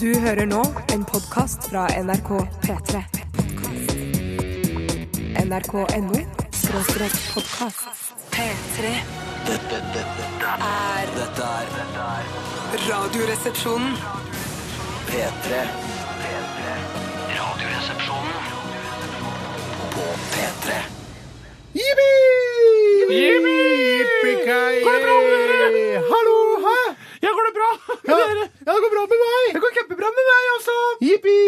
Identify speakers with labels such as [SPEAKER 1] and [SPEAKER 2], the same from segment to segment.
[SPEAKER 1] Du hører nå en podkast fra NRK P3. NRK.no skråstrek podkast. P3
[SPEAKER 2] Dette, dette, dette,
[SPEAKER 1] er
[SPEAKER 2] dette er dette er
[SPEAKER 1] Radioresepsjonen.
[SPEAKER 2] P3. P3. Radioresepsjonen på P3.
[SPEAKER 3] Yippee! Går det bra med dere? Hallo, hæ?
[SPEAKER 4] Ja, går det bra med
[SPEAKER 3] Ja,
[SPEAKER 4] dere?
[SPEAKER 3] ja, det går bra med meg.
[SPEAKER 4] Det går kjempebra med meg, altså!
[SPEAKER 3] Jippi!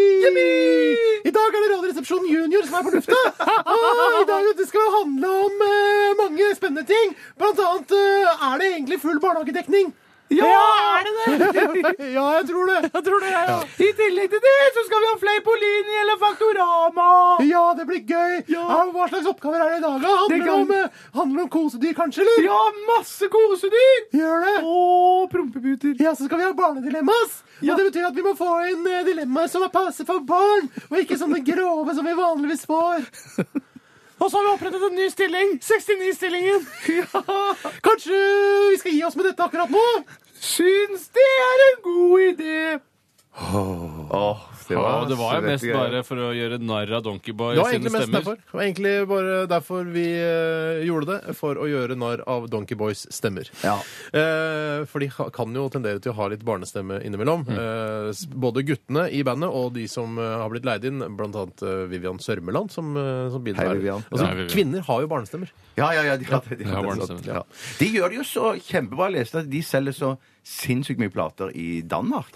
[SPEAKER 3] I dag er det Radioresepsjonen Junior som er på lufta. Og I dag det skal handle om eh, mange spennende ting. Blant annet eh, er det egentlig full barnehagedekning.
[SPEAKER 4] Ja, er det det?
[SPEAKER 3] ja, jeg tror det.
[SPEAKER 4] Jeg tror det, jeg, ja. I tillegg til det så skal vi ha Fleipolini eller Faktorama.
[SPEAKER 3] Ja, det blir gøy. Ja. hva slags oppgaver er det i dag? da? Handler
[SPEAKER 4] Det
[SPEAKER 3] det
[SPEAKER 4] kan-
[SPEAKER 3] om, eh, handler det om kosedyr, kanskje? eller?
[SPEAKER 4] Ja, masse kosedyr!
[SPEAKER 3] Gjør det.
[SPEAKER 4] Og prompeputer.
[SPEAKER 3] Ja, så skal vi ha barnedilemmas.
[SPEAKER 4] Ja.
[SPEAKER 3] Og det betyr at vi må få inn eh, dilemmaer som er passe for barn, og ikke sånne grove som vi vanligvis får.
[SPEAKER 4] Og så har vi opprettet en ny stilling. 69-stillingen. Ja.
[SPEAKER 3] Kanskje vi skal gi oss med dette akkurat nå?
[SPEAKER 4] Syns det er en god idé.
[SPEAKER 5] Det
[SPEAKER 6] Ja, det var jo
[SPEAKER 5] svette
[SPEAKER 6] mest
[SPEAKER 5] greier.
[SPEAKER 6] bare for å gjøre narr av Donkeyboy
[SPEAKER 5] Det var
[SPEAKER 6] sine
[SPEAKER 5] egentlig mest
[SPEAKER 6] stemmer.
[SPEAKER 5] derfor. Det var egentlig bare derfor vi eh, gjorde det. For å gjøre narr av Donkey Boys stemmer. Eh, for de ha- kan jo tendere til å ha litt barnestemme
[SPEAKER 6] Mm.
[SPEAKER 5] innimellom. Eh, s- både guttene i bandet og de som eh, har blitt leid inn, blant annet eh, Vivian Sørmeland, som, eh, som bidrar.
[SPEAKER 6] Hei, Vivian.
[SPEAKER 5] Altså,
[SPEAKER 6] Hei, Vivian.
[SPEAKER 5] Kvinner har jo barnestemmer.
[SPEAKER 6] Ja, ja, ja.
[SPEAKER 7] de har det, de
[SPEAKER 6] Ja,
[SPEAKER 7] har det.
[SPEAKER 6] barnestemme.
[SPEAKER 7] Ja. De gjør det jo så kjempebra. Jeg leste at de selger så sinnssykt mye plater i Danmark.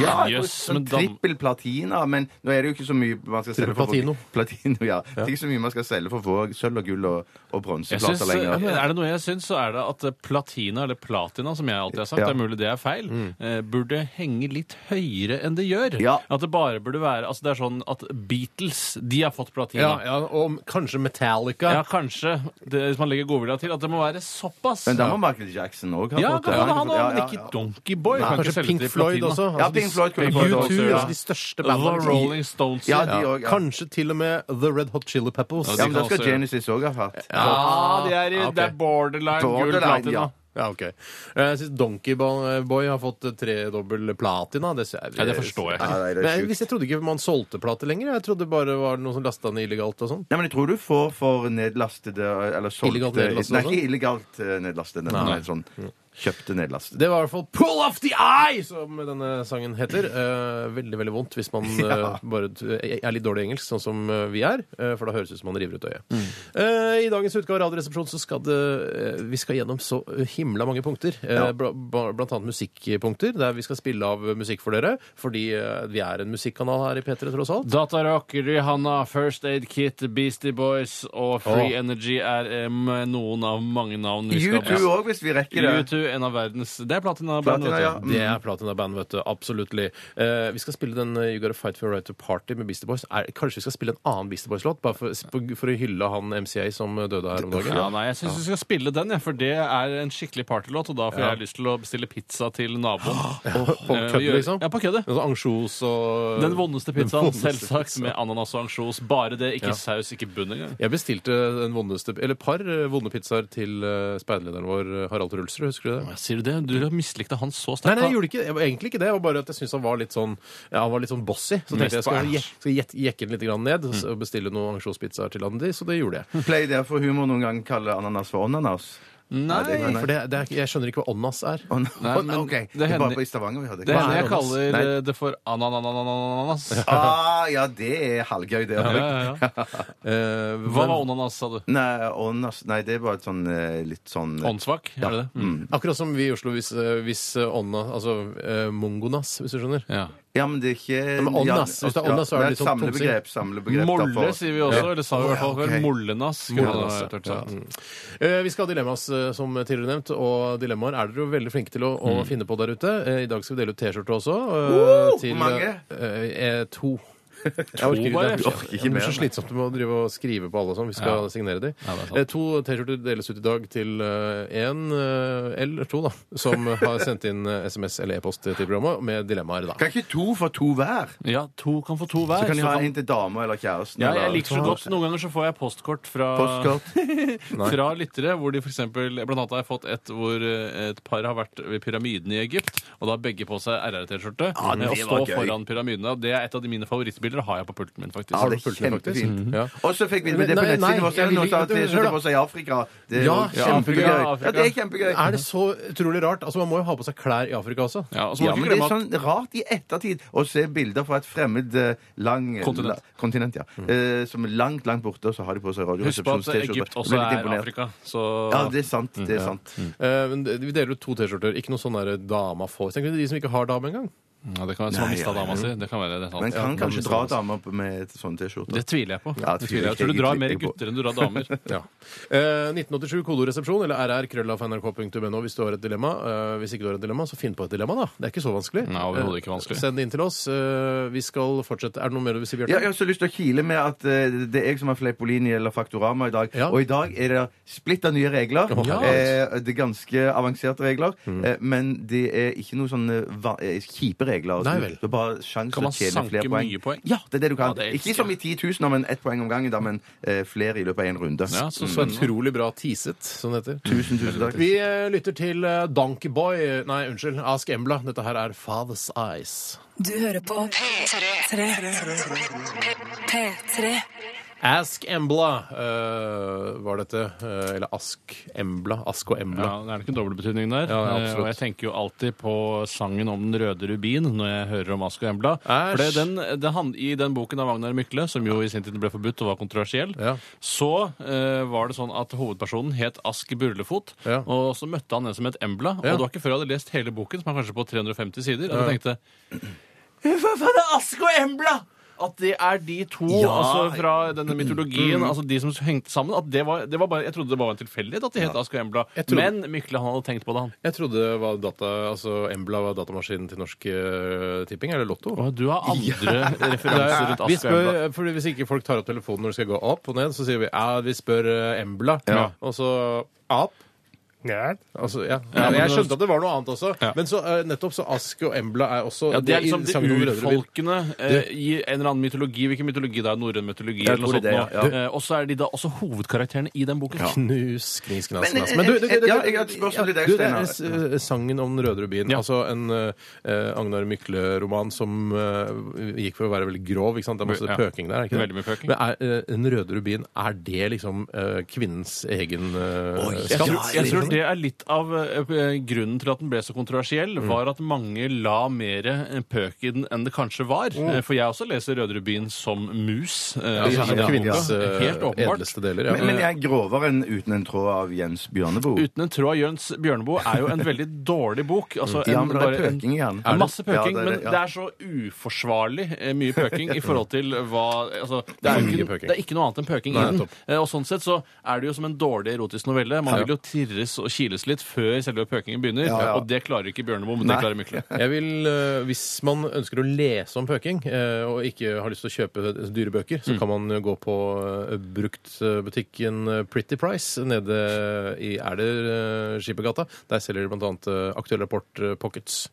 [SPEAKER 7] Ja,
[SPEAKER 6] Jøss,
[SPEAKER 7] yes,
[SPEAKER 6] men Dan-
[SPEAKER 7] sånn Trippel platina, men nå er det jo ikke så mye man skal selge
[SPEAKER 5] Trippel platino.
[SPEAKER 7] for Platino, ja. Det er ikke så mye man skal selge for å få sølv og gull og, og
[SPEAKER 6] Jeg
[SPEAKER 7] bronseplater
[SPEAKER 6] syns, ja, men
[SPEAKER 7] lenger.
[SPEAKER 6] er det noe jeg syns, så er det at eh, platina, eller platina, som jeg alltid har sagt,
[SPEAKER 7] Ja. Mm.
[SPEAKER 6] det er mulig det er feil, eh, burde henge litt høyere enn det gjør.
[SPEAKER 7] Ja.
[SPEAKER 6] At det bare burde være Altså, det er sånn at Beatles, de har fått
[SPEAKER 5] Ja,
[SPEAKER 6] platina.
[SPEAKER 5] ja, og kanskje Metallica.
[SPEAKER 6] Ja, kanskje, det, hvis man legger godvilja til, at det må være såpass.
[SPEAKER 7] Men da må Michael Jackson òg ha
[SPEAKER 6] ja,
[SPEAKER 7] fått det.
[SPEAKER 6] kanskje han
[SPEAKER 7] Ja,
[SPEAKER 6] òg,
[SPEAKER 7] ja,
[SPEAKER 6] men
[SPEAKER 7] ja.
[SPEAKER 6] ikke Donkeyboy.
[SPEAKER 5] Nei, kanskje Pink Floyd også.
[SPEAKER 7] Ja,
[SPEAKER 5] Altså,
[SPEAKER 7] Pink Floyd kunne
[SPEAKER 5] de-
[SPEAKER 7] fått det
[SPEAKER 5] U2,
[SPEAKER 7] også. Ja.
[SPEAKER 5] altså, de største
[SPEAKER 6] The
[SPEAKER 5] bandene.
[SPEAKER 6] Rolling Stones.
[SPEAKER 7] Ja,
[SPEAKER 5] Ja,
[SPEAKER 7] de òg. Ja.
[SPEAKER 5] Kanskje til og med The Red Hot Chili Pepples.
[SPEAKER 7] ja,
[SPEAKER 5] Ja,
[SPEAKER 7] men da skal
[SPEAKER 6] også-
[SPEAKER 7] Genesis òg ha hatt.
[SPEAKER 6] Ja, Ah, de er, i-
[SPEAKER 5] Ja, ok.
[SPEAKER 6] det er borderline, gul
[SPEAKER 7] Borderline,
[SPEAKER 6] platina.
[SPEAKER 7] ja.
[SPEAKER 5] ok. Eh, Jeg syns Donkey Bo- Boy har fått eh, tredobbel platina. Det, ser jeg-
[SPEAKER 6] Ja, det forstår jeg ikke.
[SPEAKER 7] Nei, det er
[SPEAKER 5] Men jeg,
[SPEAKER 7] sjukt.
[SPEAKER 5] hvis jeg trodde ikke man solgte plater lenger. Jeg trodde det bare var noen som lasta ned illegalt og sånn.
[SPEAKER 7] Nei, men jeg tror du får for nedlastede eller solgte
[SPEAKER 5] Illegalt nedlastede
[SPEAKER 7] Nei,
[SPEAKER 5] også?
[SPEAKER 7] ikke illegalt eh, nedlastede, men sånn kjøpte nedlastede.
[SPEAKER 5] Det var i hvert fall 'Pull off the eye', som denne sangen heter. Eh, veldig veldig vondt hvis man eh, bare t- er litt dårlig i engelsk, sånn som eh, vi er. eh, for da høres det ut som man river ut øyet. Eh, I dagens utgave av Radioresepsjonen så skal det, eh, vi skal gjennom så himla mange punkter. Eh, bla, ba- blant annet musikkpunkter, der vi skal spille av musikk for dere. Fordi eh, vi er en musikkanal her i P3, tross alt.
[SPEAKER 6] Datarock, Rihanna, First Aid Kit, Beastie Boys og Free Energy er em, noen av mange navn vi skal
[SPEAKER 7] U2 òg, hvis vi rekker det.
[SPEAKER 6] U2, en av verdens Det er platina.
[SPEAKER 7] Platina, ja.
[SPEAKER 5] Det
[SPEAKER 6] Mhm.
[SPEAKER 5] er Platina-band, vet du. Absolutely. Eh, vi skal spille den eh, You Gotta Fight For Your Right To Party med Beastie Boys. Er, kanskje vi skal spille en annen Beastie Boys-låt, bare for, for, for å hylle han MCA som eh, døde her om dagen?
[SPEAKER 6] Ja, nei, Jeg syns vi skal spille den, jeg, for det er en skikkelig partylåt. Og da får jeg lyst til å bestille pizza til naboen.
[SPEAKER 5] På
[SPEAKER 6] Eh,
[SPEAKER 5] kødd,
[SPEAKER 6] gjøre-
[SPEAKER 5] liksom?
[SPEAKER 6] Ja, på køddet.
[SPEAKER 5] Sånn Ansjos og
[SPEAKER 6] Den vondeste pizzaen,
[SPEAKER 5] vondeste
[SPEAKER 6] selvsagt. Med ananas og ansjos. Bare det. Ikke saus, ikke bunn engang.
[SPEAKER 5] Jeg bestilte den vondeste, eller et par eh, vonde pizzaer til eh, speiderlederen vår, eh, Harald Rulsrud. Husker du det?
[SPEAKER 6] Ja, Sier du det? Du mislikte han så sterkt.
[SPEAKER 5] Nei, nei, jeg
[SPEAKER 6] da.
[SPEAKER 5] gjorde ikke det. Jeg var egentlig ikke det. Det var bare at jeg syntes han var litt sånn ja, han var litt sånn bossy. Så tenkte
[SPEAKER 6] Mest
[SPEAKER 5] jeg
[SPEAKER 6] på Mm.
[SPEAKER 5] skal,
[SPEAKER 6] æsj.
[SPEAKER 5] jeg skal jek- jekke den litt grann ned og bestille noen ansjospizzaer til han, de, så det gjorde jeg.
[SPEAKER 6] Mm.
[SPEAKER 7] Pleier dere for humor noen gang kalle ananas for onanas?
[SPEAKER 6] Nei,
[SPEAKER 7] det kan jeg
[SPEAKER 5] For det, det er, ikke- jeg skjønner ikke hva onnas er.
[SPEAKER 7] On
[SPEAKER 6] Nei,
[SPEAKER 7] on-
[SPEAKER 6] men
[SPEAKER 7] ok.
[SPEAKER 6] det
[SPEAKER 7] Det er
[SPEAKER 6] hender-
[SPEAKER 7] bare på i Stavanger vi hadde
[SPEAKER 6] Det
[SPEAKER 7] Hva
[SPEAKER 6] hender
[SPEAKER 7] er
[SPEAKER 6] jeg
[SPEAKER 7] onanas?
[SPEAKER 6] kaller
[SPEAKER 7] Nei.
[SPEAKER 6] eh, det for anananas.
[SPEAKER 7] Ah, ja, det er halvgøy, det.
[SPEAKER 6] Ja, ja, ja.
[SPEAKER 5] Eh,
[SPEAKER 6] Hva
[SPEAKER 5] men-
[SPEAKER 6] var onanas, sa du?
[SPEAKER 7] Nei, onanas Nei, det er bare et sånn eh, litt sånn
[SPEAKER 6] Åndssvak? Er det det? Mm.
[SPEAKER 5] Akkurat som vi i Oslo hvis, eh, hvis eh, ånda Altså eh, mongonas, hvis du skjønner.
[SPEAKER 6] Ja.
[SPEAKER 7] Ja, men det er ikke
[SPEAKER 5] men onanas, hvis det er onanas, så er det litt sånn
[SPEAKER 7] Samlebegrep. samlebegrep
[SPEAKER 6] Molle
[SPEAKER 7] derfor.
[SPEAKER 6] sier vi også, eller sa vi i hvert fall
[SPEAKER 7] Ja, ok.
[SPEAKER 6] før. Mollenas. skulle det ha vært,
[SPEAKER 5] Ja.
[SPEAKER 6] sant?
[SPEAKER 5] Eh, Vi skal ha dilemmas, eh, som tidligere nevnt, og dilemmaer er dere jo veldig flinke til å, å finne på der ute. Eh, I dag skal vi dele ut T-skjorte også. eh,
[SPEAKER 7] Hvor mange?
[SPEAKER 5] eh, eh, to. Jeg orker ikke,
[SPEAKER 6] bare?
[SPEAKER 5] det.
[SPEAKER 6] Jeg
[SPEAKER 5] orker ikke mer. Det blir så slitsomt med å drive og skrive på alle og sånn. Vi skal signere de.
[SPEAKER 6] Ja, det er sant.
[SPEAKER 5] Eh, to T-skjorter deles ut i dag til én eller to, da, som har sendt inn eh, SMS eller e-post til programmet med dilemmaer, da.
[SPEAKER 7] Kan ikke to få to hver?
[SPEAKER 6] Ja, to kan få to hver.
[SPEAKER 7] Så kan de
[SPEAKER 6] så
[SPEAKER 7] ha
[SPEAKER 6] kan-
[SPEAKER 7] en til dama eller kjæresten.
[SPEAKER 6] ja,
[SPEAKER 7] eller-
[SPEAKER 6] jeg liker så godt. Noen ganger så får jeg postkort
[SPEAKER 7] Ah.
[SPEAKER 6] fra,
[SPEAKER 7] Postkort.
[SPEAKER 6] fra lyttere, hvor de for eksempel, blant annet har jeg fått et hvor eh, et par har vært ved pyramiden i Egypt, og da har begge på seg RR-T-skjorte.
[SPEAKER 7] Ja, det
[SPEAKER 6] eh, og
[SPEAKER 7] var
[SPEAKER 6] stå
[SPEAKER 7] gøy.
[SPEAKER 6] foran pyramidene. og Det er et av de mine favorittbilder, har jeg på pulten min, faktisk.
[SPEAKER 7] Ja, det er kjempefint.
[SPEAKER 5] Ja.
[SPEAKER 7] Og så fikk vi
[SPEAKER 5] Mhm. Men
[SPEAKER 7] det på
[SPEAKER 5] nei, nei,
[SPEAKER 7] nettsiden vår. så er det Noen
[SPEAKER 5] jeg vil
[SPEAKER 7] som har
[SPEAKER 5] ikke-
[SPEAKER 7] T-skjorte på seg i Afrika. Det er
[SPEAKER 5] Ja,
[SPEAKER 7] jo
[SPEAKER 5] kjempegøy.
[SPEAKER 7] Ja, det er kjempegøy.
[SPEAKER 5] Er det så utrolig rart? Altså, Man må jo ha på seg klær i Afrika også.
[SPEAKER 6] Ja, og så må
[SPEAKER 7] Ja, men
[SPEAKER 6] du ikke
[SPEAKER 7] det
[SPEAKER 6] glemme
[SPEAKER 7] er
[SPEAKER 6] at
[SPEAKER 7] sånn rart i ettertid å se bilder fra et fremmed eh, lang
[SPEAKER 6] Kontinent. Mm.
[SPEAKER 7] la- kontinent ja. eh, som er langt, langt borte, og så har de på seg
[SPEAKER 6] Husk på at
[SPEAKER 7] radioresepsjons-T-skjorte.
[SPEAKER 6] Egypt også
[SPEAKER 7] Blir litt
[SPEAKER 6] er
[SPEAKER 7] imponert.
[SPEAKER 6] Afrika, Mm. så
[SPEAKER 7] Ja, det er sant. Det er sant.
[SPEAKER 5] Eh, men det- vi deler ut to T-skjorter. Ikke noe sånn der dama får. Tenk deg de som ikke har dame engang.
[SPEAKER 6] Ja, det kan være som har
[SPEAKER 7] Nei, ja,
[SPEAKER 6] mista
[SPEAKER 7] ja.
[SPEAKER 6] dama si. Det kan være det. er sant.
[SPEAKER 7] Men
[SPEAKER 6] Ja,
[SPEAKER 7] kan kanskje
[SPEAKER 6] mista
[SPEAKER 7] dra
[SPEAKER 6] dama si.
[SPEAKER 7] damer opp med sånne T-skjorter.
[SPEAKER 6] Det tviler jeg på.
[SPEAKER 7] Ja,
[SPEAKER 6] det tviler jeg.
[SPEAKER 7] tviler
[SPEAKER 6] jeg tror du drar
[SPEAKER 7] jeg
[SPEAKER 6] mer
[SPEAKER 7] egentlig på.
[SPEAKER 6] gutter enn du drar damer.
[SPEAKER 5] Ja. Eh, 1987 kodoresepsjon eller rr.krøllaf.nrk.no hvis du har et dilemma. Eh, hvis ikke du har et dilemma, så finn på et dilemma, da. Det er ikke så vanskelig.
[SPEAKER 6] Nei, overhodet ikke vanskelig.
[SPEAKER 5] Eh, send det inn til oss. Eh, vi skal fortsette. Er det noe mer du vil si, Bjarte?
[SPEAKER 7] Ja, jeg har også lyst til å kile med at eh, det er jeg som har Fleipolini eller Faktorama i dag.
[SPEAKER 5] Ja.
[SPEAKER 7] Og i dag er det splitter nye regler.
[SPEAKER 5] Ja.
[SPEAKER 7] Eh, det er ganske avanserte regler. Eh, men det er ikke noe sånne va- eh, kjipe regler.
[SPEAKER 5] Nei vel.
[SPEAKER 7] Det er bare sjanse
[SPEAKER 6] Kan
[SPEAKER 7] til å
[SPEAKER 6] man
[SPEAKER 7] tjene
[SPEAKER 6] sanke
[SPEAKER 7] flere poeng.
[SPEAKER 6] mye poeng?
[SPEAKER 7] Ja, det er det du kan.
[SPEAKER 6] Ja, det elsker
[SPEAKER 7] ikke som i 10 000, men ett poeng om gangen, da, men eh, flere i løpet av én runde.
[SPEAKER 6] Ja, så
[SPEAKER 5] Så
[SPEAKER 6] spennende.
[SPEAKER 5] utrolig bra teaset, som det heter.
[SPEAKER 7] Tusen, tusen takk.
[SPEAKER 5] Vi eh, lytter til eh, Donkeyboy Nei, unnskyld. Ask Embla. Dette her er Father's Eyes.
[SPEAKER 1] Du hører på P3. P3.
[SPEAKER 5] Ask Embla eh, var dette. eh, eller Ask Embla. Ask og
[SPEAKER 6] Ja,
[SPEAKER 5] Embla.
[SPEAKER 6] det er nok en dobbeltbetydning der.
[SPEAKER 5] Ja, ja,
[SPEAKER 6] Eh,
[SPEAKER 5] absolutt.
[SPEAKER 6] og jeg tenker jo alltid på sangen om den røde rubin når jeg hører om Ask og Embla.
[SPEAKER 5] Æsj.
[SPEAKER 6] For det, den, det hand, I den boken av Magnar Mykle, som jo i sin tid ble forbudt og var kontroversiell,
[SPEAKER 5] Ja.
[SPEAKER 6] så eh, var det sånn at hovedpersonen het Ask Burlefot,
[SPEAKER 5] Ja.
[SPEAKER 6] og så møtte han en som het Embla.
[SPEAKER 5] Ja.
[SPEAKER 6] Og det var ikke før jeg hadde lest hele boken, som er kanskje på 350 sider, at jeg tenkte Hva faen er Ask og Embla?! At det er de to altså fra denne mytologien, altså de som hengte sammen at det var, det var bare, Jeg trodde det var en tilfeldighet at de het Ask og Embla.
[SPEAKER 5] Jeg trodde-
[SPEAKER 6] Men Mykle han hadde tenkt på det, han.
[SPEAKER 5] Jeg trodde det var data, altså Embla var datamaskinen til Norsk eh, Tipping, eller Lotto.
[SPEAKER 6] du har andre referanser rundt
[SPEAKER 5] Vi
[SPEAKER 6] Ask og
[SPEAKER 5] spør, eh,
[SPEAKER 6] Embla.
[SPEAKER 5] fordi Hvis ikke folk tar opp telefonen når de skal gå opp og ned, så sier vi ja, vi spør eh, Embla.
[SPEAKER 7] Ja.
[SPEAKER 5] Og så opp. Altså, ja.
[SPEAKER 6] Ja, men
[SPEAKER 5] jeg
[SPEAKER 6] det-
[SPEAKER 5] skjønte at det var noe annet også,
[SPEAKER 6] Ja.
[SPEAKER 5] men så, eh, nettopp så Ask og Embla er også
[SPEAKER 6] Ja, det er
[SPEAKER 5] i
[SPEAKER 6] liksom det
[SPEAKER 5] sangen om Rødre Bil.
[SPEAKER 6] urfolkene eh, i en eller annen mytologi. Hvilken mytologi det er? Norrøn mytologi?
[SPEAKER 7] Jeg
[SPEAKER 6] eller noe
[SPEAKER 7] tror
[SPEAKER 6] sånt
[SPEAKER 7] det,
[SPEAKER 6] nå.
[SPEAKER 7] ja, ja.
[SPEAKER 6] Eh, Og så er de da også hovedkarakterene i den boken.
[SPEAKER 5] Knus, knis, knas,
[SPEAKER 7] Men,
[SPEAKER 5] knas.
[SPEAKER 7] eh,
[SPEAKER 5] altså. du,
[SPEAKER 7] eh,
[SPEAKER 5] det- det- det-
[SPEAKER 7] ja, jeg har et spørsmål til deg,
[SPEAKER 5] du, det er
[SPEAKER 7] Steinar.
[SPEAKER 5] s- eh, sangen om Den røde rubin.
[SPEAKER 6] Ja.
[SPEAKER 5] Altså en eh, Agnar Mykle-roman som eh, gikk for å være veldig grov. ikke sant? Det er masse
[SPEAKER 6] Ja.
[SPEAKER 5] pøking der. er Ikke det?
[SPEAKER 6] Veldig mye pøking.
[SPEAKER 5] Men er, eh, Den røde rubin, er det liksom eh, kvinnens egen eh,
[SPEAKER 6] Jeg
[SPEAKER 5] skatt?
[SPEAKER 6] tror, jeg tror det er litt av eh, eh, grunnen til at den ble så kontroversiell, var at mange la mer eh, pøk i den enn det kanskje var. Eh, For jeg også leser Røde Rubin som mus. eh,
[SPEAKER 5] Altså,
[SPEAKER 6] i den boka.
[SPEAKER 5] kvinnens eh,
[SPEAKER 6] Helt åpenbart.
[SPEAKER 5] edleste deler. Ja.
[SPEAKER 7] Men, men jeg er grovere enn Uten en tråd av Jens Bjørneboe.
[SPEAKER 6] Uten en tråd av Jørns Bjørneboe er jo en veldig dårlig bok. Altså,
[SPEAKER 7] Ja,
[SPEAKER 6] en,
[SPEAKER 7] men det er
[SPEAKER 6] bare en-
[SPEAKER 7] pøking i den.
[SPEAKER 6] Ja, Masse
[SPEAKER 7] Ja,
[SPEAKER 6] pøking,
[SPEAKER 7] det er
[SPEAKER 6] men
[SPEAKER 7] det, ja.
[SPEAKER 6] det er så uforsvarlig eh, mye pøking i forhold til hva altså, det, er jo
[SPEAKER 5] mye
[SPEAKER 6] ikke,
[SPEAKER 5] pøking.
[SPEAKER 6] det er ikke noe annet enn pøking
[SPEAKER 5] Nei,
[SPEAKER 6] i den.
[SPEAKER 5] nettopp.
[SPEAKER 6] Eh, Og sånn sett så er det jo som en dårlig erotisk novelle. Man
[SPEAKER 5] Ja.
[SPEAKER 6] vil jo tirres og kiles litt før selve pøkingen begynner,
[SPEAKER 7] Ja, ja.
[SPEAKER 6] og det klarer ikke Bjørneboe, men det
[SPEAKER 7] Nei.
[SPEAKER 6] klarer Mykle.
[SPEAKER 5] Jeg vil, eh, Hvis man ønsker å lese om pøking eh, og ikke har lyst til å kjøpe dyre bøker, så kan man gå på eh, bruktbutikken eh, Pretty Price nede i Er det eh, Skippergata? Der selger de bl.a. Aktuell rapport eh, pockets.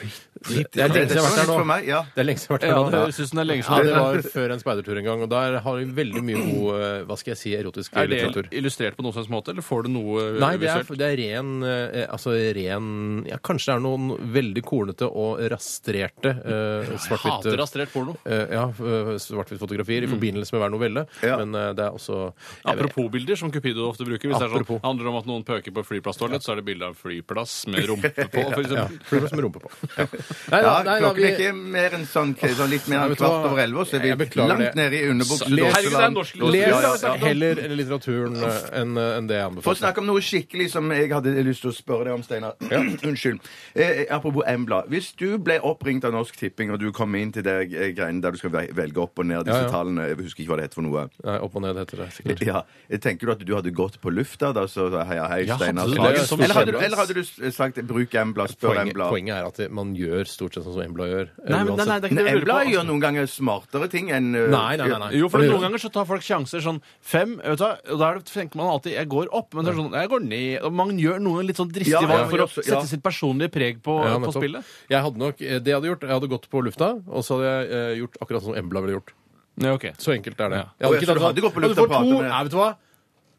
[SPEAKER 5] Det er
[SPEAKER 7] Det-
[SPEAKER 5] lenge
[SPEAKER 7] det
[SPEAKER 5] siden jeg
[SPEAKER 7] er
[SPEAKER 5] har vært
[SPEAKER 7] for
[SPEAKER 5] der nå.
[SPEAKER 7] meg, ja.
[SPEAKER 5] Det er lenge siden jeg
[SPEAKER 6] Ja,
[SPEAKER 5] har vært
[SPEAKER 6] det
[SPEAKER 5] der nå.
[SPEAKER 6] høres ut som det er sånn. lenge
[SPEAKER 5] Ja,
[SPEAKER 6] siden.
[SPEAKER 5] det var før en speidertur en gang, og der har vi veldig mye god eh, hva skal jeg si, erotisk
[SPEAKER 6] Er det
[SPEAKER 5] litteratur.
[SPEAKER 6] illustrert på noen slags måte, eller får du noe eh,
[SPEAKER 5] Nei, det er,
[SPEAKER 6] visuelt?
[SPEAKER 5] det er ren, eh, altså ren ja, Kanskje det er noen veldig kornete og rastrerte eh,
[SPEAKER 6] Jeg
[SPEAKER 5] svart-hvitte
[SPEAKER 6] hater rastrert porno.
[SPEAKER 5] Eh, ja, eh, svart-hvitt-fotografier i forbindelse med hver novelle.
[SPEAKER 7] Ja.
[SPEAKER 5] Men eh, det er også jeg vet-
[SPEAKER 6] Mm. Apropos bilder, som Cupido ofte bruker. Hvis det er
[SPEAKER 5] Apropos.
[SPEAKER 6] sånn, handler om at noen pøker på flyplasstoalett, så er det bilde av flyplass med rumpe på, f.eks.
[SPEAKER 5] ja, fugler som rumper på. Ja. Nei,
[SPEAKER 7] Ja,
[SPEAKER 5] da- nei, da,
[SPEAKER 7] klokken er
[SPEAKER 5] vi,
[SPEAKER 7] ikke mer enn sånn, sånn litt mer
[SPEAKER 5] Nei,
[SPEAKER 7] enn
[SPEAKER 5] vet du hva?
[SPEAKER 7] kvart over elleve, så er
[SPEAKER 5] Jeg
[SPEAKER 7] vi
[SPEAKER 5] beklager det.
[SPEAKER 7] langt nede i
[SPEAKER 6] Herregud, det er en
[SPEAKER 7] underbuksedåseland.
[SPEAKER 6] norsk låt.
[SPEAKER 7] Ja, ja,
[SPEAKER 5] les
[SPEAKER 7] ja.
[SPEAKER 5] heller altså litteraturen eh, enn enn det jeg
[SPEAKER 7] For å
[SPEAKER 5] anbefaler.
[SPEAKER 7] snakke om noe skikkelig som som jeg hadde lyst til å spørre deg om, Steinar Unnskyld. Eh, apropos Embla. Hvis du ble oppringt av Norsk Tipping, og du kom inn til det eh, greiene der du skal ve- velge opp og ned disse
[SPEAKER 5] Ja, ja.
[SPEAKER 7] tallene Jeg husker ikke hva det heter for noe.
[SPEAKER 5] Nei, opp og ned heter det sikkert.
[SPEAKER 7] Ja, Eh, Tenker du at du hadde gått på lufta da? Så sa heia, hei,
[SPEAKER 6] Ja,
[SPEAKER 7] Steinar.
[SPEAKER 6] hadde du
[SPEAKER 7] Sagen.
[SPEAKER 5] det som
[SPEAKER 7] Eller, hadde du-
[SPEAKER 5] Embla?
[SPEAKER 7] eller hadde du s- sagt 'bruk Embla', spør
[SPEAKER 5] Poenget,
[SPEAKER 7] Embla?
[SPEAKER 5] poenget er at det- man gjør stort sett sånn som Embla gjør. eh,
[SPEAKER 6] Nei,
[SPEAKER 5] uansett.
[SPEAKER 6] men, nei, nei, det er ikke
[SPEAKER 7] Men
[SPEAKER 6] det jeg
[SPEAKER 7] Embla
[SPEAKER 6] lurer på. Altså,
[SPEAKER 7] gjør noen ganger smartere ting enn eh,
[SPEAKER 5] Nei, nei, nei, nei.
[SPEAKER 6] Jo, for
[SPEAKER 5] Det gjør
[SPEAKER 6] noen ganger så tar folk sjanser sånn fem, vet du, hva, og da er det- tenker man alltid 'jeg går opp', men det er sånn 'jeg går ned'. Og man gjør noen litt sånn dristige
[SPEAKER 7] Ja, ja,
[SPEAKER 6] valg for
[SPEAKER 7] ja,
[SPEAKER 6] å
[SPEAKER 7] så- ja.
[SPEAKER 6] sette sitt personlige preg på,
[SPEAKER 5] Ja,
[SPEAKER 6] på
[SPEAKER 5] nettopp.
[SPEAKER 6] spillet.
[SPEAKER 5] Jeg hadde nok, eh, det jeg hadde gjort, jeg hadde gått på lufta, og så hadde jeg eh, gjort akkurat sånn som Embla ville gjort.
[SPEAKER 6] Ja, ok.
[SPEAKER 5] Så enkelt er det.
[SPEAKER 6] Ja.
[SPEAKER 5] Jeg
[SPEAKER 7] Å, ja, så du
[SPEAKER 5] tatt
[SPEAKER 7] hadde gått på
[SPEAKER 5] Ja,
[SPEAKER 7] lufta
[SPEAKER 5] du får
[SPEAKER 7] og pratet
[SPEAKER 5] to-
[SPEAKER 7] med-
[SPEAKER 5] Nei, vet du hva?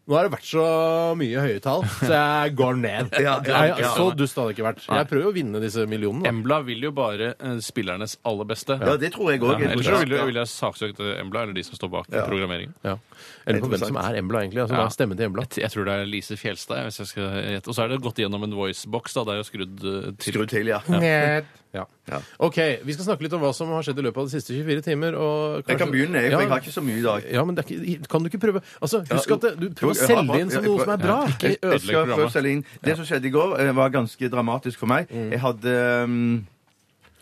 [SPEAKER 5] Nå har det vært så mye høye tall, så jeg går ned.
[SPEAKER 7] Ja, ja,
[SPEAKER 5] Nei,
[SPEAKER 7] ja.
[SPEAKER 5] Så dust hadde det ikke vært. Jeg prøver jo å vinne disse millionene. da.
[SPEAKER 6] Embla vil jo bare eh, spillernes aller beste.
[SPEAKER 7] Ja, det tror jeg òg.
[SPEAKER 6] Ja, Ellers så vil jeg, vil jeg saksøkt Embla, eller de som står bak programmeringen.
[SPEAKER 5] Ja. Jeg lurer på hvem
[SPEAKER 7] Interessant.
[SPEAKER 5] som er Embla, egentlig. Altså,
[SPEAKER 6] Ja.
[SPEAKER 5] hva er stemmen til Embla?
[SPEAKER 6] Jeg tror det er Lise Fjelstad. jeg, Hvis jeg skal gjette. Og så er det gått gjennom en voicebox. da, Det er jo skrudd eh, til.
[SPEAKER 7] Skru til, ja.
[SPEAKER 5] Ja.
[SPEAKER 7] Ja.
[SPEAKER 5] OK, vi skal snakke litt om hva som har skjedd i løpet av de siste 24 timer. Og
[SPEAKER 7] Jeg kan begynne, jeg, for jeg har
[SPEAKER 5] ja,
[SPEAKER 7] ikke så mye i dag.
[SPEAKER 5] ja, men det er ikke, kan du ikke prøve Altså, Husk
[SPEAKER 7] jo.
[SPEAKER 5] at det, du
[SPEAKER 7] Jo,
[SPEAKER 5] prøver å
[SPEAKER 7] jeg har
[SPEAKER 5] selge
[SPEAKER 7] bare-
[SPEAKER 5] inn som
[SPEAKER 7] jeg
[SPEAKER 5] noe som er bra.
[SPEAKER 7] prøver-
[SPEAKER 5] Ikke
[SPEAKER 7] Jeg skal
[SPEAKER 6] ødelegg
[SPEAKER 7] først selge inn. Det som skjedde i går, eh, var ganske dramatisk for meg.
[SPEAKER 6] Mm.
[SPEAKER 7] Jeg hadde um,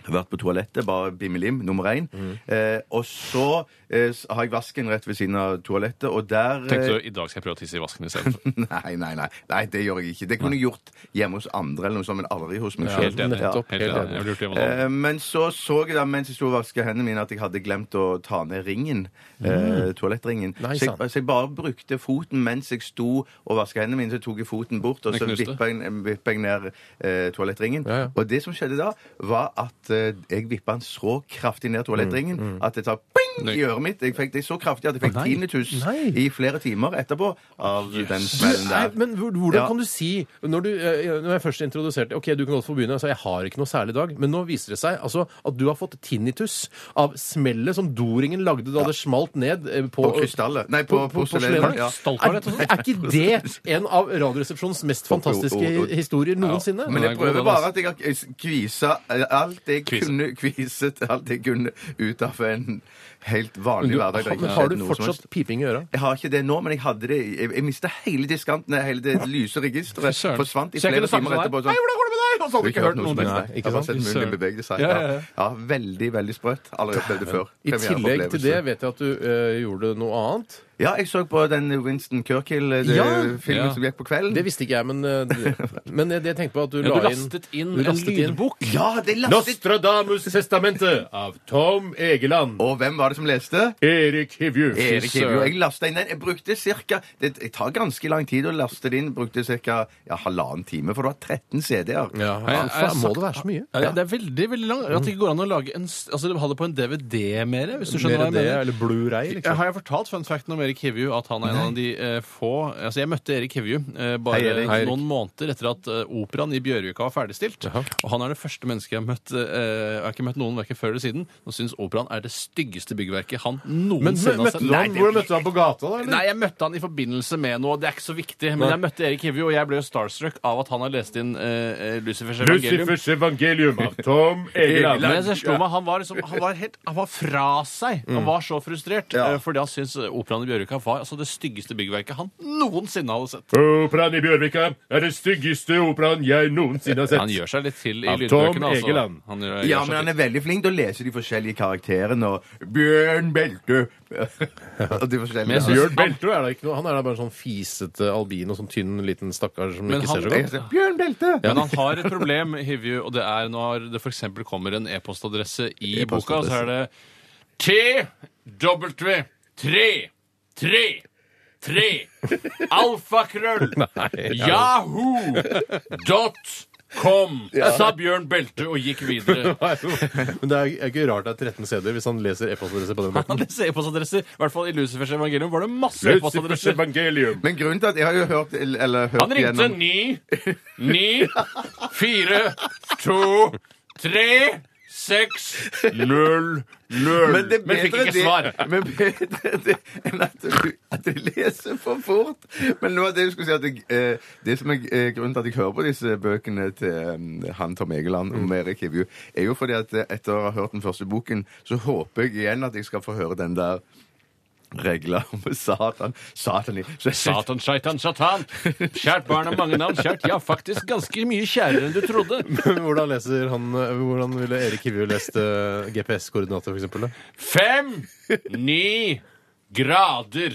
[SPEAKER 7] vært på toalettet, bare bimmelim, nummer én.
[SPEAKER 6] Mm.
[SPEAKER 7] Eh, og så eh, s- har jeg vasken rett ved siden av toalettet, og der eh,
[SPEAKER 6] Tenkte du, I dag skal jeg prøve å tisse i vasken istedenfor.
[SPEAKER 7] Nei, nei, nei, nei, det gjør jeg ikke. Det kunne jeg gjort hjemme hos andre, eller noe sånt, men aldri hos meg selv.
[SPEAKER 6] Helt enig.
[SPEAKER 7] Ja.
[SPEAKER 5] nettopp,
[SPEAKER 6] Helt
[SPEAKER 5] helt
[SPEAKER 6] enig.
[SPEAKER 5] enig.
[SPEAKER 6] Jeg burde gjort det med noen.
[SPEAKER 7] Eh, Men så så jeg da mens jeg sto og vasket hendene mine, at jeg hadde glemt å ta ned ringen.
[SPEAKER 5] Mm.
[SPEAKER 7] Eh, toalettringen.
[SPEAKER 5] Nei,
[SPEAKER 7] så, jeg,
[SPEAKER 5] sant.
[SPEAKER 7] så jeg bare brukte foten mens jeg sto og vasket hendene mine. Så tok jeg foten bort, og
[SPEAKER 6] Den
[SPEAKER 7] så
[SPEAKER 6] knuste.
[SPEAKER 7] vippa jeg, vippet jeg ned eh, toalettringen.
[SPEAKER 5] Ja, ja.
[SPEAKER 7] Og det som skjedde da, var at eh, jeg vippa den så kraftig ned toalettringen
[SPEAKER 5] Mm,
[SPEAKER 7] at det tar ping i øret mitt. Jeg fikk det så kraftig at jeg fikk
[SPEAKER 5] Nei.
[SPEAKER 7] tinnitus
[SPEAKER 5] Nei.
[SPEAKER 7] i flere timer etterpå av den
[SPEAKER 5] Du,
[SPEAKER 7] smellen
[SPEAKER 5] nei,
[SPEAKER 7] der.
[SPEAKER 5] men hvor- hvordan
[SPEAKER 7] Ja.
[SPEAKER 5] kan du si når, du, eh, når jeg først introduserte Ok, du kan godt få begynne. altså, Jeg sa jeg har ikke noe særlig i dag. Men nå viser det seg altså, at du har fått tinnitus av smellet som doringen lagde da det smalt ned eh, på,
[SPEAKER 7] På krystallet. Nei, på,
[SPEAKER 5] på
[SPEAKER 7] porselenet.
[SPEAKER 5] porselenet.
[SPEAKER 7] Ja.
[SPEAKER 5] Er, er ikke det en av Radioresepsjonens mest fantastiske
[SPEAKER 7] Jo, jo, jo.
[SPEAKER 5] historier noensinne?
[SPEAKER 7] Men
[SPEAKER 6] Den
[SPEAKER 7] jeg
[SPEAKER 6] er god,
[SPEAKER 7] prøver
[SPEAKER 6] den,
[SPEAKER 7] bare
[SPEAKER 6] altså.
[SPEAKER 7] at jeg har kvisa eh, alt jeg
[SPEAKER 6] Kvise.
[SPEAKER 7] kunne kviset, alt jeg kunne ut av en helt vanlig
[SPEAKER 5] Du,
[SPEAKER 7] hverdag. der ikke
[SPEAKER 5] men har
[SPEAKER 7] skjedde
[SPEAKER 5] du
[SPEAKER 7] noe som helst.
[SPEAKER 5] fortsatt piping i øra?
[SPEAKER 7] Jeg har ikke det nå, men jeg hadde det i- Jeg, jeg mista hele diskanten, eh, hele det lyse registeret.
[SPEAKER 6] Søren.
[SPEAKER 7] Forsvant i
[SPEAKER 6] Så jeg
[SPEAKER 7] flere
[SPEAKER 6] kunne sagt
[SPEAKER 7] timer
[SPEAKER 6] sånn her,
[SPEAKER 7] etterpå.
[SPEAKER 6] «Hei, hvordan går det med deg?» Og så hadde
[SPEAKER 7] Du
[SPEAKER 6] du ikke hørt noe
[SPEAKER 7] som
[SPEAKER 6] om
[SPEAKER 7] helst.
[SPEAKER 5] det.
[SPEAKER 7] Jeg har bare
[SPEAKER 5] Nei,
[SPEAKER 7] sett
[SPEAKER 5] ikke sant?
[SPEAKER 7] munnen min bevege seg.
[SPEAKER 6] Ja,
[SPEAKER 7] Ja,
[SPEAKER 6] ja, ja.
[SPEAKER 7] ja, veldig, veldig sprøtt. Aldri opplevd det før.
[SPEAKER 5] I tillegg til det
[SPEAKER 7] Premiereopplevelse.
[SPEAKER 5] vet jeg at du eh, gjorde noe annet.
[SPEAKER 7] Ja, jeg så på den Winston
[SPEAKER 5] Ja.
[SPEAKER 7] Kirkhill-filmen
[SPEAKER 6] Ja.
[SPEAKER 7] som gikk på kvelden.
[SPEAKER 5] Det visste ikke jeg, men, eh, det- men det jeg tenkte på at du
[SPEAKER 6] Ja,
[SPEAKER 5] la
[SPEAKER 6] du lastet inn
[SPEAKER 5] du lastet
[SPEAKER 6] en lydbok.
[SPEAKER 7] Ja, det lastet
[SPEAKER 5] Nostradamus-testamentet av Tom Egeland.
[SPEAKER 7] Og hvem var det som leste?
[SPEAKER 5] Erik Hivju.
[SPEAKER 7] Erik Hivju. Jeg lastet inn den. Jeg brukte cirka, det det tar ganske lang tid å laste det inn. Brukte ca. Ja, halvannen time, for det var 13 CD-er.
[SPEAKER 5] Ja,
[SPEAKER 6] jeg-
[SPEAKER 5] altså,
[SPEAKER 6] jeg har
[SPEAKER 5] må
[SPEAKER 6] sagt-
[SPEAKER 5] det være så mye?
[SPEAKER 6] Ja, det- det er veldig veldig langt. At det ikke går an å lage en, s- altså, ha det på en DVD mer, hvis du skjønner
[SPEAKER 5] Mer
[SPEAKER 6] hva jeg
[SPEAKER 5] det,
[SPEAKER 6] mener.
[SPEAKER 5] eller Blu-ray,
[SPEAKER 6] Ja,
[SPEAKER 5] liksom.
[SPEAKER 6] Eh, Har jeg fortalt fun facten om Erik Hivju? At han er en av de eh, få Altså, jeg møtte Erik Hivju eh, bare
[SPEAKER 7] Hei, Erik.
[SPEAKER 5] Hei, Erik.
[SPEAKER 6] noen måneder etter at eh, operaen i Bjørvika var ferdigstilt. Og han er det første mennesket jeg har møtt eh, Jeg har ikke møtt noen verken før eller siden som syns operaen er det styggeste byggverket han noensinne
[SPEAKER 5] altså.
[SPEAKER 6] har sett. Nei, det-
[SPEAKER 5] hvordan møtte du ham på gata, da?
[SPEAKER 6] Nei, jeg møtte han i forbindelse med noe, det er ikke så viktig. Men
[SPEAKER 5] Nei.
[SPEAKER 6] jeg møtte Erik Hivju, og jeg ble jo starstruck av at han har lest inn eh, eh, Lucifers evangelium.
[SPEAKER 5] evangelium av Tom Egeland.
[SPEAKER 6] Men jeg slo meg, han var, liksom, han, var helt, han var fra seg. Han var så frustrert eh, fordi han syntes operaen i Bjørvika var altså, det styggeste byggverket han noensinne hadde sett.
[SPEAKER 5] Operaen i Bjørvika er den styggeste operaen jeg noensinne har
[SPEAKER 6] Han gjør seg litt til i
[SPEAKER 5] Av Tom
[SPEAKER 6] lydbøkene. Altså.
[SPEAKER 5] Egeland.
[SPEAKER 6] Han
[SPEAKER 7] Ja,
[SPEAKER 6] gjør, gjør seg
[SPEAKER 7] men han
[SPEAKER 6] til.
[SPEAKER 7] er veldig flink til å lese de forskjellige karakterene og Bjørn Belte og de
[SPEAKER 6] Men jeg
[SPEAKER 7] forskjellige.
[SPEAKER 6] synes-
[SPEAKER 5] Bjørn Beltrud er da ikke noe. Han er da bare en sånn fisete albino, sånn tynn liten stakkar som
[SPEAKER 6] Men
[SPEAKER 5] ikke
[SPEAKER 6] han-
[SPEAKER 5] ser så godt.
[SPEAKER 7] Ja. Bjørn Belte!
[SPEAKER 6] Men han har et problem, Hivju, og det er når det f.eks. kommer en e-postadresse i boka, så er det TW333 alfakrøll yahoo.com, sa Bjørn Belte og gikk videre.
[SPEAKER 5] Men det er er ikke rart det er 13 CD hvis han leser e-postadresser på den
[SPEAKER 6] Han
[SPEAKER 5] måten.
[SPEAKER 6] hadde e-postadresser, i hvert fall i Lucifers evangelium, var det masse e-postadresser.
[SPEAKER 5] evangelium.
[SPEAKER 7] Men grunnen til at jeg har jo hørt eller hørt
[SPEAKER 6] Han ringte
[SPEAKER 7] igjennom-
[SPEAKER 6] ni, ni, fire, to, tre, seks, null, null.
[SPEAKER 7] Men, det er
[SPEAKER 6] Men fikk
[SPEAKER 7] bedre
[SPEAKER 6] ikke
[SPEAKER 7] det-
[SPEAKER 6] svar.
[SPEAKER 7] Men bedre det enn at du, at du leser for fort. Men nå, det, jeg skulle si at jeg, eh, det som er eh, grunnen til at jeg hører på disse bøkene til eh, han Tom Egeland
[SPEAKER 6] Mm.
[SPEAKER 7] om Erik Hivju, er jo fordi at eh, etter å ha hørt den første boken, så håper jeg igjen at jeg skal få høre den der regler om Satan. Satan i så jeg-
[SPEAKER 6] Satan, shaitan, satan. Kjært barn har mange navn. Kjært, ja, faktisk ganske mye kjærere enn du trodde.
[SPEAKER 8] Hvordan, leser han, eh, hvordan ville Erik Hivju lest eh, GPS-koordinater, f.eks.?
[SPEAKER 6] Fem, ni grader.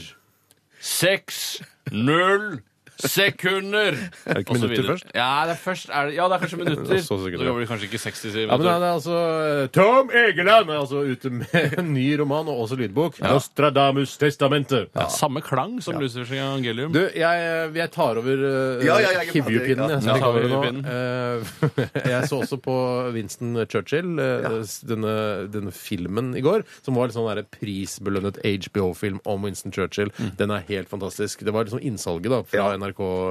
[SPEAKER 6] Seks, null sekunder. Er
[SPEAKER 8] det ikke minutter først?
[SPEAKER 6] Ja, det er først er det, ja, det er kanskje minutter.
[SPEAKER 8] Og så sekunder.
[SPEAKER 6] Da går vi kanskje ikke 60 minutter.
[SPEAKER 8] Ja, men han er altså eh, Tom Egeland er altså ute med en ny roman og også lydbok. Nostradamus testamentet.
[SPEAKER 6] Ja, Samme klang som Lucifers evangelium.
[SPEAKER 8] Du, jeg, jeg tar over uh,
[SPEAKER 7] Ja, ja, ja, jeg
[SPEAKER 8] Hivju-pinnen.
[SPEAKER 7] tar det,
[SPEAKER 8] Jeg,
[SPEAKER 6] ja.
[SPEAKER 8] som fikk over
[SPEAKER 6] Ja,
[SPEAKER 8] nå. Eh, jeg så også på Winston Churchill, eh, s- denne, denne filmen i går, som var litt sånn der prisbelønnet HBO-film om Winston Churchill.
[SPEAKER 6] Mm.
[SPEAKER 8] Den er helt fantastisk. Det var liksom innsalget da, fra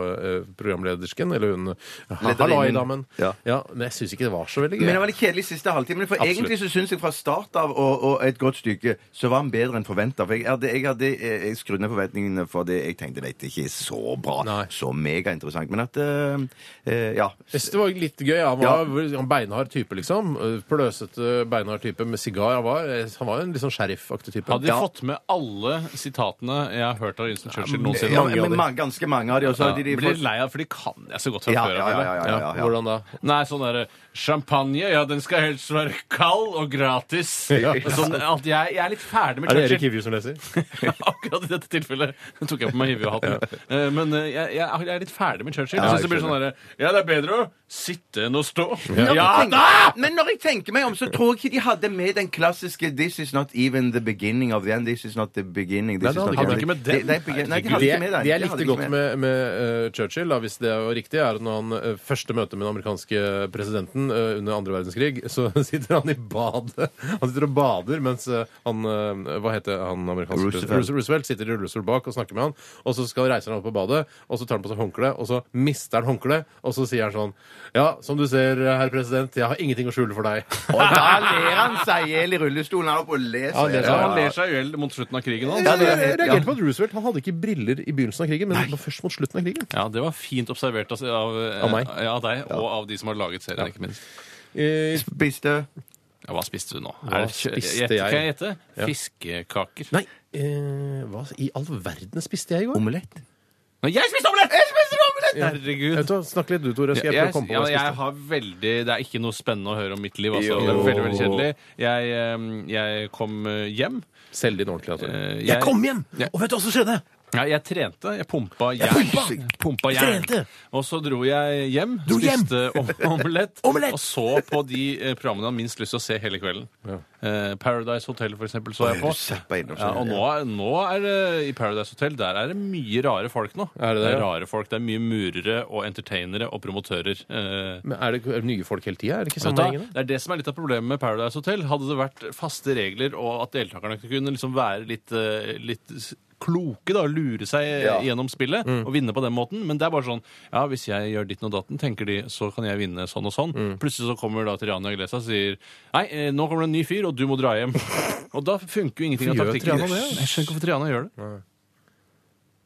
[SPEAKER 8] NRK-programledersken, eh, eller hun Halloi-damen.
[SPEAKER 7] Ja.
[SPEAKER 8] men jeg syns ikke det var så veldig gøy.
[SPEAKER 7] Men det var litt kjedelig siste halvtimen. For
[SPEAKER 8] Absolutt.
[SPEAKER 7] egentlig så syns jeg fra start av og, og et godt stykke så var han bedre enn forventa. For jeg hadde, jeg hadde eh, jeg skrudd ned forventningene for det jeg tenkte det ikke er så bra.
[SPEAKER 8] Nei.
[SPEAKER 7] Så megainteressant. Men at eh, eh, Ja.
[SPEAKER 8] Jeg synes det var litt gøy. Han var en beinhard type, liksom. Pløsete, beinhard type med sigar. Han var, han var jo en litt sånn sheriffaktig type.
[SPEAKER 6] Hadde de
[SPEAKER 8] Ja.
[SPEAKER 6] fått med alle sitatene jeg har hørt av Winston Churchill noensinne?
[SPEAKER 7] Ja,
[SPEAKER 8] mange av
[SPEAKER 7] men
[SPEAKER 8] de.
[SPEAKER 7] mange, ganske mange av de. Og så
[SPEAKER 6] Ja,
[SPEAKER 7] hadde de,
[SPEAKER 6] blir
[SPEAKER 7] fått-
[SPEAKER 6] litt lei av, for de kan jeg så godt fra
[SPEAKER 7] ja,
[SPEAKER 6] før
[SPEAKER 7] ja, ja,
[SPEAKER 6] av.
[SPEAKER 7] ja,
[SPEAKER 6] eller?
[SPEAKER 7] ja, ja, ja.
[SPEAKER 8] Hvordan da?
[SPEAKER 6] Nei, sånn derre Champagne, ja, den skal helst være kald og gratis. Sånn at jeg, jeg er litt ferdig med
[SPEAKER 8] Er det Erik
[SPEAKER 6] Churchill.
[SPEAKER 8] Hivju som leser?
[SPEAKER 6] Akkurat i dette tilfellet Den tok jeg på meg hivjehatten. Eh, Men eh, jeg, jeg, jeg er litt ferdig med Churchill.
[SPEAKER 7] Ja,
[SPEAKER 6] Jeg synes det
[SPEAKER 7] jeg
[SPEAKER 6] blir sånn derre Ja, det er bedre å sitte enn å stå.
[SPEAKER 7] Når
[SPEAKER 6] Ja
[SPEAKER 7] jeg
[SPEAKER 6] da!
[SPEAKER 7] tenker, men når jeg tenker meg om, så tror jeg ikke de hadde med den klassiske 'This is not even the beginning of the end'. This is not the beginning this
[SPEAKER 8] Nei,
[SPEAKER 7] is
[SPEAKER 8] det hadde
[SPEAKER 7] not the
[SPEAKER 8] ikke med
[SPEAKER 7] end.
[SPEAKER 6] den.
[SPEAKER 7] Det- det er begin- Nei, de hadde
[SPEAKER 8] Det,
[SPEAKER 7] ikke med den.
[SPEAKER 8] det jeg
[SPEAKER 7] De hadde
[SPEAKER 8] likte
[SPEAKER 7] ikke
[SPEAKER 8] godt
[SPEAKER 7] med.
[SPEAKER 8] med, med eh, Churchill, da, hvis det er riktig, er at når han eh, første møte med den amerikanske presidenten eh, under andre verdenskrig, så sitter han i badet. Han sitter og bader mens eh, han eh, Hva heter han amerikanske
[SPEAKER 7] Roosevelt.
[SPEAKER 8] presidenten? Roosevelt. Roosevelt sitter i rullestol bak og snakker med han, og så skal reiser han opp på badet, og så tar han på seg håndkle, og så mister han håndkleet, og så sier han sånn Ja, som du ser, eh, herr president, jeg har ingenting å skjule for deg.
[SPEAKER 7] Og da ler han seg i hjel i rullestolen. Han er oppe og ler
[SPEAKER 8] Ja,
[SPEAKER 7] seg
[SPEAKER 8] han
[SPEAKER 7] i
[SPEAKER 6] Ja,
[SPEAKER 8] ler seg-
[SPEAKER 7] hjel.
[SPEAKER 6] han ler seg i hjel mot slutten av krigen. hans.
[SPEAKER 7] Ja, det er
[SPEAKER 8] Jeg
[SPEAKER 7] helt-
[SPEAKER 8] reagerte på at Roosevelt han hadde ikke briller i begynnelsen av krigen, men det var først mot slutten av krigen.
[SPEAKER 6] Ja, det var fint observert altså, av, eh,
[SPEAKER 8] Av meg.
[SPEAKER 6] Ja, av deg, og av de som har laget serien, ikke minst.
[SPEAKER 8] Eh,
[SPEAKER 7] Spiste
[SPEAKER 6] Ja, hva spiste du nå?
[SPEAKER 8] Hva
[SPEAKER 6] Er det-
[SPEAKER 8] spiste
[SPEAKER 6] Gjette,
[SPEAKER 8] jeg?
[SPEAKER 6] Kan jeg gjette? Fiskekaker.
[SPEAKER 8] Nei, eh, hva i all verden spiste jeg i går?
[SPEAKER 7] omelett.
[SPEAKER 6] Nei, jeg spiste omelett! Jeg spiste omelett!
[SPEAKER 8] Vet
[SPEAKER 6] Herregud.
[SPEAKER 8] du hva, Snakk litt du, Tore. Skal
[SPEAKER 6] Jeg,
[SPEAKER 8] jeg prøve å komme på
[SPEAKER 6] ja,
[SPEAKER 8] hva jeg
[SPEAKER 6] jeg
[SPEAKER 8] spiste?
[SPEAKER 6] har veldig, det er ikke noe spennende å høre om mitt liv. Altså.
[SPEAKER 7] Jo.
[SPEAKER 6] Det er veldig veldig kjedelig. Jeg, eh, jeg kom eh, hjem.
[SPEAKER 8] Selg din ordentlig. Altså.
[SPEAKER 6] Eh,
[SPEAKER 8] jeg,
[SPEAKER 6] jeg-
[SPEAKER 8] kom hjem!
[SPEAKER 6] Ja.
[SPEAKER 8] Og vet du hva som skjedde?
[SPEAKER 6] Ja, jeg trente. Jeg pumpa jern. Pumpa jern.
[SPEAKER 8] Trente!
[SPEAKER 6] Og så dro jeg hjem,
[SPEAKER 8] Dro hjem!
[SPEAKER 6] spiste om- omelett,
[SPEAKER 8] Omelett!
[SPEAKER 6] og så på de eh, programmene jeg har minst lyst til å se hele kvelden. Eh, Paradise Hotel, for eksempel, så jeg på.
[SPEAKER 7] Zappa innom
[SPEAKER 6] Ja,
[SPEAKER 7] seg.
[SPEAKER 6] og nå, er- nå er det i Paradise Hotel der er det mye rare folk nå.
[SPEAKER 8] Er det det, ja?
[SPEAKER 6] rare folk, det er mye murere og entertainere og promotører. Eh,
[SPEAKER 8] Men er det, er det nye folk hele tida? Er det ikke
[SPEAKER 6] vet du hva?
[SPEAKER 8] sammenhengende?
[SPEAKER 6] det er det som er litt av problemet med Paradise Hotel. Hadde det vært faste regler og at deltakerne kunne liksom være litt, eh, litt s- kloke da, og lure seg eh,
[SPEAKER 7] Ja.
[SPEAKER 6] gjennom spillet
[SPEAKER 8] Mm.
[SPEAKER 6] og vinne på den måten, men det er bare sånn ja, hvis jeg gjør ditten og datten, tenker de, så kan jeg vinne sånn og sånn.
[SPEAKER 8] Mm.
[SPEAKER 6] Plutselig så kommer da Triana Iglesias og sier nei, eh, nå kommer det en ny fyr, og du må dra hjem. og da funker jo ingenting av
[SPEAKER 8] Hvorfor gjør
[SPEAKER 6] taktikken.
[SPEAKER 8] Triana det?
[SPEAKER 6] Jeg skjønner ikke hvorfor Triana gjør det.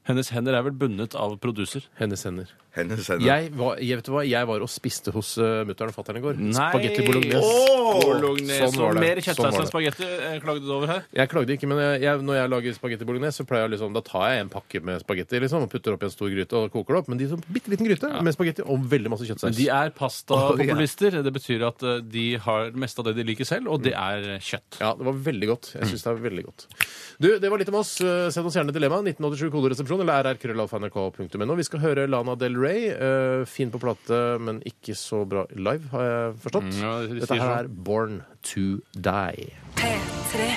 [SPEAKER 6] Hennes hender er vel bundet av produser.
[SPEAKER 8] Hennes hender.
[SPEAKER 7] Hennes hender.
[SPEAKER 8] Jeg var, jeg, vet du hva? jeg var og spiste hos uh, mutter'n og fatter'n i går.
[SPEAKER 6] Nei.
[SPEAKER 8] Spagetti bolognese.
[SPEAKER 6] Åh!
[SPEAKER 8] Bolognese.
[SPEAKER 6] Sånn var det. Mer
[SPEAKER 8] Sånn
[SPEAKER 6] kjøttdeig
[SPEAKER 8] var
[SPEAKER 6] enn
[SPEAKER 8] det.
[SPEAKER 6] spagetti eh, klagde du over her.
[SPEAKER 8] Jeg klagde ikke, men jeg, jeg, når jeg lager spagetti bolognese, så pleier jeg liksom, da tar jeg en pakke med spagetti liksom, og putter opp i en stor gryte og koker det opp. Men de som bitte liten gryte med spagetti og veldig masse
[SPEAKER 6] Men
[SPEAKER 8] kjøttsaus.
[SPEAKER 6] De er pastapopulister. Det betyr at eh, de har det meste av det de liker selv, og det er kjøtt.
[SPEAKER 8] Ja, det var veldig godt. Jeg synes det er veldig godt. Du, Det var litt om oss. Eh, Send oss gjerne dilemma. 1987 koderesepsjon eller rrkrøllalfa.nrk.no. Vi skal høre Lana Del Rey. eh, Fin på plate, men ikke så bra live, har jeg forstått.
[SPEAKER 6] Mm, ja, de sier
[SPEAKER 8] Dette her
[SPEAKER 6] sånn.
[SPEAKER 8] er Born to Die.
[SPEAKER 1] P3.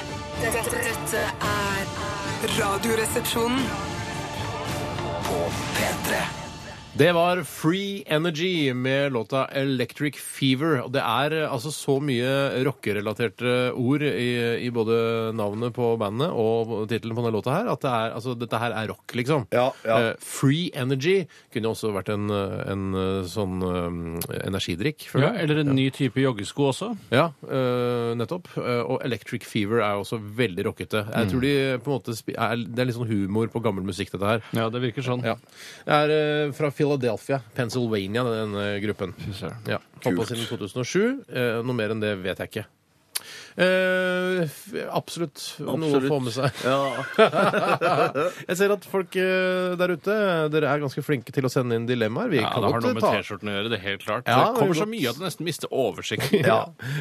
[SPEAKER 1] Dette, dette er Radioresepsjonen.
[SPEAKER 8] Det var Free Energy med låta Electric Fever. Og det er eh, altså så mye rockerelaterte ord i, i både navnet på bandet og tittelen på denne låta her, at det er, altså, dette her er rock, liksom.
[SPEAKER 7] Ja, ja.
[SPEAKER 8] Eh, Free Energy kunne jo også vært en, eh, en eh, sånn eh, energidrikk,
[SPEAKER 6] Ja,
[SPEAKER 8] føler jeg.
[SPEAKER 6] eller en ny type joggesko også.
[SPEAKER 8] Ja, eh, nettopp. Eh, og Electric Fever er jo også veldig rockete. Jeg
[SPEAKER 7] Mm.
[SPEAKER 8] tror de eh, på en måte spi- er, Det er litt sånn humor på gammel musikk, dette her.
[SPEAKER 6] Ja, det virker sånn.
[SPEAKER 8] Ja. Det er eh, fra Philadelphia, Pennsylvania, denne gruppen. Ja. Holdt på siden 2007. Eh, noe mer enn det vet jeg ikke. Eh, f- absolutt, noe å få med seg. jeg ser at folk eh, der ute Dere er ganske flinke til å sende inn dilemmaer. Vi
[SPEAKER 6] Ja,
[SPEAKER 8] kan
[SPEAKER 6] det har noe
[SPEAKER 8] godt
[SPEAKER 6] med
[SPEAKER 8] ta
[SPEAKER 6] T-skjorten å gjøre. det er helt klart.
[SPEAKER 8] Ja,
[SPEAKER 6] det kommer
[SPEAKER 8] det er
[SPEAKER 6] så
[SPEAKER 8] godt.
[SPEAKER 6] mye at du nesten mister oversikten.
[SPEAKER 8] ja.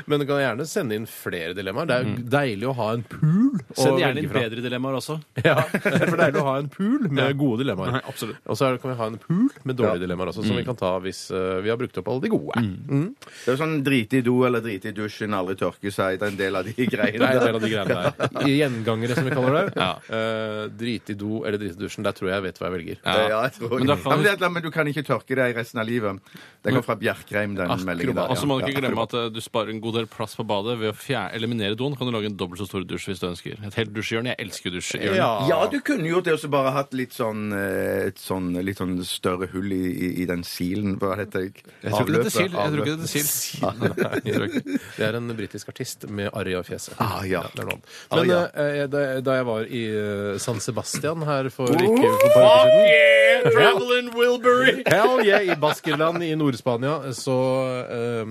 [SPEAKER 8] Men du kan gjerne sende inn flere dilemmaer. Det er jo deilig å ha en pool. å
[SPEAKER 6] Mm. Send gjerne
[SPEAKER 8] velge
[SPEAKER 6] inn
[SPEAKER 8] fra.
[SPEAKER 6] bedre dilemmaer også.
[SPEAKER 8] Ja, det er for deilig å ha en pool med gode dilemmaer.
[SPEAKER 6] Nei, absolutt.
[SPEAKER 8] Og så er det- kan vi ha en pool med dårlige dilemmaer også, som
[SPEAKER 6] Mm.
[SPEAKER 8] vi kan ta hvis eh, vi har brukt opp alle de gode.
[SPEAKER 7] Det er jo sånn drite i do eller drite i dusjen, aldri tørke seg. Det er en del av de
[SPEAKER 8] Det er en
[SPEAKER 7] greiene.
[SPEAKER 8] del av de greiene der. Gjengangere, som vi kaller det.
[SPEAKER 6] Ja.
[SPEAKER 8] Eh, drit i do eller drit i dusjen. Der tror jeg jeg vet hva jeg velger.
[SPEAKER 7] Ja, jeg tror.
[SPEAKER 6] Men
[SPEAKER 7] Men,
[SPEAKER 6] da kan
[SPEAKER 7] ja, men,
[SPEAKER 6] du-
[SPEAKER 7] det er et eller annet, men du kan ikke tørke deg resten av livet. Den kom fra Bjerkreim, den meldingen der.
[SPEAKER 6] Og så Ah, må du ikke
[SPEAKER 7] Ja.
[SPEAKER 6] glemme at eh, du sparer en god del plass på badet ved å fjer- eliminere doen. Kan du lage en dobbelt så stor dusj hvis du ønsker. Et helt dusjehjørne. Jeg elsker dusjehjørne.
[SPEAKER 7] Ja, du kunne gjort det, og så bare hatt litt sånn, eh, et sånn litt sånn større hull i, i, i den silen. Hva heter det?
[SPEAKER 6] Jeg tror ikke det
[SPEAKER 7] Avløpet,
[SPEAKER 6] heter sild. Jeg tror ikke
[SPEAKER 7] avløp.
[SPEAKER 6] det heter sild. Nei, jeg tror ikke.
[SPEAKER 8] Det er en britisk artist med arr i fjeset.
[SPEAKER 7] Ah, ja.
[SPEAKER 8] det er noe annet. Men
[SPEAKER 7] Ah,
[SPEAKER 8] eh, jeg- da, da jeg var i eh, San Sebastian her
[SPEAKER 6] Oh,
[SPEAKER 8] for ikke for et par uker siden
[SPEAKER 6] Traveling Wilbury!
[SPEAKER 8] Hell yeah! I Baskerland i Nord-Spania så eh,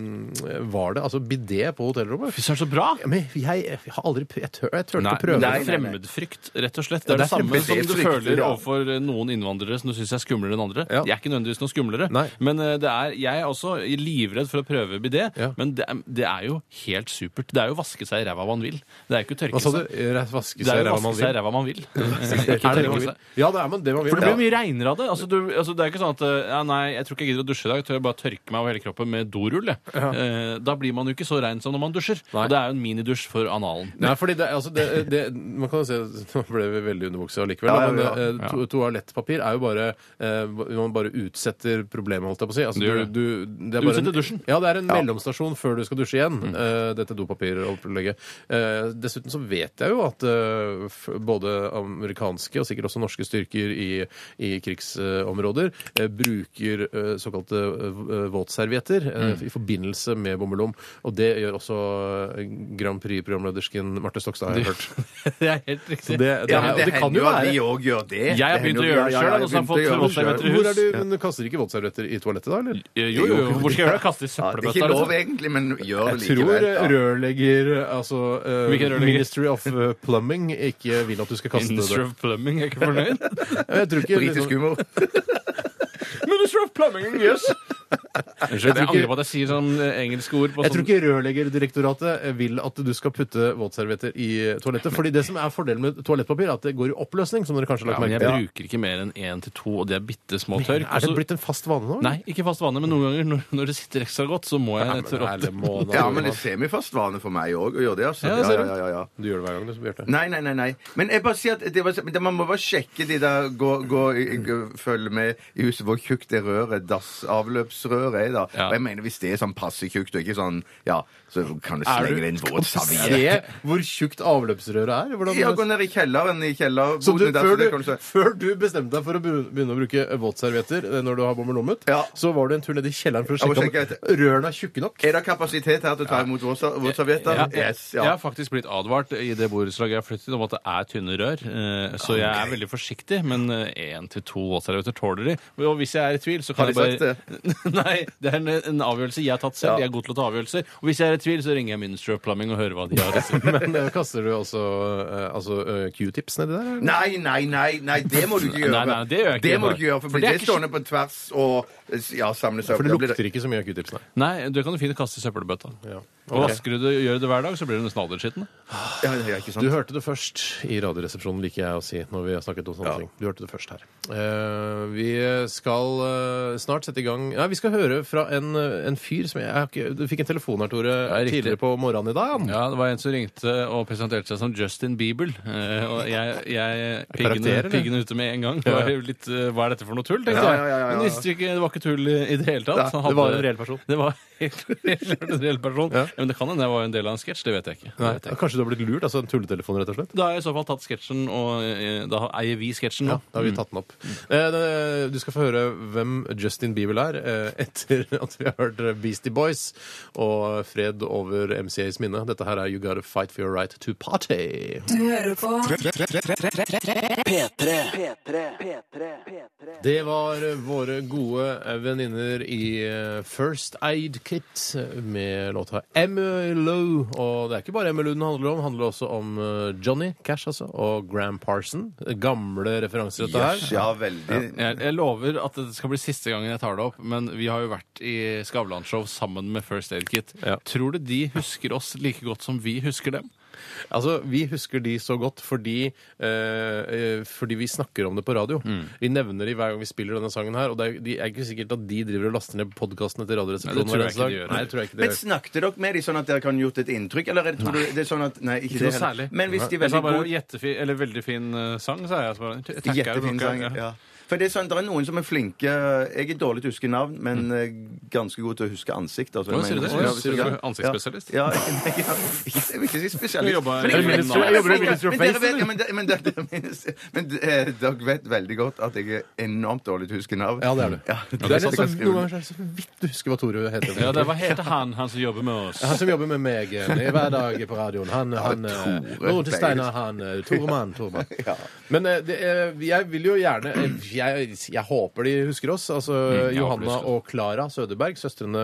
[SPEAKER 8] var det altså bidé på hotellrommet.
[SPEAKER 6] Fy søren, så bra!
[SPEAKER 8] Ja, Men jeg, jeg har aldri prø- Jeg tør, jeg tør
[SPEAKER 6] Nei,
[SPEAKER 8] ikke å prøve
[SPEAKER 6] det
[SPEAKER 8] det.
[SPEAKER 6] er fremmedfrykt, rett og slett. Det er
[SPEAKER 8] Det
[SPEAKER 6] det,
[SPEAKER 8] er
[SPEAKER 6] samme som du
[SPEAKER 7] fremmedfrykt,
[SPEAKER 6] føler
[SPEAKER 7] ja.
[SPEAKER 6] overfor noen innvandrere som du syns er skumlere enn andre.
[SPEAKER 8] Ja.
[SPEAKER 6] De er ikke nødvendigvis noe skumlere,
[SPEAKER 8] Nei.
[SPEAKER 6] men eh, det er, jeg er også livredd for å prøve bidé.
[SPEAKER 8] Ja.
[SPEAKER 6] Men det er, det er jo helt supert. Det er jo å vaske seg i ræva man vil. Det er jo ikke å
[SPEAKER 8] Hva
[SPEAKER 6] tørke
[SPEAKER 8] sa du?
[SPEAKER 6] seg.
[SPEAKER 8] Vaske
[SPEAKER 6] Det er jo
[SPEAKER 8] seg i
[SPEAKER 6] å
[SPEAKER 8] ræva man
[SPEAKER 6] vaske seg i
[SPEAKER 8] vil?
[SPEAKER 6] ræva man vil.
[SPEAKER 8] Er
[SPEAKER 6] Ikke
[SPEAKER 8] det det man
[SPEAKER 6] tørke
[SPEAKER 8] vil?
[SPEAKER 6] seg.
[SPEAKER 8] Ja, det er man, det man vil.
[SPEAKER 6] For det
[SPEAKER 8] Ja.
[SPEAKER 6] blir mye reinere av det. Altså, du, altså, det er ikke sånn at eh, ja, nei, jeg tror ikke jeg gidder å dusje i dag. Jeg tør bare tørke meg over hele kroppen med dorull. jeg. Eh, da blir man jo ikke så rein som når man dusjer.
[SPEAKER 8] Nei.
[SPEAKER 6] Og det er jo en minidusj for analen.
[SPEAKER 8] Nei, fordi det, altså det, det, man kan jo se, Nå ble vi veldig underbuksa likevel,
[SPEAKER 7] Ja, ja,
[SPEAKER 8] men
[SPEAKER 7] ja.
[SPEAKER 8] eh, to, toalettpapir er jo bare eh, Man bare utsetter problemet, holdt jeg på å si. Altså,
[SPEAKER 6] Du gjør det.
[SPEAKER 8] du, det er
[SPEAKER 6] Du
[SPEAKER 8] bare
[SPEAKER 6] utsetter dusjen. Mm.
[SPEAKER 8] Ja, det er en mellomstasjon før du skal dusje igjen, eh, dette dopapiropplegget. Eh, dessuten så vet jeg jo at eh, f- både amerikanske og sikkert også norske styrker i, i krigsområder eh, bruker eh, såkalte eh, våtservietter eh,
[SPEAKER 6] Mm.
[SPEAKER 8] i forbindelse med bommelom. Og det gjør også eh, Grand Prix-programledersken Marte Stokstad, har jeg hørt.
[SPEAKER 6] det er helt
[SPEAKER 8] Så
[SPEAKER 6] riktig.
[SPEAKER 8] det, det,
[SPEAKER 7] Ja,
[SPEAKER 8] er,
[SPEAKER 7] men
[SPEAKER 8] og det kan jo
[SPEAKER 7] at vi
[SPEAKER 8] være
[SPEAKER 7] òg gjør det.
[SPEAKER 6] Jeg har
[SPEAKER 7] Det
[SPEAKER 6] begynt å
[SPEAKER 7] hender jo-
[SPEAKER 6] gjøre det
[SPEAKER 7] ja, ja,
[SPEAKER 6] selv,
[SPEAKER 7] jeg
[SPEAKER 6] og så har
[SPEAKER 7] begynte
[SPEAKER 6] jeg
[SPEAKER 7] å
[SPEAKER 6] fått
[SPEAKER 7] gjøre det
[SPEAKER 6] våtservietter
[SPEAKER 7] selv.
[SPEAKER 6] i
[SPEAKER 8] hvor er du, men du kaster ikke våtservietter i toalettet da, eller?
[SPEAKER 6] Eh, Jo, jo, hvor skal jeg gjøre det? Kaste i
[SPEAKER 7] Ja, det er ikke
[SPEAKER 6] søppelbøtta?
[SPEAKER 7] lov
[SPEAKER 6] liksom?
[SPEAKER 7] egentlig, men gjør det
[SPEAKER 8] Jeg tror
[SPEAKER 7] likevel.
[SPEAKER 8] eh,
[SPEAKER 7] ja.
[SPEAKER 8] rørlegger, altså eh,
[SPEAKER 6] Hvilken rørlegger?
[SPEAKER 8] Ministry of eh, Plumbing, ikke vil at du skal kaste
[SPEAKER 6] Minister
[SPEAKER 8] det.
[SPEAKER 6] of Plumbing, jeg er ikke fornøyd.
[SPEAKER 8] Jeg tror ikke,
[SPEAKER 7] Britisk
[SPEAKER 8] liksom,
[SPEAKER 7] humor.
[SPEAKER 6] Minister of Plumbing, yes!
[SPEAKER 8] jeg
[SPEAKER 6] Jeg
[SPEAKER 8] tror
[SPEAKER 6] angrer
[SPEAKER 8] ikke,
[SPEAKER 6] på at jeg sier sånn eh, engelske ord på
[SPEAKER 8] jeg tror
[SPEAKER 6] sånn
[SPEAKER 8] ikke Rørleggerdirektoratet eh, vil at du skal putte våtservietter i eh, toalettet. fordi det som er fordelen med toalettpapir, er at det går i oppløsning, som dere kanskje
[SPEAKER 6] ja,
[SPEAKER 8] har lagt
[SPEAKER 6] men
[SPEAKER 8] merke
[SPEAKER 6] jeg
[SPEAKER 8] til.
[SPEAKER 6] bruker ikke mer enn én til to, og det er bitte små tørk.
[SPEAKER 8] Er det
[SPEAKER 7] altså-
[SPEAKER 6] og så-
[SPEAKER 8] blitt en fast vane nå? eller?
[SPEAKER 6] Nei, ikke fast vane, men noen ganger når, når det sitter ekstra godt, så må jeg
[SPEAKER 8] Nei, men
[SPEAKER 6] etter
[SPEAKER 8] ærlig måned,
[SPEAKER 7] Ja, men det er semifast vane for meg òg å gjøre det, altså.
[SPEAKER 6] Ja, ser du.
[SPEAKER 7] ja, ja, ja.
[SPEAKER 8] Du gjør det hver gang, du, Bjarte.
[SPEAKER 7] Nei, nei, nei. nei. Men jeg bare sier at det var, men det- man må bare sjekke de der gå, gå, gå- Følge med i huset hvor tjukt det røret, dassavløpsrøret er. da.
[SPEAKER 6] Ja.
[SPEAKER 7] Og jeg mener hvis det er sånn passe tjukt og ikke sånn Ja, så kan du slenge det i en våt
[SPEAKER 8] Se
[SPEAKER 7] serviett.
[SPEAKER 8] hvor tjukt avløpsrøret er. Hvordan
[SPEAKER 7] Ja, gå ned i kjelleren i kjellerboden.
[SPEAKER 8] Så du,
[SPEAKER 7] der,
[SPEAKER 8] før,
[SPEAKER 7] det
[SPEAKER 8] du,
[SPEAKER 7] kan se-
[SPEAKER 8] før du bestemte deg for å begynne begynne å bruke våtservietter eh, når du har bommer lommet,
[SPEAKER 7] Ja.
[SPEAKER 8] så var du en tur ned i kjelleren for å
[SPEAKER 7] Jeg må
[SPEAKER 8] sjekke
[SPEAKER 7] sjekke
[SPEAKER 8] om rørene er tjukke nok.
[SPEAKER 7] Er det kapasitet her til å ta imot våt- våtservietter?
[SPEAKER 6] Ja, jeg,
[SPEAKER 7] Yes,
[SPEAKER 6] jeg
[SPEAKER 7] ja.
[SPEAKER 6] har faktisk blitt advart i det borettslaget jeg har flyttet til, om at det er tynne rør. eh, Så jeg er veldig forsiktig, men eh, én til to våtservietter tåler de. Og hvis jeg er i tvil, så kan
[SPEAKER 7] Har de
[SPEAKER 6] jeg bare Nei, det er en, en avgjørelse jeg har tatt selv. Jeg er god til å ta avgjørelser. Og hvis jeg er i tvil, så ringer jeg Ministry of Plumbing og hører hva de har å si.
[SPEAKER 8] Men eh, kaster du også eh, altså, eh, q-tips nedi der? eller?
[SPEAKER 7] Nei, nei, nei, nei, det må du ikke gjøre.
[SPEAKER 6] Nei, nei, det gjør jeg ikke.
[SPEAKER 7] Det må du ikke gjøre, for,
[SPEAKER 6] For det
[SPEAKER 7] blir
[SPEAKER 6] er
[SPEAKER 7] det
[SPEAKER 6] ikke-
[SPEAKER 7] stående på tvers og eh, ja, samle seg opp.
[SPEAKER 8] For det
[SPEAKER 7] Da blir det-
[SPEAKER 8] lukter ikke så mye av q-tips, nei.
[SPEAKER 6] Nei, det kan du fint kaste i søppelbøtta.
[SPEAKER 8] Ja.
[SPEAKER 6] Og vasker du det, gjør du det hver dag, så blir du nesten aldersskitten.
[SPEAKER 7] Ja, ja, ikke sant?
[SPEAKER 8] Du hørte det først i Radioresepsjonen, liker jeg å si når vi har snakket om sånne ting. Du hørte det først her. Eh, vi skal eh, snart sette i gang Nei, vi skal høre fra en, eh, en fyr som jeg, jeg har ikke, Du fikk en telefon her, Tore,
[SPEAKER 6] riktig.
[SPEAKER 8] tidligere på morgenen i dag. han.
[SPEAKER 6] Ja, det var en som ringte og presenterte seg som Justin Bieber. eh, Og jeg, jeg
[SPEAKER 8] Karakter, eller?
[SPEAKER 6] piggene, piggene ute med en gang. Det var jo litt, eh, Hva er dette for noe tull? tenkte
[SPEAKER 7] Ja,
[SPEAKER 6] jeg.
[SPEAKER 7] ja, ja, ja, ja.
[SPEAKER 6] Men visste jo ikke, det var ikke tull i i det hele tatt. Han
[SPEAKER 8] det var
[SPEAKER 6] hadde-
[SPEAKER 8] en reell person.
[SPEAKER 6] Det var helt, helt klart en reell person. Ja. Men det kan hende jeg var en del av en sketsj. Det vet jeg ikke. Det
[SPEAKER 8] Nei,
[SPEAKER 6] vet jeg ikke.
[SPEAKER 8] kanskje du har blitt lurt? Altså en tulletelefon, rett og slett?
[SPEAKER 6] Da har jeg i så fall tatt sketsjen, og eh, da eier vi sketsjen nå.
[SPEAKER 8] Ja, da har vi tatt den opp. Eh, det- Du skal få høre hvem Justin Bieber er eh, etter at vi har hørt Beastie Boys og Fred over MCAs minne. Dette her er You Gotta Fight For Your Right To Party.
[SPEAKER 1] Du hører på
[SPEAKER 9] P3. P3. P3. P3.
[SPEAKER 8] Det var våre gode venninner i eh, First Aid Kit med låta M. Emmylou. Og det er ikke bare Emmylou den handler om. Det handler også om eh, Johnny Cash altså, og Gram Parson. Gamle referanser, dette her.
[SPEAKER 7] Yes, ja, veldig.
[SPEAKER 6] Jeg, jeg lover at det skal bli siste gangen jeg tar det opp, men vi har jo vært i Skavlan-show sammen med First Aid Kit.
[SPEAKER 8] Ja.
[SPEAKER 6] Tror du de husker oss like godt som vi husker dem?
[SPEAKER 8] Altså, Vi husker de så godt fordi, eh, eh, fordi vi snakker om det på radio.
[SPEAKER 6] Mm.
[SPEAKER 8] Vi nevner de hver gang vi spiller denne sangen her. Og det er, de er ikke sikkert at de driver og laster ned podkastene
[SPEAKER 6] Nei,
[SPEAKER 8] til
[SPEAKER 6] det
[SPEAKER 8] Radioresepsjonen
[SPEAKER 6] tror
[SPEAKER 8] hver
[SPEAKER 6] jeg
[SPEAKER 8] eneste
[SPEAKER 6] ikke de gjør.
[SPEAKER 8] dag. Nei, det tror jeg ikke de
[SPEAKER 7] Men
[SPEAKER 8] gjør.
[SPEAKER 7] snakket dere med dem sånn at dere kan gjort et inntrykk? Eller er det, tror du det er sånn at Nei, ikke
[SPEAKER 6] Ikke
[SPEAKER 7] det
[SPEAKER 6] noe
[SPEAKER 7] heller.
[SPEAKER 6] særlig.
[SPEAKER 7] Men hvis de er
[SPEAKER 6] Jeg sa
[SPEAKER 7] veldig
[SPEAKER 6] bare
[SPEAKER 7] gode
[SPEAKER 6] jettefin, eller veldig fin eh, sang, sa jeg. Så bare, jeg takker,
[SPEAKER 7] Jettefin
[SPEAKER 6] dere,
[SPEAKER 7] sang. Ja. For det er sånn, det er noen som er flinke Jeg er dårlig til å huske navn, men eh, ganske god til å huske ansikt. Altså,
[SPEAKER 6] Mm. Å,
[SPEAKER 7] jeg
[SPEAKER 6] sier du
[SPEAKER 7] mener-
[SPEAKER 6] det?
[SPEAKER 7] Ja,
[SPEAKER 6] Sier du
[SPEAKER 7] ja.
[SPEAKER 6] du er ansiktsspesialist?
[SPEAKER 7] Ja, ja, ikke- ikke- ikke- jeg vil ikke si
[SPEAKER 6] Du
[SPEAKER 7] spesialist.
[SPEAKER 6] jobber-
[SPEAKER 7] Men jeg er
[SPEAKER 6] Jeg
[SPEAKER 7] flink- jeg
[SPEAKER 6] jobber i
[SPEAKER 7] er flink-
[SPEAKER 5] Ministry
[SPEAKER 7] men
[SPEAKER 5] of
[SPEAKER 7] dere
[SPEAKER 5] Face,
[SPEAKER 7] vet-
[SPEAKER 5] eller?
[SPEAKER 7] men dere- Men dere- dere- men, eh, dere vet veldig godt at jeg er enormt dårlig til å huske navn.
[SPEAKER 8] Ja, det er du.
[SPEAKER 7] Ja,
[SPEAKER 8] Det er litt sånn, noen ganger så er det så vidt du husker hva Tore heter.
[SPEAKER 6] Ja, det var helt han, han som jobber med oss.
[SPEAKER 8] Han som jobber med meg eh, i hver dag på radioen. Han, han eh,
[SPEAKER 7] Tore
[SPEAKER 8] Broren til Steinar, han eh, Toremann. Toremann. Men eh, det, eh, jeg vil jo gjerne eh, jeg, jeg håper de husker oss. Altså
[SPEAKER 6] Mm, jeg håper de
[SPEAKER 8] Johanna
[SPEAKER 6] husker Mm.
[SPEAKER 8] og Klara Søderberg, søstrene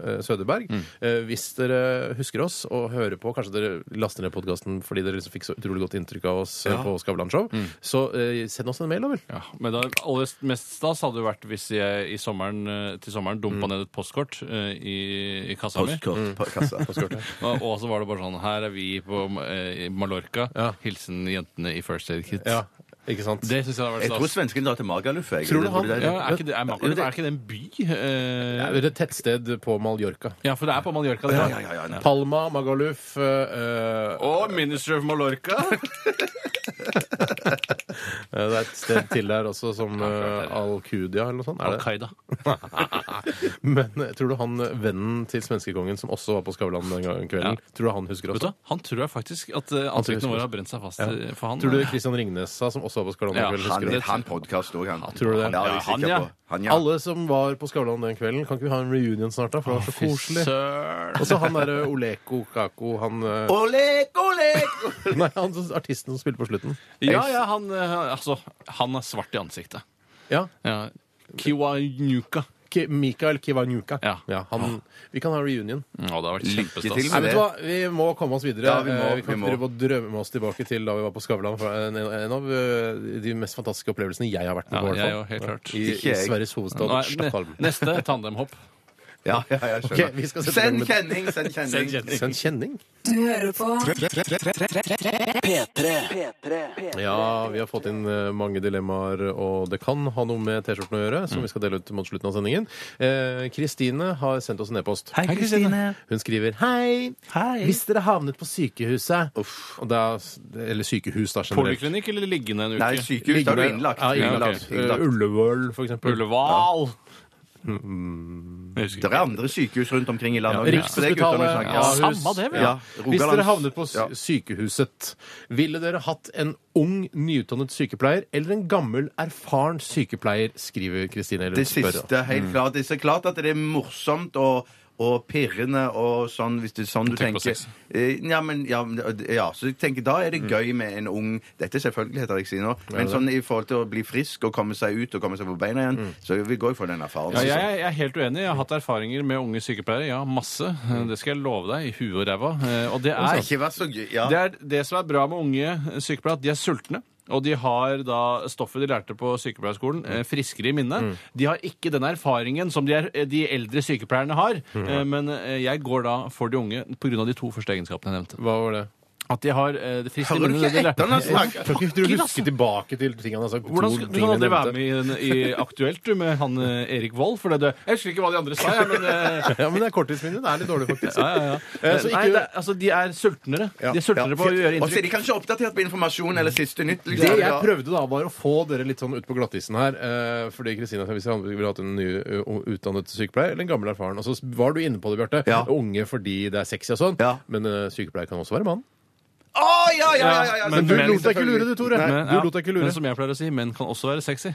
[SPEAKER 8] eh, Søderberg. Eh, Hvis dere husker oss og hører på, kanskje dere laster ned podkasten fordi dere liksom fikk så utrolig godt inntrykk av oss eh, på Skavlan Show,
[SPEAKER 6] Mm.
[SPEAKER 8] så eh, send oss en mail, da vel.
[SPEAKER 6] Ja, men da, aller mest stas hadde det vært hvis jeg i sommeren, eh, til sommeren dumpa ned et postkort eh, i, i kassa mi.
[SPEAKER 7] Postkort
[SPEAKER 8] Mm.
[SPEAKER 7] på kassa.
[SPEAKER 6] Og og så var det bare sånn Her er vi på eh, i Mallorca.
[SPEAKER 8] Ja.
[SPEAKER 6] Hilsen jentene i First Aid Kit.
[SPEAKER 8] Ja, ikke sant?
[SPEAKER 6] Det syns jeg hadde
[SPEAKER 7] Jeg tror
[SPEAKER 6] vært stas.
[SPEAKER 7] svensken drar til Magaluf. jeg.
[SPEAKER 8] Tror du
[SPEAKER 7] Det burde
[SPEAKER 8] han-
[SPEAKER 7] det-
[SPEAKER 6] Ja, er, ikke det, er, Mallorca- er ikke det en by?
[SPEAKER 8] Det
[SPEAKER 6] Eh,
[SPEAKER 8] er et tettsted på Mallorca.
[SPEAKER 6] ja, for det er på Mallorca. Det.
[SPEAKER 7] Ja, ja, ja, ja, nei.
[SPEAKER 8] Palma, Magaluf eh,
[SPEAKER 6] Og Minister of Mallorca!
[SPEAKER 8] Eh, Det er et sted til der også, som eh, Al-Qudia eller noe sånt. Er
[SPEAKER 6] Al
[SPEAKER 8] det?
[SPEAKER 6] Qaida.
[SPEAKER 8] Men eh, tror du han eh, vennen til svenskekongen som også var på Skavlan den gangen kvelden, tror du han husker
[SPEAKER 6] Vet du,
[SPEAKER 8] også?
[SPEAKER 6] hva? han tror jeg faktisk at eh,
[SPEAKER 8] tror jeg
[SPEAKER 6] ansiktene
[SPEAKER 8] husker
[SPEAKER 6] våre har brent seg fast.
[SPEAKER 8] Ja.
[SPEAKER 6] eh, For han
[SPEAKER 8] Tror du Kristian Ringnes sa, som også var på Skavlan den
[SPEAKER 6] Ja,
[SPEAKER 8] kvelden,
[SPEAKER 7] Han
[SPEAKER 8] husker
[SPEAKER 7] er
[SPEAKER 8] det?
[SPEAKER 7] han podkast òg, han.
[SPEAKER 8] Tror du
[SPEAKER 7] Han
[SPEAKER 8] det?
[SPEAKER 7] er jeg
[SPEAKER 6] Ja, han,
[SPEAKER 7] sikker
[SPEAKER 6] ja.
[SPEAKER 7] på. Han, ja.
[SPEAKER 8] Alle som var på Skavlan den kvelden, kan ikke vi ha en reunion snart, da? For det var så
[SPEAKER 6] Fy
[SPEAKER 8] koselig.
[SPEAKER 6] søren!
[SPEAKER 8] Og så han derre Oleko Kako, han eh,
[SPEAKER 7] Olek, olek!
[SPEAKER 8] Nei, han som- artisten som spilte på slutten.
[SPEAKER 6] Ja, ja, han, eh, altså, han er svart i ansiktet.
[SPEAKER 8] Ja.
[SPEAKER 6] Ja. Kiwanuka.
[SPEAKER 8] Ki Mikael Kiwanuka.
[SPEAKER 6] Ja.
[SPEAKER 8] han, vi kan ha reunion.
[SPEAKER 6] Ja, det har vært
[SPEAKER 7] Lykke til
[SPEAKER 6] kjempestas.
[SPEAKER 8] Nei,
[SPEAKER 7] med
[SPEAKER 8] vet
[SPEAKER 7] det.
[SPEAKER 8] du hva? Vi må komme oss videre.
[SPEAKER 7] Ja, vi må,
[SPEAKER 8] Eh, vi
[SPEAKER 7] vi
[SPEAKER 8] kan ikke
[SPEAKER 7] må.
[SPEAKER 8] drive og drømme oss tilbake til da vi var på Skavlan. For en, en av eh, de mest fantastiske opplevelsene jeg har vært med
[SPEAKER 6] Ja,
[SPEAKER 8] på. i hvert
[SPEAKER 6] jeg
[SPEAKER 8] fall.
[SPEAKER 6] jo, helt klart.
[SPEAKER 8] I,
[SPEAKER 7] Ikke
[SPEAKER 8] I
[SPEAKER 7] jeg.
[SPEAKER 8] Sveriges hovedstad
[SPEAKER 6] Nå er-
[SPEAKER 8] Stockholm.
[SPEAKER 6] Neste tandemhopp.
[SPEAKER 7] Ja, ja, jeg skjønner.
[SPEAKER 8] Ok, vi skal sette i gang
[SPEAKER 7] send
[SPEAKER 8] med-
[SPEAKER 7] kjenning, send kjenning.
[SPEAKER 8] Send kjenning.
[SPEAKER 1] Du hører på
[SPEAKER 9] P3 P3 P3
[SPEAKER 8] Ja, vi har fått inn eh, mange dilemmaer, og det kan ha noe med T-skjorten å gjøre, som vi skal dele ut mot slutten av sendingen. Eh, Kristine har sendt oss en e-post. Hei,
[SPEAKER 6] Kristine.
[SPEAKER 8] Hun skriver hei. Hvis dere havnet på sykehuset og da, Eller sykehus, da, generelt.
[SPEAKER 6] Poliklinikk eller liggende en uke?
[SPEAKER 7] Nei, sykehus, da er du innlagt.
[SPEAKER 8] Ja, innlagt.
[SPEAKER 6] innlagt.
[SPEAKER 8] Eh, Ullevål, for eksempel.
[SPEAKER 6] Ullevål! Jeg husker
[SPEAKER 7] Det er andre sykehus rundt omkring i landet.
[SPEAKER 8] Ja,
[SPEAKER 7] Husk på det, gutter, når vi snakker.
[SPEAKER 8] Ahus.
[SPEAKER 7] Ja.
[SPEAKER 6] Samme det, vel?
[SPEAKER 7] Ja,
[SPEAKER 8] Hvis
[SPEAKER 7] Rogaland.
[SPEAKER 8] dere havnet på sy-
[SPEAKER 7] Ja.
[SPEAKER 8] sykehuset, ville dere hatt en ung, nyutdannet sykepleier eller en gammel, erfaren sykepleier, skriver Kristine. eller
[SPEAKER 7] Det
[SPEAKER 8] spør, da.
[SPEAKER 7] siste,
[SPEAKER 6] Mm.
[SPEAKER 7] helt klart. Det er så klart at det er morsomt og og pirrende og sånn, hvis det er sånn du
[SPEAKER 6] Tenk
[SPEAKER 7] tenker.
[SPEAKER 6] på sex. Mm.
[SPEAKER 7] Eh, Ja, men, ja, men, ja, så jeg tenker da er det gøy med en ung Dette er selvfølgeligheter jeg sier nå, men sånn i forhold til å bli frisk og komme seg ut og komme seg på beina igjen, så vi går jo for den erfaringen.
[SPEAKER 6] Mm. Ja, jeg, jeg er helt uenig. Jeg har hatt erfaringer med unge sykepleiere. Ja, masse. Det skal jeg love deg. I huet og ræva. Eh, Og Mm. det er
[SPEAKER 7] Ikke vær så gøy. Ja.
[SPEAKER 6] Det er det som er bra med unge sykepleiere, at de er sultne. Og de har da stoffet de lærte på sykepleierskolen,
[SPEAKER 8] Mm.
[SPEAKER 6] eh, friskere i minnet. De har ikke den erfaringen som de, er, eh, de eldre sykepleierne har.
[SPEAKER 8] Mm.
[SPEAKER 6] Eh, men eh, jeg går da for de unge pga. de to første egenskapene jeg nevnte.
[SPEAKER 8] Hva var det?
[SPEAKER 6] At de har eh, det friske i
[SPEAKER 7] Hører du
[SPEAKER 6] minnet.
[SPEAKER 7] ikke
[SPEAKER 6] det de lærte.
[SPEAKER 7] etter når jeg
[SPEAKER 8] Jeg
[SPEAKER 7] snakker?
[SPEAKER 8] tror ikke du husker tilbake til altså, ting han har sagt.
[SPEAKER 6] altså. Hvordan skal, du kan aldri være med i, i Aktuelt du, med han eh, Erik Vold. For det, det, jeg husker ikke hva de andre sa, jeg, men eh,
[SPEAKER 8] Ja, men det er korttidsminnet. Det er litt dårlig, faktisk.
[SPEAKER 6] ja, ja, ja.
[SPEAKER 8] Eh, så
[SPEAKER 6] Nei,
[SPEAKER 8] ikke-
[SPEAKER 6] det, er- altså, de er sultnere. De er sultnere på å
[SPEAKER 7] Og
[SPEAKER 6] gjøre
[SPEAKER 7] så er
[SPEAKER 6] inntrykk.
[SPEAKER 7] de kanskje oppdatert på informasjon eller siste nytt.
[SPEAKER 8] Det
[SPEAKER 7] liksom.
[SPEAKER 8] jeg prøvde da, var å få dere litt sånn ut på glattisen her. eh, fordi Kristina sa hvis jeg ville hatt en ny ø, utdannet sykepleier eller en gammel erfaren. Og så var du inne på det, Bjarte.
[SPEAKER 7] Ja.
[SPEAKER 8] Unge fordi det er sexy og sånn.
[SPEAKER 7] Ja.
[SPEAKER 8] Men eh, sykepleier kan også være mann.
[SPEAKER 7] Å, ja, ja, ja, ja, ja,
[SPEAKER 8] Men du
[SPEAKER 7] selvfølgelig,
[SPEAKER 8] lot deg ikke lure, du, Tore.
[SPEAKER 6] Men,
[SPEAKER 8] du
[SPEAKER 6] ja,
[SPEAKER 8] lot deg ikke lure.
[SPEAKER 6] Men som jeg pleier å si, menn kan også være sexy.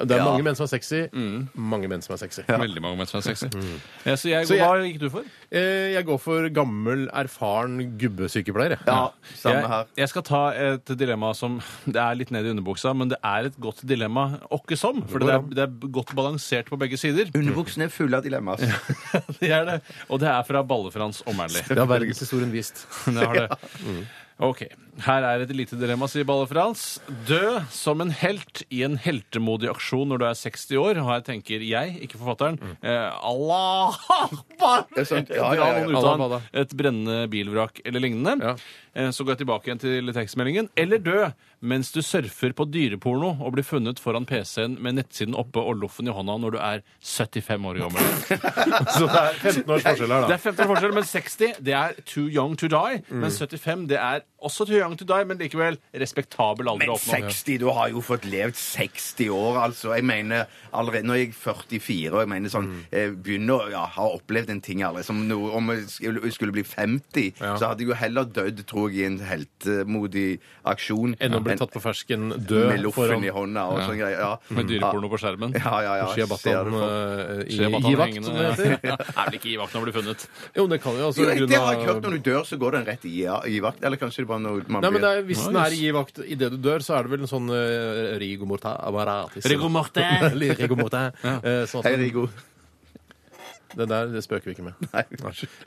[SPEAKER 8] Det er mange menn som er sexy. Mange menn som er sexy.
[SPEAKER 6] Veldig mange menn som er sexy. Ja, så jeg,
[SPEAKER 8] Så jeg-
[SPEAKER 6] hva gikk du for?
[SPEAKER 8] Eh, Jeg går for gammel, erfaren gubbesykepleier. jeg.
[SPEAKER 7] Ja, samme
[SPEAKER 6] jeg,
[SPEAKER 7] her.
[SPEAKER 6] jeg skal ta et dilemma som Det er litt ned i underbuksa, men det er et godt dilemma åkke som. For det er, det er godt balansert på begge sider.
[SPEAKER 7] Underbuksene er fulle av dilemmaer.
[SPEAKER 6] Det er det. Og det er fra Balle-Frans Åmærli.
[SPEAKER 8] Det har verdenshistorien vist.
[SPEAKER 6] Det har det. Ok. Her er et lite dilemma, sier Balle-Frans. Dø som en helt i en heltemodig aksjon når du er 60 år. Og her tenker jeg, ikke forfatteren, eh, Allah akbar!
[SPEAKER 7] Det er sant. Ja,
[SPEAKER 6] Dra
[SPEAKER 7] ja, ja, ja.
[SPEAKER 6] noen ut av
[SPEAKER 8] Allah
[SPEAKER 6] en- et brennende bilvrak eller lignende.
[SPEAKER 8] Ja.
[SPEAKER 6] Eh, Så går jeg tilbake igjen til tekstmeldingen. Eller dø mens du surfer på dyreporno og blir funnet foran PC-en med nettsiden oppe og loffen i hånda når du er 75 år gammel.
[SPEAKER 8] Så det er 15 års forskjell her,
[SPEAKER 6] Det
[SPEAKER 8] da.
[SPEAKER 6] er 15 forskjell, men 60 det er too young to die.
[SPEAKER 7] Mm.
[SPEAKER 6] Men 75 det er også too young to die, men likevel respektabel alder
[SPEAKER 7] Men
[SPEAKER 6] å oppnå.
[SPEAKER 7] 60, du har jo fått levd 60 år, altså. Jeg mener allerede når jeg er 44, og jeg mener sånn
[SPEAKER 8] Mm.
[SPEAKER 7] eh, Begynner å ja, ha opplevd en ting allerede. Som noe, om jeg skulle, skulle bli 50, så hadde jeg jo heller dødd, tror jeg, i en heltemodig aksjon.
[SPEAKER 8] Enn å bli
[SPEAKER 7] enn
[SPEAKER 8] tatt på fersken død
[SPEAKER 7] Med loffen
[SPEAKER 8] foran
[SPEAKER 7] i hånda og sånn greier. Ja.
[SPEAKER 6] Med dyreporno på skjermen.
[SPEAKER 7] Ja, ja, ja. Ser
[SPEAKER 8] Shiabatan
[SPEAKER 7] du for-
[SPEAKER 8] eh, i
[SPEAKER 6] Skjer bare at
[SPEAKER 8] i
[SPEAKER 6] han
[SPEAKER 8] vakt, som det
[SPEAKER 6] hengende-
[SPEAKER 8] heter.
[SPEAKER 6] Ja, Er vel ikke i vakt når han blir funnet.
[SPEAKER 8] Jo, det kan jo altså
[SPEAKER 7] Jo,
[SPEAKER 8] på grunn
[SPEAKER 7] det har jeg
[SPEAKER 8] av-
[SPEAKER 7] hørt. Når du dør, så går den rett i, ja, i vakt. Eller kanskje det bare når man
[SPEAKER 8] Nei, men det
[SPEAKER 7] blir
[SPEAKER 8] er, Hvis den er i givakt idet du dør, så er det vel en sånn uh, rigo morta apparatis.
[SPEAKER 6] Rigor Morten!
[SPEAKER 8] Eller rigo morta. Eh, sånn
[SPEAKER 7] Hei,
[SPEAKER 8] at den,
[SPEAKER 7] Rigo.
[SPEAKER 8] den der det spøker vi ikke med.
[SPEAKER 7] Nei.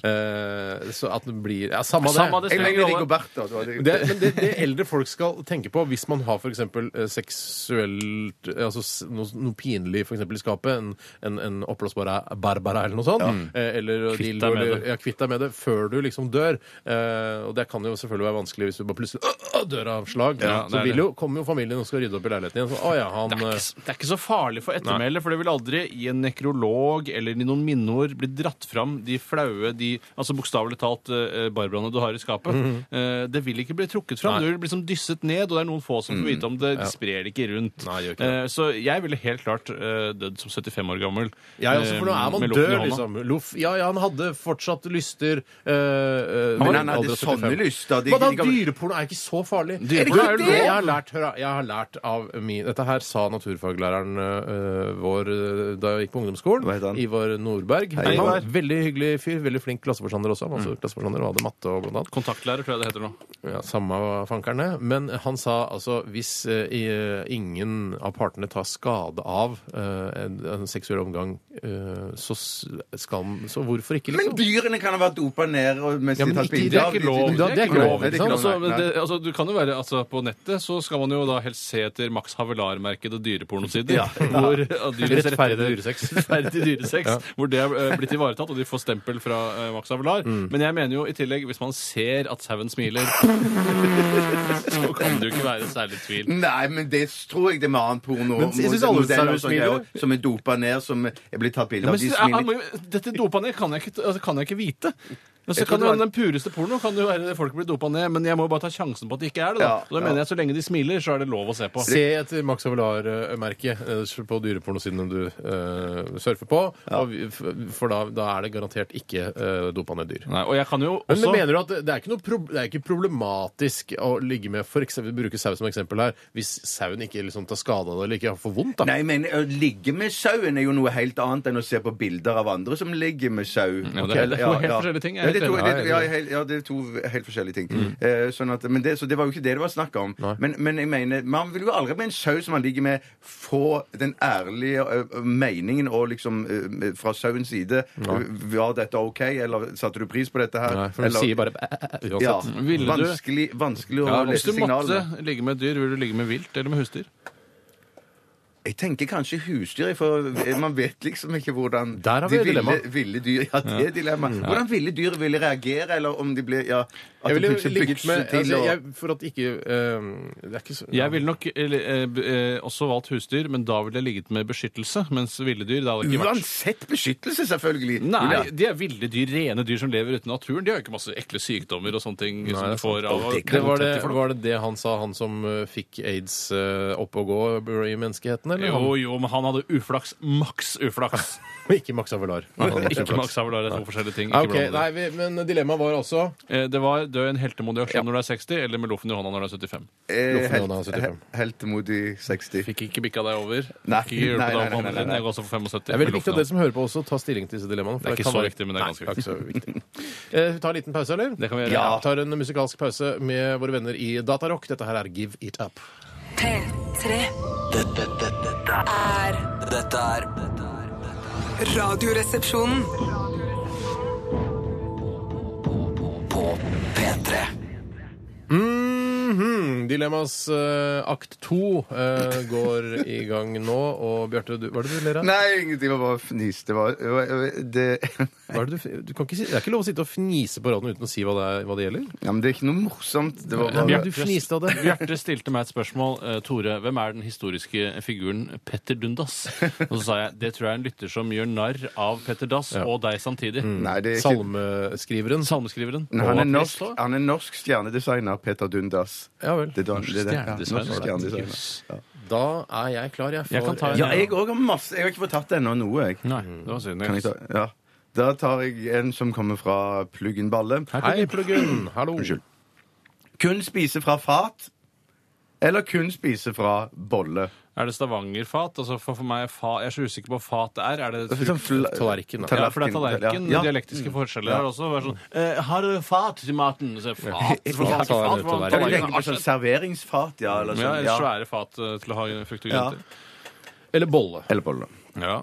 [SPEAKER 8] Eh, så at den blir Ja, samme det.
[SPEAKER 6] Samme det
[SPEAKER 7] Jeg
[SPEAKER 6] spiller
[SPEAKER 7] mener
[SPEAKER 6] ingen
[SPEAKER 7] Rigo
[SPEAKER 6] rolle.
[SPEAKER 7] Bertha. Det var det.
[SPEAKER 8] Det, men det, det eldre folk skal tenke på hvis man har f.eks. seksuelt eh, altså s- noe, noe pinlig for eksempel, i skapet, en, en, en oppblåsbar Barbara eller noe sånt, eh, eller
[SPEAKER 6] Kvitt
[SPEAKER 8] dildo,
[SPEAKER 6] deg med
[SPEAKER 8] eller-
[SPEAKER 6] det.
[SPEAKER 8] ja, kvitt deg med det før du liksom dør. Eh, og det kan jo selvfølgelig være vanskelig hvis du bare plutselig øh, øh, dør av slag.
[SPEAKER 6] Ja, det
[SPEAKER 8] så
[SPEAKER 6] er
[SPEAKER 8] vil
[SPEAKER 6] det.
[SPEAKER 8] jo, kommer jo familien og skal rydde opp i leiligheten igjen. Så, å ja, han
[SPEAKER 6] Det er,
[SPEAKER 8] eh,
[SPEAKER 6] ikke, s- det er ikke så farlig for ettermælet, for det vil aldri i en nekrolog eller i noen minneord bli dratt fram de flaue, de altså bokstavelig talt eh, barbraene du har i skapet.
[SPEAKER 8] Mhm.
[SPEAKER 6] Eh, det vil ikke bli trukket fram. Det vil bli liksom dysset ned, og det er noen få som får vite om det. De sprer det ikke rundt.
[SPEAKER 8] Mhm. Nei, gjør ikke
[SPEAKER 6] Eh, så jeg ville helt klart eh, dødd som 75 år gammel.
[SPEAKER 8] ja, altså, for nå
[SPEAKER 6] eh,
[SPEAKER 8] er man
[SPEAKER 6] med loffen i
[SPEAKER 8] død,
[SPEAKER 6] hånda.
[SPEAKER 8] liksom. Loff. Ja, ja, han hadde fortsatt lyster. eh, eh,
[SPEAKER 7] Men
[SPEAKER 8] ved
[SPEAKER 7] han hadde
[SPEAKER 8] alder av 75.
[SPEAKER 7] sånne lyster. De-
[SPEAKER 8] Men da,
[SPEAKER 7] de kan-
[SPEAKER 8] dyreporno er ikke så farlig.
[SPEAKER 6] Dyreporno
[SPEAKER 8] Er det ikke
[SPEAKER 6] er jo
[SPEAKER 8] det?
[SPEAKER 6] lov.
[SPEAKER 8] Jeg har lært, hør, da, jeg har lært av min Dette her sa naturfaglæreren øh, vår øh, da jeg gikk på
[SPEAKER 7] Hva heter han?
[SPEAKER 8] ungdomsskolen. Ivar Nordberg.
[SPEAKER 7] Hei,
[SPEAKER 8] Han var
[SPEAKER 7] Ivar. Mm.
[SPEAKER 8] Veldig hyggelig fyr. Veldig flink klasseforstander også. Han var også klasseforstander og hadde matte og blant annet.
[SPEAKER 6] Kontaktlærer, tror jeg det heter nå.
[SPEAKER 8] Ja, samme fankerne. Men han sa altså hvis eh, i- ingen av partene tar skade av eh, en, en seksuell omgang, eh, så s- skal han Så hvorfor ikke,
[SPEAKER 7] Men
[SPEAKER 8] liksom?
[SPEAKER 7] dyrene kan ha vært dopa ned og mens
[SPEAKER 8] Ja,
[SPEAKER 7] de
[SPEAKER 8] men
[SPEAKER 7] tar
[SPEAKER 8] ikke-
[SPEAKER 7] bilder
[SPEAKER 8] det er
[SPEAKER 7] av
[SPEAKER 8] ikke
[SPEAKER 7] de-
[SPEAKER 8] lov.
[SPEAKER 7] de-
[SPEAKER 8] Det er ikke lov, Sånn,
[SPEAKER 7] Nei, det er ikke
[SPEAKER 8] ikke
[SPEAKER 7] lov,
[SPEAKER 6] Altså,
[SPEAKER 7] nei, nei.
[SPEAKER 6] det, altså, du kan jo være, altså, på nettet så skal man jo da helst se etter Max Havelar-merkede dyrepornosider. Hvor uh, dyrenes
[SPEAKER 8] Rettferdig
[SPEAKER 6] rettigheter-
[SPEAKER 8] dyresex.
[SPEAKER 6] Rettferdig dyresex. Hvor det er eh, blitt ivaretatt, og de får stempel fra eh, Max Havelar. Men jeg mener jo i tillegg, hvis man ser at sauen smiler, så kan det jo ikke være særlig tvil.
[SPEAKER 7] Nei, men det tror jeg det er med annen porno.
[SPEAKER 8] Men jeg synes
[SPEAKER 7] mot-
[SPEAKER 8] alle
[SPEAKER 7] modeller og
[SPEAKER 8] sauer
[SPEAKER 7] sånne greier
[SPEAKER 8] smiler.
[SPEAKER 7] Som er dopa ned, som er blitt tatt bilde
[SPEAKER 6] Men,
[SPEAKER 7] av. De
[SPEAKER 6] så- jeg-
[SPEAKER 7] smiler.
[SPEAKER 6] jeg- dette dopa ned kan jeg ikke, altså, kan jeg ikke vite. Men så
[SPEAKER 7] Jeg tror
[SPEAKER 6] kan det
[SPEAKER 7] det
[SPEAKER 6] være Den pureste porno kan det jo være folk blir dopa ned, men jeg må jo bare ta sjansen på at det ikke er det.
[SPEAKER 7] Ja,
[SPEAKER 6] da. Og da
[SPEAKER 7] ja.
[SPEAKER 6] mener jeg Så lenge de smiler, så er det lov å se på.
[SPEAKER 8] Se etter Max Avalar-merket eh, på dyrepornosidene du eh, surfer på, og vi- f- for da, da er det garantert ikke eh, dopa ned
[SPEAKER 7] Mm.
[SPEAKER 8] dyr.
[SPEAKER 6] Nei, og jeg kan jo
[SPEAKER 8] Men,
[SPEAKER 6] også
[SPEAKER 8] men mener du at det er ikke, noe prob- det er ikke problematisk å ligge med for eksempel, Vi bruker sau som eksempel her. Hvis sauen ikke liksom tar skade av det eller ikke får vondt, da.
[SPEAKER 7] Nei, men å ligge med sauen er jo noe helt annet enn å se på bilder av andre som ligger med sau.
[SPEAKER 6] Mm, Ja, det
[SPEAKER 7] Ok,
[SPEAKER 6] er helt- to helt forskjellige ting,
[SPEAKER 7] Ja,
[SPEAKER 6] jeg
[SPEAKER 7] det er to,
[SPEAKER 6] er helt Mm.
[SPEAKER 7] det,
[SPEAKER 8] enig.
[SPEAKER 7] ja, helt, ja, det er to helt forskjellige ting. Eh, sånn at, men det, så det var jo ikke det det var snakk om. Men, men jeg mener, man vil jo aldri med en sau som man ligger med, få den ærlige ø, ø, meningen og liksom ø, fra sauens side ø, Var dette OK, eller satte du pris på dette her?
[SPEAKER 8] Nei, for du
[SPEAKER 7] eller,
[SPEAKER 8] sier bare "Æ, æ, æ",
[SPEAKER 7] ja,
[SPEAKER 8] uansett.
[SPEAKER 6] Ville du-
[SPEAKER 7] vanskelig, vanskelig å
[SPEAKER 6] Ja, hvis
[SPEAKER 7] lese
[SPEAKER 6] du måtte
[SPEAKER 7] signalene.
[SPEAKER 6] ligge med et dyr, vil du ligge med vilt eller med husdyr?
[SPEAKER 7] Jeg tenker kanskje husdyr, for man vet liksom ikke hvordan
[SPEAKER 8] Der har vi et
[SPEAKER 7] de ville,
[SPEAKER 8] dilemma. Mm.
[SPEAKER 7] ville dyr Ja, det er dilemma. Hvordan ville dyr ville reagere, eller om de ble Ja, at
[SPEAKER 8] Jeg
[SPEAKER 7] de
[SPEAKER 8] ville
[SPEAKER 7] plutselig
[SPEAKER 8] ligget med
[SPEAKER 7] bykser til
[SPEAKER 8] altså,
[SPEAKER 7] og
[SPEAKER 8] jeg, For at ikke eh, Det er ikke så
[SPEAKER 6] Jeg ville nok eh, eh, b- eh, også valgt husdyr, men da ville jeg ligget med beskyttelse. Mens ville dyr, det hadde ikke vært
[SPEAKER 7] Uansett beskyttelse, selvfølgelig.
[SPEAKER 6] Nei,
[SPEAKER 7] Ville-
[SPEAKER 6] de er ville dyr, rene dyr som lever ute i naturen. De har jo ikke masse ekle sykdommer og sånne ting som de får av å
[SPEAKER 7] det kan
[SPEAKER 8] det var,
[SPEAKER 6] tette
[SPEAKER 8] det,
[SPEAKER 6] folk.
[SPEAKER 8] var det det han sa, han som eh, fikk aids eh, opp og gå i menneskeheten? Eller?
[SPEAKER 6] Jo, jo, men han hadde uflaks. Maks uflaks.
[SPEAKER 8] Han, ikke Max Avalar. Han hadde
[SPEAKER 6] Ikke
[SPEAKER 8] kjempeflaks.
[SPEAKER 7] Ah,
[SPEAKER 6] Max Havelaar. Det er to forskjellige ting.
[SPEAKER 8] Ja,
[SPEAKER 6] Ikke
[SPEAKER 8] ok,
[SPEAKER 6] bland det.
[SPEAKER 8] nei, vi, Men dilemmaet var altså
[SPEAKER 6] Eh, Det var dø en heltemodig aksjon når du er 60, eller med loffen i hånda når du er 75?
[SPEAKER 7] Eh,
[SPEAKER 8] Loffen Johan er 75.
[SPEAKER 7] helt- Heltemodig 60.
[SPEAKER 6] Fikk ikke bikka deg over.
[SPEAKER 7] Nei,
[SPEAKER 6] Fikk ikke
[SPEAKER 7] nei, nei, nei,
[SPEAKER 6] hjulpet deg opp på
[SPEAKER 7] nei,
[SPEAKER 6] andre siden.
[SPEAKER 7] nei.
[SPEAKER 6] Jeg går også for 75.
[SPEAKER 8] Det er veldig
[SPEAKER 6] med
[SPEAKER 8] viktig
[SPEAKER 6] loffen
[SPEAKER 8] at dere som hører på også, tar stilling til disse dilemmaene. for
[SPEAKER 6] Det er ikke
[SPEAKER 8] kan
[SPEAKER 6] så
[SPEAKER 8] være-
[SPEAKER 6] viktig, men det er ganske
[SPEAKER 8] Nei, ikke så viktig. Eh, vi tar en liten pause, eller?
[SPEAKER 6] Det kan vi gjøre.
[SPEAKER 8] Ja. Vi tar en musikalsk pause med våre venner i Datarock. Dette her er Give It Up.
[SPEAKER 1] P3
[SPEAKER 9] Dette, dette, dette, er-
[SPEAKER 1] er
[SPEAKER 9] dette er dette er- dette er
[SPEAKER 1] Radioresepsjonen.
[SPEAKER 9] På P3
[SPEAKER 8] Mhm. Dilemmas eh, akt to eh, går i gang nå, og Bjarte, du, hva er det du ler av?
[SPEAKER 7] Nei, ingenting. Jeg bare fniste. Det var- det var- det-
[SPEAKER 8] Hva er det, du, du kan ikke si, det er ikke lov å sitte og fnise på radioen uten å si hva det, er, hva det gjelder.
[SPEAKER 7] Ja, men det er ikke noe morsomt. Det var
[SPEAKER 8] Ja,
[SPEAKER 7] bare
[SPEAKER 8] du fniste av det.
[SPEAKER 6] Bjarte stilte meg et spørsmål. eh, Tore, hvem er den historiske figuren Petter Dundas? Og så sa jeg det tror jeg er en lytter som gjør narr av Petter Dass og deg samtidig.
[SPEAKER 7] Mm, Nei, det er ikke
[SPEAKER 8] Salmeskriveren.
[SPEAKER 6] Salmeskriveren.
[SPEAKER 7] Nei, han, er
[SPEAKER 6] Og
[SPEAKER 7] norsk,
[SPEAKER 6] ateist også.
[SPEAKER 7] han er norsk stjernedesigner, Peter Dundas.
[SPEAKER 8] Ja vel.
[SPEAKER 7] Det er da-
[SPEAKER 6] Norsk
[SPEAKER 7] det er det. Ja,
[SPEAKER 6] stjernedesigner.
[SPEAKER 7] norsk stjernedesigner.
[SPEAKER 6] Jøss.
[SPEAKER 8] Da er jeg klar, jeg. For,
[SPEAKER 6] Jeg kan ta en-
[SPEAKER 7] Ja, jeg òg har masse. Jeg har ikke fått tatt ennå noe, jeg.
[SPEAKER 6] Nei, det var synd.
[SPEAKER 7] Mm. Kan jeg ta? Ja. Da tar jeg en som kommer fra Pluggen Balle.
[SPEAKER 8] Hei, pluggen. Hallo.
[SPEAKER 7] Unnskyld. Kun spise fra fat, eller kun spise fra bolle?
[SPEAKER 6] Er det stavangerfat? Altså for, for meg, er fa, jeg er så usikker på hva fat det er. Er det frukt?
[SPEAKER 7] Sånn fl-
[SPEAKER 8] Tallerken, da.
[SPEAKER 6] Ja, for det er tallerken.
[SPEAKER 7] Ja. Ja.
[SPEAKER 6] Dialektiske forskjeller her også. Være sånn, eh, har du fat til maten? Så jeg, fat? For
[SPEAKER 8] Mm. Ja,
[SPEAKER 6] faen, fat,
[SPEAKER 8] ta en
[SPEAKER 6] hva-
[SPEAKER 8] tallerken.
[SPEAKER 7] Jeg tenker på sånn serveringsfat, ja. Eller,
[SPEAKER 6] Ja,
[SPEAKER 7] sånn,
[SPEAKER 6] eller
[SPEAKER 7] ja.
[SPEAKER 6] svære fat eh, til å ha frukt og
[SPEAKER 7] Ja.
[SPEAKER 6] grønt i.
[SPEAKER 8] Eller bolle.
[SPEAKER 7] eller bolle.
[SPEAKER 6] Ja.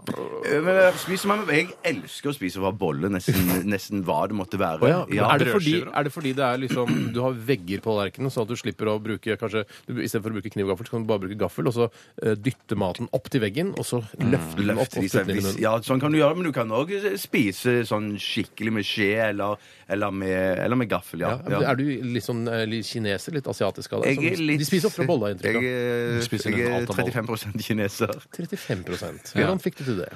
[SPEAKER 7] Eh, Men jeg, spiser meg, jeg elsker å spise fra bolle, nesten, nesten hva det måtte være.
[SPEAKER 8] Å ja. men
[SPEAKER 7] Ja.
[SPEAKER 8] Er, det fordi,
[SPEAKER 6] Brødskiver, da.
[SPEAKER 8] er det fordi det er liksom du har vegger på tallerkenen, sånn at du slipper å bruke kanskje, du, Istedenfor å bruke kniv og gaffel, så kan du bare bruke gaffel, og så eh, dytte maten opp til veggen, og så løfte den
[SPEAKER 7] Løfter
[SPEAKER 8] opp og
[SPEAKER 7] Mm. de
[SPEAKER 8] putte
[SPEAKER 7] seg
[SPEAKER 8] den i
[SPEAKER 7] hvis,
[SPEAKER 8] munnen.
[SPEAKER 7] ja, sånn kan du gjøre, men du kan òg spise sånn skikkelig med skje eller, eller, med, eller med gaffel. Ja.
[SPEAKER 8] Ja, men Er du litt sånn eh, litt kineser, litt asiatisk av deg?
[SPEAKER 7] Jeg er
[SPEAKER 8] Som,
[SPEAKER 7] litt-
[SPEAKER 8] de spiser oftere boller, har jeg
[SPEAKER 7] Jeg,
[SPEAKER 8] inntrykk av.
[SPEAKER 7] er-
[SPEAKER 6] spiser
[SPEAKER 7] jeg er
[SPEAKER 6] nesten alt av bolle.
[SPEAKER 7] 35 kineser.
[SPEAKER 8] 35 Hvordan fikk du til det?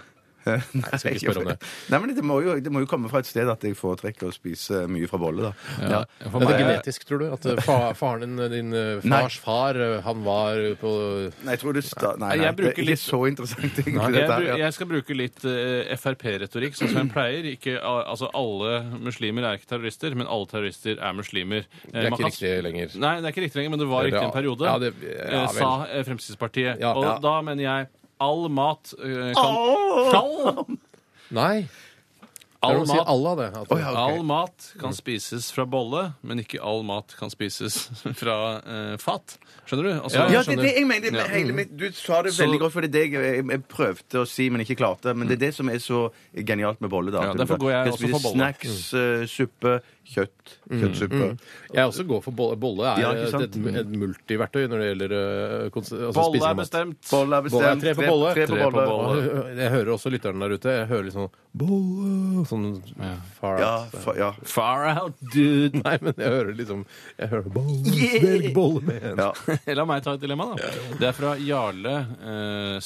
[SPEAKER 7] Nei,
[SPEAKER 8] skal ikke spørre om det.
[SPEAKER 7] Nei, men det må, jo, det må jo komme fra et sted at jeg foretrekker å spise eh, mye fra bolle, da.
[SPEAKER 6] Ja. For
[SPEAKER 8] Er det
[SPEAKER 6] meg-
[SPEAKER 8] genetisk, tror du? At eh, fa, faren din, din eh,
[SPEAKER 7] Nei.
[SPEAKER 8] fars far, eh, han var på
[SPEAKER 7] Nei, jeg tror det sta... Nei, nei,
[SPEAKER 6] Jeg
[SPEAKER 7] det
[SPEAKER 6] bruker
[SPEAKER 7] er ikke
[SPEAKER 6] litt-
[SPEAKER 7] så interessant, egentlig,
[SPEAKER 6] Jeg,
[SPEAKER 7] dette her.
[SPEAKER 6] bru-
[SPEAKER 7] ja.
[SPEAKER 6] jeg skal bruke litt eh, Frp-retorikk, sånn som jeg pleier. Ikke, al- altså, alle muslimer er ikke terrorister, men alle terrorister er muslimer. Eh,
[SPEAKER 8] Det er
[SPEAKER 6] man
[SPEAKER 8] ikke
[SPEAKER 6] kan-
[SPEAKER 8] riktig lenger.
[SPEAKER 6] Nei, det er ikke riktig lenger, men det var
[SPEAKER 8] Det er
[SPEAKER 6] riktig
[SPEAKER 8] bra.
[SPEAKER 6] en periode,
[SPEAKER 8] Ja, det- ja,
[SPEAKER 6] eh,
[SPEAKER 8] vel.
[SPEAKER 6] sa eh, Fremskrittspartiet.
[SPEAKER 8] Ja.
[SPEAKER 6] Og
[SPEAKER 8] Ja.
[SPEAKER 6] da mener jeg all mat eh, kan All,
[SPEAKER 8] Nei! Det er
[SPEAKER 6] all
[SPEAKER 8] noe å si
[SPEAKER 6] mat
[SPEAKER 8] Allah, det. At,
[SPEAKER 7] ja, ok.
[SPEAKER 6] All mat kan spises fra bolle, men ikke all mat kan spises fra eh, fat. Skjønner du? Altså,
[SPEAKER 7] Ja, det er
[SPEAKER 6] skjønner-
[SPEAKER 7] det jeg mener. Det er
[SPEAKER 6] Ja. Mm.
[SPEAKER 7] hele mitt, du sa det
[SPEAKER 6] Så- Mm.
[SPEAKER 7] veldig godt, for det er det jeg, jeg, jeg prøvde å si, men ikke klarte. Men det er det som er så genialt med bolle. da.
[SPEAKER 6] Ja,
[SPEAKER 7] at du bare
[SPEAKER 6] derfor går jeg
[SPEAKER 7] kan
[SPEAKER 6] også
[SPEAKER 7] spise
[SPEAKER 6] for bolle. Mm.
[SPEAKER 7] Snacks, eh, suppe, kjøtt. Kjøttsuppe.
[SPEAKER 8] Jeg også går for bolle. Bolle er
[SPEAKER 7] Ja, ikke sant?
[SPEAKER 8] et, et multiverktøy når det gjelder øh, kons- altså,
[SPEAKER 6] Bolle
[SPEAKER 8] spising av
[SPEAKER 6] er
[SPEAKER 8] mat.
[SPEAKER 6] bestemt.
[SPEAKER 7] Bolle er
[SPEAKER 8] Bolle er
[SPEAKER 7] bestemt.
[SPEAKER 8] tre på bolle.
[SPEAKER 7] Tre, på bolle.
[SPEAKER 8] Og Jeg hører også lytterne der ute. Jeg hører litt sånn bolle Sånn far
[SPEAKER 7] Ja,
[SPEAKER 8] out.
[SPEAKER 7] fa, ja.
[SPEAKER 6] Far out, dude!
[SPEAKER 8] Nei, men jeg hører liksom Jeg hører bolle, velg bolle med en.
[SPEAKER 7] Ja.
[SPEAKER 6] La meg ta et dilemma, da. Det er fra Jarle eh,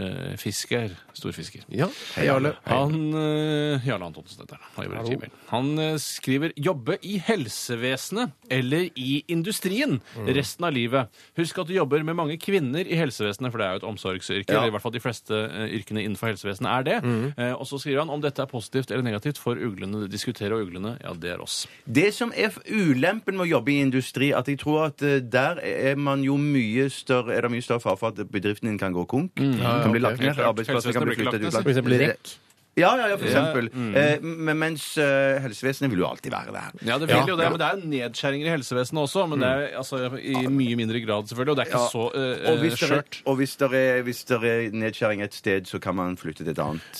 [SPEAKER 6] Storfisker. Storfisker.
[SPEAKER 8] Ja, hei, Jarle.
[SPEAKER 6] Han, eh, Jarle Antonsen, dette er han. Han jobber i
[SPEAKER 8] Hallo.
[SPEAKER 6] Gmail. Han eh, skriver 'jobbe i helsevesenet eller i industrien resten av livet'. Husk at du jobber med mange kvinner i helsevesenet, for det er jo et omsorgsyrke. Eller i hvert fall de fleste eh, yrkene innenfor helsevesenet er det. Eh, og så skriver han om dette er positivt eller negativt for uglene. Diskutere og uglene, ja, det er oss.
[SPEAKER 7] Det som er ulempen med å jobbe i industri, at jeg tror at eh, der er man jo mye større Er det mye større fare for at bedriften din kan gå konk?
[SPEAKER 6] Mm,
[SPEAKER 7] kan bli
[SPEAKER 8] ok.
[SPEAKER 7] lagt
[SPEAKER 6] Helt
[SPEAKER 7] ned,
[SPEAKER 6] klart.
[SPEAKER 7] arbeidsplasser kan
[SPEAKER 6] Helsevesenet
[SPEAKER 7] bli
[SPEAKER 6] blir ikke
[SPEAKER 7] flyttet
[SPEAKER 6] lagt
[SPEAKER 7] utlandet.
[SPEAKER 8] For eksempel rekk.
[SPEAKER 7] Ja, ja, ja, for eksempel.
[SPEAKER 6] Mm.
[SPEAKER 7] Eh, men mens eh, helsevesenet vil jo alltid være der.
[SPEAKER 6] Ja, det vil jo det, men det er jo nedskjæringer i helsevesenet også, men det er altså, i mye mindre grad, selvfølgelig. Og det er ikke
[SPEAKER 7] Ja.
[SPEAKER 6] så
[SPEAKER 7] Og
[SPEAKER 6] eh, eh,
[SPEAKER 7] hvis det er,
[SPEAKER 6] skjørt.
[SPEAKER 7] og hvis det er, hvis det er nedskjæring et sted, så kan man flytte til et annet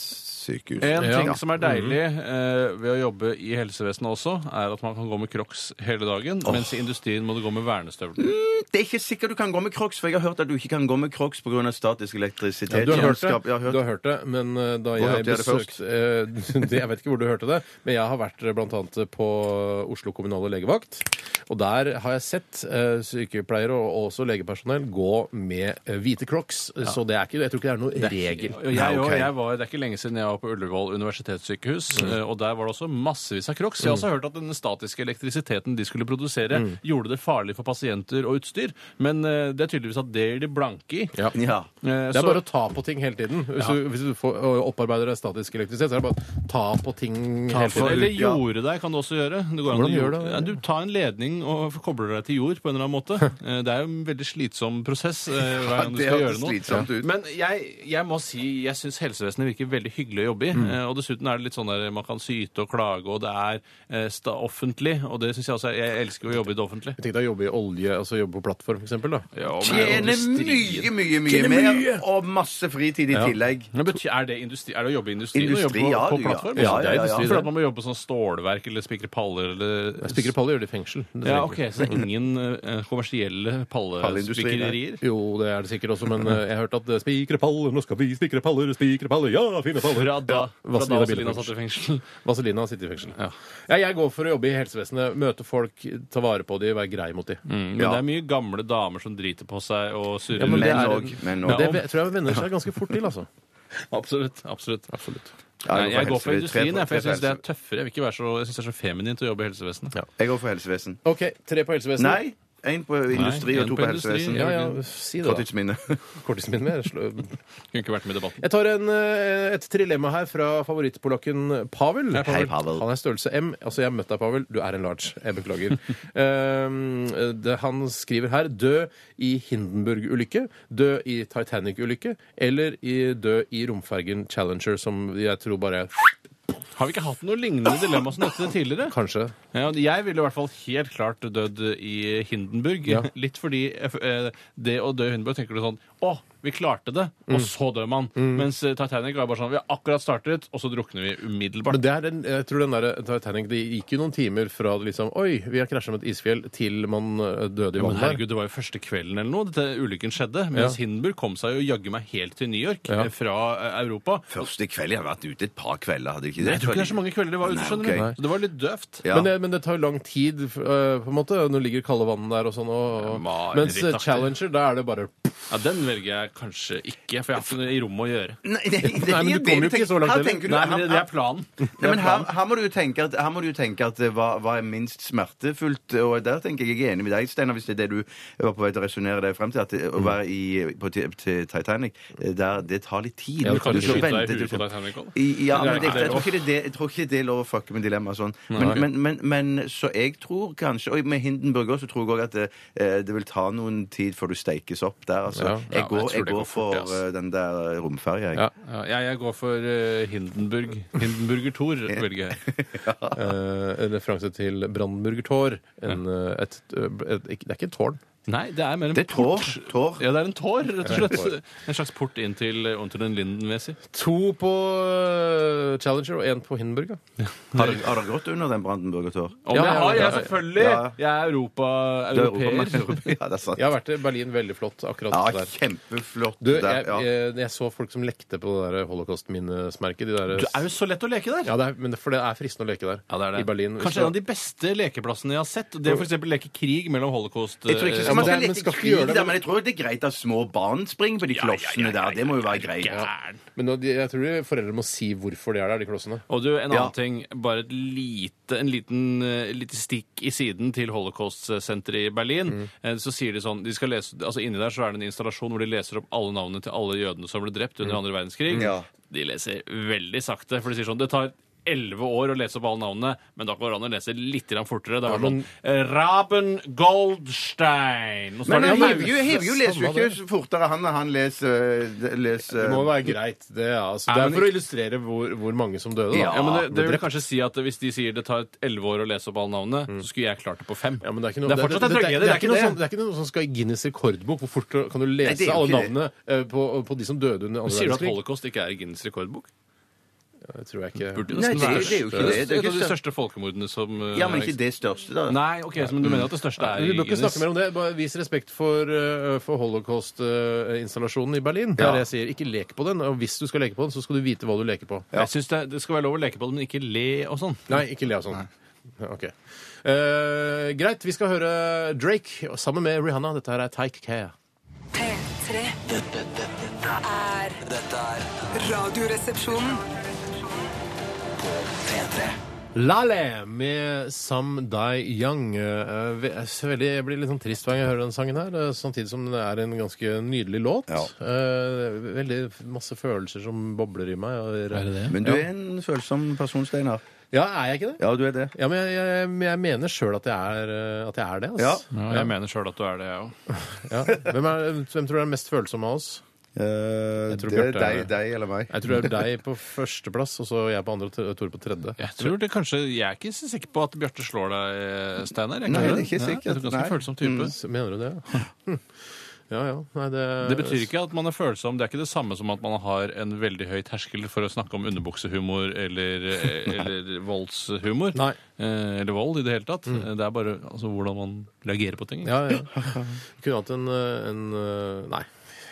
[SPEAKER 7] sykehus.
[SPEAKER 6] En ting
[SPEAKER 7] Ja.
[SPEAKER 6] som er deilig
[SPEAKER 8] Mhm.
[SPEAKER 6] eh, ved å jobbe i helsevesenet også, er at man kan gå med crocs hele dagen, mens i industrien må du gå med vernestøvler.
[SPEAKER 7] Det er ikke sikkert du kan gå med crocs, for jeg har hørt at du ikke kan gå med crocs pga. statisk elektrisitet.
[SPEAKER 8] Du har, hørt det,
[SPEAKER 7] Kjøleskap, jeg har hørt
[SPEAKER 8] du har hørt det, men eh, da
[SPEAKER 7] Hvor
[SPEAKER 8] jeg
[SPEAKER 7] hørte jeg det
[SPEAKER 8] besøkte eh, det, Jeg vet ikke hvor du hørte det, men jeg har vært eh, blant annet på Oslo kommunale legevakt. Og der har jeg sett eh, sykepleiere og også legepersonell gå med eh, hvite crocs, så det er ikke, jeg tror ikke det er noen regel.
[SPEAKER 6] Og Jeg,
[SPEAKER 7] Ja, ok.
[SPEAKER 6] og jeg var, det er ikke lenge siden jeg var på Ullevål universitetssykehus,
[SPEAKER 8] Mm.
[SPEAKER 6] eh, og der var det også massevis
[SPEAKER 8] Mm.
[SPEAKER 6] av crocs. Jeg har også hørt at den statiske elektrisiteten de skulle produsere, gjorde det farlig for pasienter og utstyr. utstyr, men eh, det er tydeligvis at det er de blanke i.
[SPEAKER 8] Ja. Det
[SPEAKER 7] Ja.
[SPEAKER 6] Eh,
[SPEAKER 8] er
[SPEAKER 6] så-
[SPEAKER 8] bare å ta på ting hele tiden. Hvis du, hvis du får, ø, opparbeider deg statisk elektrisitet, så er det bare å ta på ting hele
[SPEAKER 6] For, eller
[SPEAKER 8] tiden.
[SPEAKER 7] ja.
[SPEAKER 6] jorde deg kan du også gjøre. Det går an
[SPEAKER 8] Hvordan
[SPEAKER 6] å
[SPEAKER 8] gjør
[SPEAKER 6] jorde-
[SPEAKER 8] du det?
[SPEAKER 6] Ja, du tar en ledning og kobler deg til jord på en eller annen måte. Eh, Det er jo en veldig slitsom prosess eh, hver gang du
[SPEAKER 7] det
[SPEAKER 6] skal
[SPEAKER 7] hørtes
[SPEAKER 6] gjøre noe.
[SPEAKER 7] slitsomt ut.
[SPEAKER 6] Men jeg, jeg må si jeg syns helsevesenet virker veldig hyggelig å jobbe i.
[SPEAKER 7] Mm.
[SPEAKER 6] Eh, Og dessuten er det litt sånn der man kan syte og klage, og det er eh, sta offentlig. Og det syns jeg også. er- Jeg elsker å jobbe i det offentlige.
[SPEAKER 8] Tenk deg å jobbe i olje, altså jobbe på plattform, for eksempel. Da.
[SPEAKER 6] Ja, men-
[SPEAKER 7] Tjene mye, mye, mye mer, og masse fritid i tillegg.
[SPEAKER 6] Men bety- er, det industri, er det å jobbe i industrien? å
[SPEAKER 7] Industri,
[SPEAKER 6] jobbe på,
[SPEAKER 7] ja,
[SPEAKER 6] på
[SPEAKER 7] du, ja.
[SPEAKER 6] plattform?
[SPEAKER 7] Ja, ja, ja, ja.
[SPEAKER 6] For at man må jobbe på sånn stålverk eller spikre paller eller
[SPEAKER 8] Spikre paller gjør det i fengsel. Det
[SPEAKER 6] Ja,
[SPEAKER 8] trenger
[SPEAKER 6] ok, Så det er ingen eh, kommersielle
[SPEAKER 7] Palleindustri,
[SPEAKER 6] pallespikkerier?
[SPEAKER 8] Jo, det er det sikkert også, men eh, jeg har hørt at eh, spikre paller, nå skal vi spikre paller, spikre paller, ja, fine paller.
[SPEAKER 6] Fra da, fra da
[SPEAKER 8] Vazelina
[SPEAKER 6] Vazelina
[SPEAKER 8] Bielefeld.
[SPEAKER 6] satt i fengsel.
[SPEAKER 8] Vazelina sitter i fengsel.
[SPEAKER 6] Ja.
[SPEAKER 8] Ja, jeg går for å jobbe i helsevesenet, møte folk, ta vare på de, være grei mot de.
[SPEAKER 6] Men det er mye gamle damer som driter på seg og surrer.
[SPEAKER 8] Ja, men det
[SPEAKER 7] Menn
[SPEAKER 8] er-
[SPEAKER 7] òg. Menn
[SPEAKER 8] Det
[SPEAKER 7] òg.
[SPEAKER 8] ve- tror jeg venner seg ganske fort til, altså.
[SPEAKER 6] absolutt. absolutt.
[SPEAKER 7] Ja,
[SPEAKER 6] Nei, jeg går for
[SPEAKER 7] helse- tre-
[SPEAKER 6] industrien, jeg, for jeg
[SPEAKER 7] tre-
[SPEAKER 6] syns det er tøffere. Jeg, vil ikke være så, jeg synes det er så feminint å jobbe i helsevesenet.
[SPEAKER 7] Jeg går for helsevesen.
[SPEAKER 8] Ok, tre på helsevesenet.
[SPEAKER 7] Nei, én på industri
[SPEAKER 6] Nei,
[SPEAKER 7] og
[SPEAKER 6] en
[SPEAKER 7] to
[SPEAKER 6] på
[SPEAKER 7] på
[SPEAKER 6] industri,
[SPEAKER 7] helsevesen.
[SPEAKER 8] Ja, ja, si det, da.
[SPEAKER 7] Korttidsminne.
[SPEAKER 8] Kortisen min med. slå-
[SPEAKER 6] Kunne ikke vært med i debatten.
[SPEAKER 8] Jeg tar en, eh, et trilemma her fra favorittpolakken Pavel.
[SPEAKER 6] Hei, Pavel.
[SPEAKER 7] Hei, Pavel.
[SPEAKER 8] Han er størrelse M. Altså, jeg har møtt deg, Pavel. Du er en large. Jeg beklager. um, det, han skriver her dø i Hindenburg-ulykke, dø i Titanic-ulykke eller i dø i romfergen Challenger, som jeg tror bare
[SPEAKER 6] Har vi ikke hatt noe lignende dilemma som dette tidligere?
[SPEAKER 8] Kanskje.
[SPEAKER 6] Ja, jeg ville i hvert fall helt klart dødd i Hindenburg.
[SPEAKER 8] Ja.
[SPEAKER 6] Litt fordi eh, det å dø i Hindenburg tenker du sånn Å, vi klarte det! Og
[SPEAKER 7] Mm.
[SPEAKER 6] så dør man. Mens eh, Titanic var bare sånn Vi har akkurat startet, og så drukner vi
[SPEAKER 8] Men
[SPEAKER 6] umiddelbart.
[SPEAKER 8] det er den, jeg tror den der eh, Titanic Det gikk jo noen timer fra det liksom Oi, vi har krasja med et isfjell, til man eh, døde i
[SPEAKER 6] Men
[SPEAKER 8] vannet.
[SPEAKER 6] herregud, Det var jo første kvelden eller noe dette ulykken skjedde. Mens Hindenburg kom seg jo jaggu meg helt til New York
[SPEAKER 8] Ja.
[SPEAKER 6] eh, fra eh, Europa.
[SPEAKER 7] Første kveld jeg har vært ute et par kvelder, hadde jeg ikke det?
[SPEAKER 6] Nei, jeg tror ikke det er så mange kvelder eh, det var ute,
[SPEAKER 7] Nei,
[SPEAKER 6] skjønner
[SPEAKER 7] ok.
[SPEAKER 6] du. Så det var litt døvt.
[SPEAKER 7] Ja.
[SPEAKER 8] Men, det, men det tar jo lang tid, f- øh, på en måte. Nå ligger kalde vannet der og sånn. Og, og,
[SPEAKER 6] Ja,
[SPEAKER 8] mens eh,
[SPEAKER 6] marerittaktig.
[SPEAKER 8] Challenger, da er det bare
[SPEAKER 6] Ja, Den velger jeg kanskje ikke, for jeg har ikke noe i rommet å gjøre.
[SPEAKER 7] Nei, nei, det,
[SPEAKER 8] Nei, men du kommer jo ikke så langt
[SPEAKER 7] Her
[SPEAKER 8] heller.
[SPEAKER 7] tenker du-
[SPEAKER 6] Nei, men det, det er planen.
[SPEAKER 7] Nei, men her, her, må du jo tenke at, her må du jo tenke at eh, hva, hva er minst smertefullt? Og der tenker jeg jeg er enig med deg, Steinar, hvis det er det du var på vei til å resonnere deg frem til. At eh,
[SPEAKER 6] Mm.
[SPEAKER 7] å være i, på, ti- til Titanic, eh, der, det tar litt tid.
[SPEAKER 8] Ja, du kan
[SPEAKER 6] Kan du
[SPEAKER 8] skal
[SPEAKER 6] skyte deg
[SPEAKER 7] vente
[SPEAKER 6] i
[SPEAKER 7] til-
[SPEAKER 6] huet på Titanic også?
[SPEAKER 7] I- Ja,
[SPEAKER 6] Eller
[SPEAKER 7] men
[SPEAKER 6] er
[SPEAKER 7] jeg,
[SPEAKER 6] det ikke
[SPEAKER 7] jeg,
[SPEAKER 6] det
[SPEAKER 7] tror ikke det, er det- jeg tror ikke det er lov å fucke med dilemmaer sånn. Men, men, men, men så jeg tror kanskje Og med Hindenburg også, så tror jeg også at det, eh, det vil ta noen tid før du steikes opp der. Altså.
[SPEAKER 8] Ja.
[SPEAKER 6] Ja,
[SPEAKER 7] jeg går,
[SPEAKER 6] men jeg tror
[SPEAKER 7] jeg
[SPEAKER 6] det går
[SPEAKER 7] går
[SPEAKER 6] fort,
[SPEAKER 7] for
[SPEAKER 6] ja, altså.
[SPEAKER 7] eh, den der romferja, jeg.
[SPEAKER 8] Ja.
[SPEAKER 6] Ja, jeg, jeg går for eh, Hindenburg. Hindenburger Thor velger jeg.
[SPEAKER 8] øh, en referanse til Brannburger Tår. En, øh, et, øh, et, ikke- det er ikke et tårn.
[SPEAKER 6] Nei, det er mer en
[SPEAKER 7] Det er tår. tår.
[SPEAKER 6] Ja, det er en tår, rett og
[SPEAKER 8] tår.
[SPEAKER 6] slett. En slags port inn til eh, onkel Linden-Wesi.
[SPEAKER 8] To på øh, Challenger og én på Hindenburg. Ja.
[SPEAKER 7] Har dere- har dere gått under den Brandenburger tår?
[SPEAKER 6] Om
[SPEAKER 8] Ja,
[SPEAKER 6] jeg har,
[SPEAKER 8] ja,
[SPEAKER 6] jeg,
[SPEAKER 8] ja.
[SPEAKER 6] selvfølgelig!
[SPEAKER 7] Ja, ja.
[SPEAKER 6] Jeg er Europa,
[SPEAKER 7] Det er
[SPEAKER 6] europeer.
[SPEAKER 7] Europa- Ja, det er sant.
[SPEAKER 8] Jeg har vært i Berlin. Veldig flott akkurat
[SPEAKER 7] Ja,
[SPEAKER 8] der.
[SPEAKER 7] kjempeflott.
[SPEAKER 8] Du,
[SPEAKER 7] der,
[SPEAKER 8] jeg, eh,
[SPEAKER 7] ja.
[SPEAKER 8] jeg, jeg så folk som lekte på det der holocaust-minnesmerket. De der,
[SPEAKER 6] Du er jo så lett å leke der!
[SPEAKER 8] ja, det er, men det, for det er fristende å leke der. I Berlin. Hvis
[SPEAKER 6] Kanskje
[SPEAKER 8] du-
[SPEAKER 6] en av de beste lekeplassene jeg har sett. Det er for eksempel leke krig mellom holocaust
[SPEAKER 7] Jeg tror ikke
[SPEAKER 6] eh,
[SPEAKER 8] Ja,
[SPEAKER 7] man
[SPEAKER 8] men
[SPEAKER 7] skal
[SPEAKER 8] det er-
[SPEAKER 7] leke
[SPEAKER 8] men skal ikke
[SPEAKER 7] krig
[SPEAKER 8] gjøre det,
[SPEAKER 7] der,
[SPEAKER 8] men-
[SPEAKER 7] men jeg tror det er greit at små barn springer på de klossene der. Det må jo være greit.
[SPEAKER 6] gæren.
[SPEAKER 8] Men nå- de- jeg tror de foreldre må si hvorfor de er der, de klossene.
[SPEAKER 6] Og du, en annen
[SPEAKER 7] Ja.
[SPEAKER 6] ting. Bare et lite, en liten, eh, lite stikk i siden til Holocaust-senteret i Berlin.
[SPEAKER 8] Mm.
[SPEAKER 6] Eh, Så sier de sånn de skal lese, altså Inni der så er det en installasjon hvor de leser opp alle navnene til alle jødene som ble drept
[SPEAKER 8] Mm.
[SPEAKER 6] under andre verdenskrig.
[SPEAKER 7] Ja.
[SPEAKER 6] De leser veldig sakte, for de sier sånn Det tar Elleve år å lese opp alle navnene, men da går det an å lese litt grann fortere. Det var
[SPEAKER 8] Ja,
[SPEAKER 6] sånn
[SPEAKER 8] men-
[SPEAKER 6] eh, Raben Goldstein Og så
[SPEAKER 7] Men
[SPEAKER 6] tar de-
[SPEAKER 7] jeg
[SPEAKER 8] men-
[SPEAKER 7] hiver jo, jeg hiver jo leser jo ikke fortere han enn han leser, leser
[SPEAKER 8] Det må være greit. Det er, altså, det
[SPEAKER 6] Nei,
[SPEAKER 8] er
[SPEAKER 6] men
[SPEAKER 8] for å
[SPEAKER 6] ikke-
[SPEAKER 8] illustrere hvor, hvor mange som døde. Da.
[SPEAKER 7] Ja,
[SPEAKER 6] Ja, men det, det
[SPEAKER 8] ble
[SPEAKER 6] vil
[SPEAKER 8] drept.
[SPEAKER 6] kanskje si at Hvis de sier det tar elleve år å lese opp alle navnene, så skulle jeg klart det på fem.
[SPEAKER 8] Mm. Ja, men det er ikke noe,
[SPEAKER 6] det er fortsatt en tragedie.
[SPEAKER 8] det,
[SPEAKER 6] Det
[SPEAKER 8] er ikke noe sånn- det er ikke noe som skal i Guinness rekordbok. Hvor fort kan du
[SPEAKER 7] Nei,
[SPEAKER 8] lese
[SPEAKER 7] det er jo ikke
[SPEAKER 8] alle
[SPEAKER 7] det.
[SPEAKER 8] navnene eh, på, på de som døde under andre
[SPEAKER 6] Sier du at
[SPEAKER 8] verdenskrig?
[SPEAKER 6] holocaust ikke er i Guinness rekordbok?
[SPEAKER 8] Det tror jeg ikke.
[SPEAKER 6] Burde jo
[SPEAKER 7] Nei,
[SPEAKER 6] nesten
[SPEAKER 7] det,
[SPEAKER 6] være
[SPEAKER 7] det er jo ikke det. det
[SPEAKER 6] et
[SPEAKER 7] er
[SPEAKER 6] av de
[SPEAKER 7] ikke største.
[SPEAKER 6] største folkemordene som uh,
[SPEAKER 7] Ja, men ikke det største, da.
[SPEAKER 6] Nei, ok, så, men du mener at det største er i
[SPEAKER 8] Vi bør ikke
[SPEAKER 6] Guinness?
[SPEAKER 8] snakke mer om det. Bare vis respekt for, eh, for holocaust-installasjonen i Berlin. Det
[SPEAKER 7] Ja.
[SPEAKER 8] er det jeg sier. Ikke lek på den. Og hvis du skal leke på den, så skal du vite hva du leker på.
[SPEAKER 6] Jeg synes det, det skal være lov å leke på det, men ikke le og sånn.
[SPEAKER 8] Nei, ikke le av sånn. Ok. Eh, greit, vi skal høre Drake sammen med Rihanna. Dette her er Take Care.
[SPEAKER 1] P3
[SPEAKER 9] Dette, dette, dette er-
[SPEAKER 1] er
[SPEAKER 9] dette er
[SPEAKER 1] Radioresepsjonen.
[SPEAKER 9] P3.
[SPEAKER 8] Lale med Some Die Young. Eh, ve- Jeg ser veldig- jeg blir litt sånn trist hver gang jeg hører den sangen her, eh, samtidig som det er en ganske nydelig låt.
[SPEAKER 7] Ja.
[SPEAKER 8] Eh, Veldig masse følelser som bobler i meg. og-
[SPEAKER 6] Er det det?
[SPEAKER 7] Men du er en følsom person, Steinar.
[SPEAKER 8] Ja, er jeg ikke det?
[SPEAKER 7] Ja, du er det.
[SPEAKER 8] Ja, men jeg, jeg, men jeg mener sjøl at, jeg er, eh, at jeg er det. Altså.
[SPEAKER 6] Ja, jeg mener sjøl at du er det, jeg òg.
[SPEAKER 8] Ja. Hvem, er, hvem tror du er den mest følsomme av oss?
[SPEAKER 7] Eh,
[SPEAKER 8] tror
[SPEAKER 7] det er
[SPEAKER 8] Bjarte er
[SPEAKER 7] deg,
[SPEAKER 8] det.
[SPEAKER 7] deg eller meg.
[SPEAKER 8] Jeg tror det er deg på førsteplass, og så jeg på andre, og Tore på tredje.
[SPEAKER 6] Jeg tror det kanskje, jeg er ikke så sikker på at Bjarte slår deg, eh, Steinar. Jeg
[SPEAKER 7] Nei,
[SPEAKER 6] kan-
[SPEAKER 7] det er ikke
[SPEAKER 6] Nei,
[SPEAKER 7] sikkert,
[SPEAKER 6] Jeg er ganske
[SPEAKER 7] nei. Mm.
[SPEAKER 6] følsom type.
[SPEAKER 8] Så Mener du det? Ja, ja. ja. Nei, det,
[SPEAKER 6] Det betyr ikke at man er følsom. Det er ikke det samme som at man har en veldig høy terskel for å snakke om underbuksehumor eller, eh, eller voldshumor.
[SPEAKER 8] Nei.
[SPEAKER 6] Eh, Eller vold i det hele tatt. Det er bare altså, hvordan man reagerer på ting.
[SPEAKER 8] Mm. Ja, ja. Kunne hatt en, eh, en eh, Nei.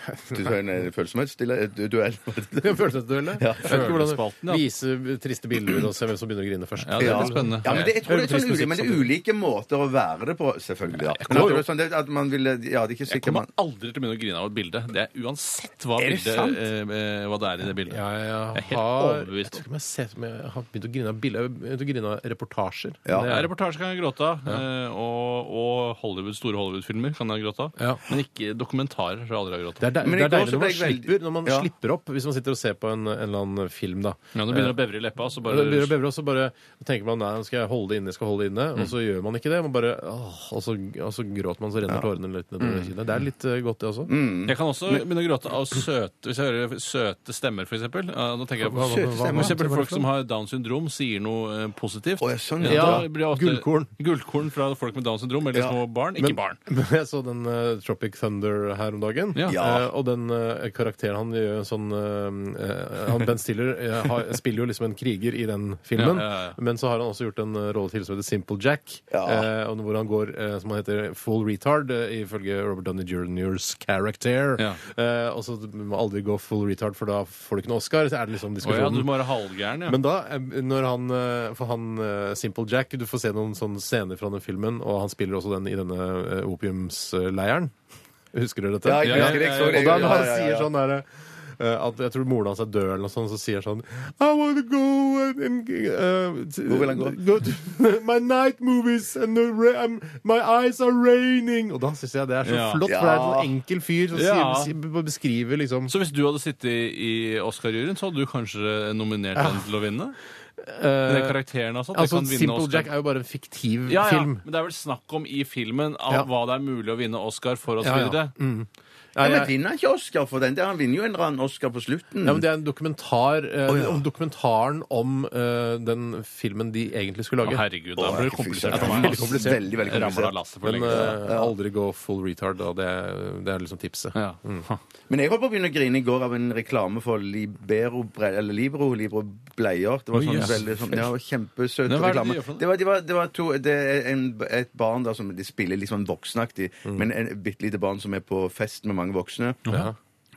[SPEAKER 7] Du er en eh, følsomhetsstille- eh, du- duell.
[SPEAKER 8] Følelsesduell? Ja.
[SPEAKER 6] Følelsesspalten, ja.
[SPEAKER 8] Vise triste bilder og se hvem som begynner å grine først.
[SPEAKER 6] Ja, det er litt spennende.
[SPEAKER 7] Ja, men det, jeg tror det er sånn
[SPEAKER 6] Trist
[SPEAKER 7] ulike,
[SPEAKER 6] musikk
[SPEAKER 7] men det er
[SPEAKER 6] samtidig.
[SPEAKER 7] ulike måter å være det på, selvfølgelig. Ja. Men at det er sånn det- at man ville, ja, det er ikke
[SPEAKER 6] Jeg
[SPEAKER 7] sikkert
[SPEAKER 6] kommer
[SPEAKER 7] man
[SPEAKER 6] aldri til å begynne å grine av et bilde. Det er uansett hva,
[SPEAKER 7] Er det
[SPEAKER 6] bildet,
[SPEAKER 7] sant?
[SPEAKER 6] eh, eh, hva det er i det bildet.
[SPEAKER 8] Ja,
[SPEAKER 6] Jeg er helt overbevist.
[SPEAKER 8] Jeg tror ikke om jeg, har sett, men jeg har begynt å grine av bilder. Jeg har begynt å grine av reportasjer.
[SPEAKER 7] Ja.
[SPEAKER 6] Ja, reportasje kan jeg gråte av, eh, og, og Hollywood, store Hollywood-filmer kan jeg gråte av.
[SPEAKER 8] Ja.
[SPEAKER 6] Men ikke dokumentarer. tror jeg aldri har grått av.
[SPEAKER 8] Det er, dei-
[SPEAKER 7] Men
[SPEAKER 8] det
[SPEAKER 7] i
[SPEAKER 8] er
[SPEAKER 7] går så
[SPEAKER 8] deilig
[SPEAKER 7] ble
[SPEAKER 8] når man,
[SPEAKER 7] jeg veldig-
[SPEAKER 8] slipper, når man
[SPEAKER 7] Ja.
[SPEAKER 8] slipper opp, hvis man sitter og ser på en, en eller annen film. da.
[SPEAKER 6] Ja, Nå begynner det å bevre i leppa, og så
[SPEAKER 8] Ja,
[SPEAKER 6] bare
[SPEAKER 8] Eh, Det begynner å bevre, og så bare tenker man nei, nå skal jeg holde det inne, jeg skal holde det inne,
[SPEAKER 6] Mm.
[SPEAKER 8] og så gjør man ikke det. Man bare, åh, og, så, og så gråter man, så renner tårene litt nedover
[SPEAKER 7] Mm.
[SPEAKER 8] kinnet. Det er litt eh, godt, det også.
[SPEAKER 6] Jeg kan også begynne å gråte av søte Hvis jeg hører søte stemmer, for eksempel. ja, Da tenker jeg på
[SPEAKER 8] Hva- hva-
[SPEAKER 6] Søte
[SPEAKER 8] hva-
[SPEAKER 6] stemmer.
[SPEAKER 8] hva-
[SPEAKER 6] For eksempel
[SPEAKER 8] hva-
[SPEAKER 6] folk som har Downs syndrom, sier noe eh, positivt.
[SPEAKER 7] Å, ja, sånn, ja.
[SPEAKER 6] da blir jeg ofte-
[SPEAKER 8] Gullkorn.
[SPEAKER 6] Gullkorn fra folk med Downs syndrom, eller
[SPEAKER 7] Ja.
[SPEAKER 6] små barn. Ikke
[SPEAKER 8] Men-
[SPEAKER 6] barn.
[SPEAKER 8] Men jeg så den eh, Tropic Thunder her om dagen.
[SPEAKER 6] Ja.
[SPEAKER 7] Ja.
[SPEAKER 8] Eh, og den eh, karakteren han gjør en sånn eh, eh, han Ben Stiller eh, har, spiller jo liksom en kriger i den filmen.
[SPEAKER 6] Ja, ja, ja.
[SPEAKER 8] Men så har han også gjort en eh, rolle til som heter Simple Jack. eh, og hvor han går eh, som han heter full retard, eh, ifølge Robert Downey Jr.'s character.
[SPEAKER 6] Ja.
[SPEAKER 8] Eh, og så må aldri gå full retard, for da får du ikke noe Oscar. Så er det liksom
[SPEAKER 6] Å ja,
[SPEAKER 8] diskusjonen.
[SPEAKER 6] du må være halvgæren, ja.
[SPEAKER 8] Men da, eh, når han, eh, for han eh, Simple Jack, du får se noen sånne scener fra den filmen, og han spiller også den i denne eh, opiumsleiren. Husker du dette?
[SPEAKER 7] Ja, jeg
[SPEAKER 6] husker det, jeg så det.
[SPEAKER 8] Og da når han
[SPEAKER 7] Ja, ja, ja.
[SPEAKER 8] sier sånn derre at jeg tror moren hans er død, eller noe sånt, så sier han sånn I wanna go and, and uh,
[SPEAKER 7] Hvor vil han gå?
[SPEAKER 8] to my night movies and the ra um, my eyes are raining. Og da syns jeg det er så
[SPEAKER 6] Ja.
[SPEAKER 8] flott, for det er en sånn enkel fyr som
[SPEAKER 6] Ja.
[SPEAKER 8] sier, beskriver liksom
[SPEAKER 6] Så hvis du hadde sittet i i Oscar-juryen, så hadde du kanskje nominert den til å vinne? Den
[SPEAKER 8] eh,
[SPEAKER 6] karakteren, altså. at det
[SPEAKER 8] Altså,
[SPEAKER 6] kan vinne
[SPEAKER 8] Simple
[SPEAKER 6] Oscar.
[SPEAKER 8] Jack er jo bare en fiktiv
[SPEAKER 6] ja, ja.
[SPEAKER 8] film.
[SPEAKER 6] Men det er vel snakk om i filmen av
[SPEAKER 8] Ja.
[SPEAKER 6] hva det er mulig å vinne Oscar for, og så
[SPEAKER 8] Ja, Mm. ja.
[SPEAKER 6] videre.
[SPEAKER 7] Ja, men
[SPEAKER 8] jeg-
[SPEAKER 7] vinner han ikke Oscar for den? Det- Han vinner jo en eller annen Oscar på slutten.
[SPEAKER 8] Ja, men Det er en dokumentar eh,
[SPEAKER 7] Å, ja.
[SPEAKER 8] om dokumentaren om eh, den filmen de egentlig skulle
[SPEAKER 6] Å,
[SPEAKER 8] lage.
[SPEAKER 6] herregud, da
[SPEAKER 7] Å,
[SPEAKER 6] blir det
[SPEAKER 7] ikke fy
[SPEAKER 6] komplisert for
[SPEAKER 7] søren.
[SPEAKER 6] meg.
[SPEAKER 7] Veldig
[SPEAKER 6] ass.
[SPEAKER 7] komplisert. Veldig, veldig
[SPEAKER 6] Jeg ramlet av
[SPEAKER 7] komplisert.
[SPEAKER 6] lasset for
[SPEAKER 8] Men
[SPEAKER 6] lenge siden.
[SPEAKER 8] eh, aldri gå full retard, da. Det, er- det er liksom tipset.
[SPEAKER 6] Ja.
[SPEAKER 7] Men jeg holdt på å begynne å grine i går av en reklame for Libero, bre- eller Libro, Libro bleier. Det var sånn
[SPEAKER 6] yes.
[SPEAKER 7] veldig sånn, ja, kjempesøt
[SPEAKER 6] Men hva er det de
[SPEAKER 7] reklame.
[SPEAKER 6] gjør for noe?
[SPEAKER 7] Det var, de var, det var to, det er en, et barn der som de spiller litt sånn voksenaktig,
[SPEAKER 6] Mm.
[SPEAKER 7] men en bitte lite barn som er på fest med mange voksne.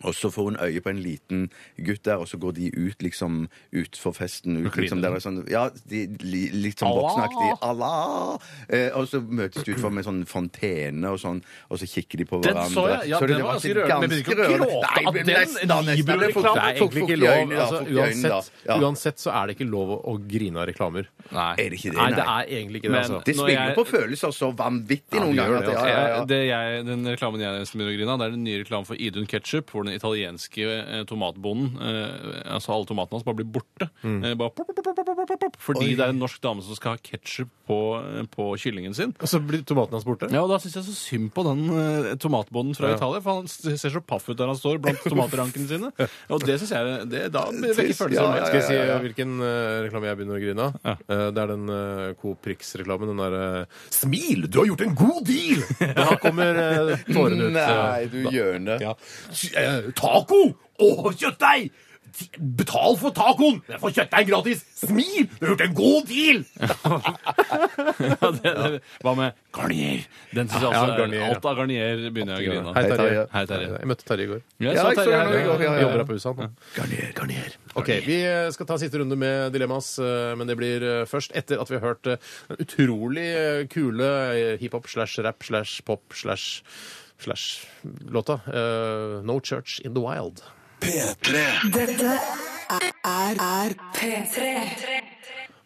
[SPEAKER 7] Og så får hun øye på en liten gutt der, og så går de ut liksom utfor festen. Ut, liksom, der, er sånn, ja, de, li, litt sånn voksenaktig. Allah! Eh, og så møtes de utfor med sånn fontene og sånn, og så kikker de på
[SPEAKER 6] Den
[SPEAKER 7] hverandre.
[SPEAKER 6] så jeg. Ja,
[SPEAKER 7] det
[SPEAKER 6] den
[SPEAKER 7] var
[SPEAKER 6] var
[SPEAKER 7] alltid
[SPEAKER 6] ganske rørende, men vi kan ikke
[SPEAKER 7] rørende.
[SPEAKER 6] gråte
[SPEAKER 7] Nei,
[SPEAKER 6] av
[SPEAKER 7] men
[SPEAKER 6] den
[SPEAKER 7] nesten, da, nesten.
[SPEAKER 6] Libro-reklamen.
[SPEAKER 7] Det er fort-
[SPEAKER 8] Det er
[SPEAKER 7] fort-
[SPEAKER 8] egentlig ikke
[SPEAKER 7] fort i
[SPEAKER 8] lov,
[SPEAKER 7] øynene, da,
[SPEAKER 8] altså,
[SPEAKER 7] fort i øynene, da.
[SPEAKER 8] uansett,
[SPEAKER 7] Ja.
[SPEAKER 8] uansett så er det ikke lov å, å grine av reklamer.
[SPEAKER 6] Nei.
[SPEAKER 7] Er det ikke det?
[SPEAKER 8] Nei, det
[SPEAKER 7] Nei.
[SPEAKER 8] er egentlig ikke det.
[SPEAKER 6] Men-
[SPEAKER 8] altså.
[SPEAKER 7] Det
[SPEAKER 6] Når
[SPEAKER 7] spiller
[SPEAKER 6] jeg-
[SPEAKER 7] på følelser så vanvittig
[SPEAKER 8] Ja,
[SPEAKER 7] noen
[SPEAKER 8] det gjør
[SPEAKER 7] ganger. at
[SPEAKER 8] det,
[SPEAKER 7] ja,
[SPEAKER 8] altså.
[SPEAKER 7] ja, ja.
[SPEAKER 6] Eh, Det jeg, den reklamen jeg nesten begynner å grine av, det er den nye reklamen for Idun Ketchup, hvor den italienske eh, tomatbonden, eh, altså alle tomatene hans, bare blir borte. Eh, bare pop, pop, pop, pop, pop, pop, pop, fordi det er en norsk dame som skal ha ketsjup på, eh, på kyllingen sin.
[SPEAKER 8] Og så blir tomaten hans borte.
[SPEAKER 6] Ja, og Da syns jeg så synd på den eh, tomatbonden fra Italia, for han s- ser så paff ut der han står blant tomatrankene sine. Og det syns jeg det, Da vekker
[SPEAKER 7] Trist,
[SPEAKER 6] følelser.
[SPEAKER 7] ja,
[SPEAKER 6] av meg.
[SPEAKER 7] ja,
[SPEAKER 8] Skal jeg si eh, hvilken eh, reklame jeg begynner å grine av?
[SPEAKER 6] Ja.
[SPEAKER 8] Eh, det er den eh, Coop Prix-reklamen. Den derre 'Smil, du har gjort en god deal!' Da kommer eh, tårene ut.
[SPEAKER 7] Nei, du gjøne.
[SPEAKER 8] Ja. Taco og kjøttdeig! Betal for tacoen! Jeg får kjøttdeig gratis! Smil! Du har gjort en god deal!
[SPEAKER 6] Ja, det, det, hva med Garnier? Den synes jeg
[SPEAKER 8] Ja,
[SPEAKER 6] også er-
[SPEAKER 8] Garnier, ja.
[SPEAKER 6] Alt av Garnier begynner jeg å grine av.
[SPEAKER 8] Hei, Terje.
[SPEAKER 6] Hei, Terje.
[SPEAKER 8] Jeg møtte Terje i går.
[SPEAKER 6] Ja,
[SPEAKER 7] Ja,
[SPEAKER 6] så
[SPEAKER 7] jeg så
[SPEAKER 6] Terje
[SPEAKER 7] den i
[SPEAKER 6] her,
[SPEAKER 7] går, ja, ja.
[SPEAKER 6] ja.
[SPEAKER 8] Vi jobber her på huset han.
[SPEAKER 7] Garnier, garnier.
[SPEAKER 8] Ok, Vi eh, skal ta siste runde med dilemmas, eh, men det blir eh, først etter at vi har hørt eh, den utrolig eh, kule eh, hiphop slash rap slash pop slash slash låta eh, No Church in the Wild.
[SPEAKER 9] P3.
[SPEAKER 1] Dette er, er P3.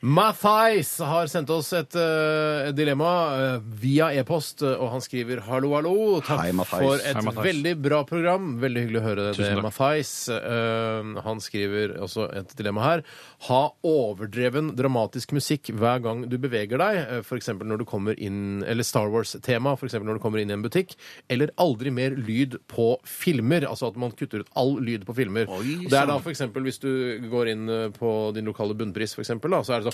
[SPEAKER 8] Mathais har sendt oss et, eh, et dilemma eh, via e-post, eh, og han skriver 'hallo, hallo'. Takk
[SPEAKER 7] Hei, Mathais.
[SPEAKER 8] for et
[SPEAKER 6] Hei, Mathais.
[SPEAKER 8] veldig bra program. Veldig hyggelig å høre
[SPEAKER 6] Tusen
[SPEAKER 8] det,
[SPEAKER 6] takk.
[SPEAKER 8] Mathais. Eh, han skriver også et dilemma her. Ha overdreven dramatisk musikk hver gang du beveger deg, f.eks. når du kommer inn Eller Star Wars-tema, f.eks. når du kommer inn i en butikk. Eller aldri mer lyd på filmer. Altså at man kutter ut all lyd på filmer.
[SPEAKER 7] Oi,
[SPEAKER 8] og det
[SPEAKER 7] sann.
[SPEAKER 8] er
[SPEAKER 6] sånn.
[SPEAKER 8] da for eksempel hvis du går inn eh, på din lokale bunnpris, for eksempel, da, så er det sånn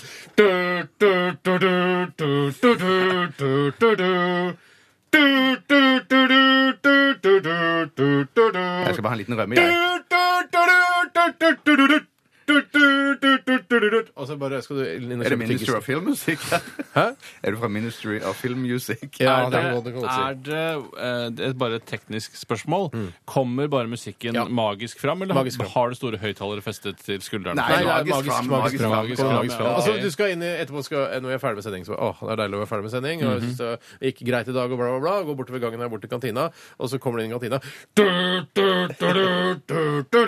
[SPEAKER 8] sånn
[SPEAKER 7] Jeg skal bare ha en liten rømme. Jeg.
[SPEAKER 8] Og så bare skal du inn og
[SPEAKER 7] Er det
[SPEAKER 8] kjøpe
[SPEAKER 7] Ministry of
[SPEAKER 8] tyggis.
[SPEAKER 7] Film Music? Er du fra Ministry of Film Music?
[SPEAKER 8] Ja,
[SPEAKER 6] Er det,
[SPEAKER 8] det kan du godt si.
[SPEAKER 6] er det, eh, det er bare et teknisk spørsmål? Kommer bare musikken
[SPEAKER 8] Ja.
[SPEAKER 6] magisk fram, eller
[SPEAKER 8] Magisk fram.
[SPEAKER 6] har du store høyttalere festet til skuldrene?
[SPEAKER 7] Nei,
[SPEAKER 8] Nei, det er
[SPEAKER 7] magisk
[SPEAKER 8] magisk
[SPEAKER 7] fram,
[SPEAKER 8] fram.
[SPEAKER 7] magisk
[SPEAKER 8] Magisk fram,
[SPEAKER 7] fram,
[SPEAKER 8] magisk fram,
[SPEAKER 6] ja,
[SPEAKER 8] magisk fram.
[SPEAKER 6] ja, ja.
[SPEAKER 8] Altså, du skal inn i, etterpå skal, når jeg er ferdig med sending, så bare, åh, det er deilig å være ferdig med sending. Og jeg synes det gikk greit i dag, og bla, bla, bla. Går bortover gangen her bort til kantina, og så kommer du inn i kantina. Du, du, du, du, du, du, du,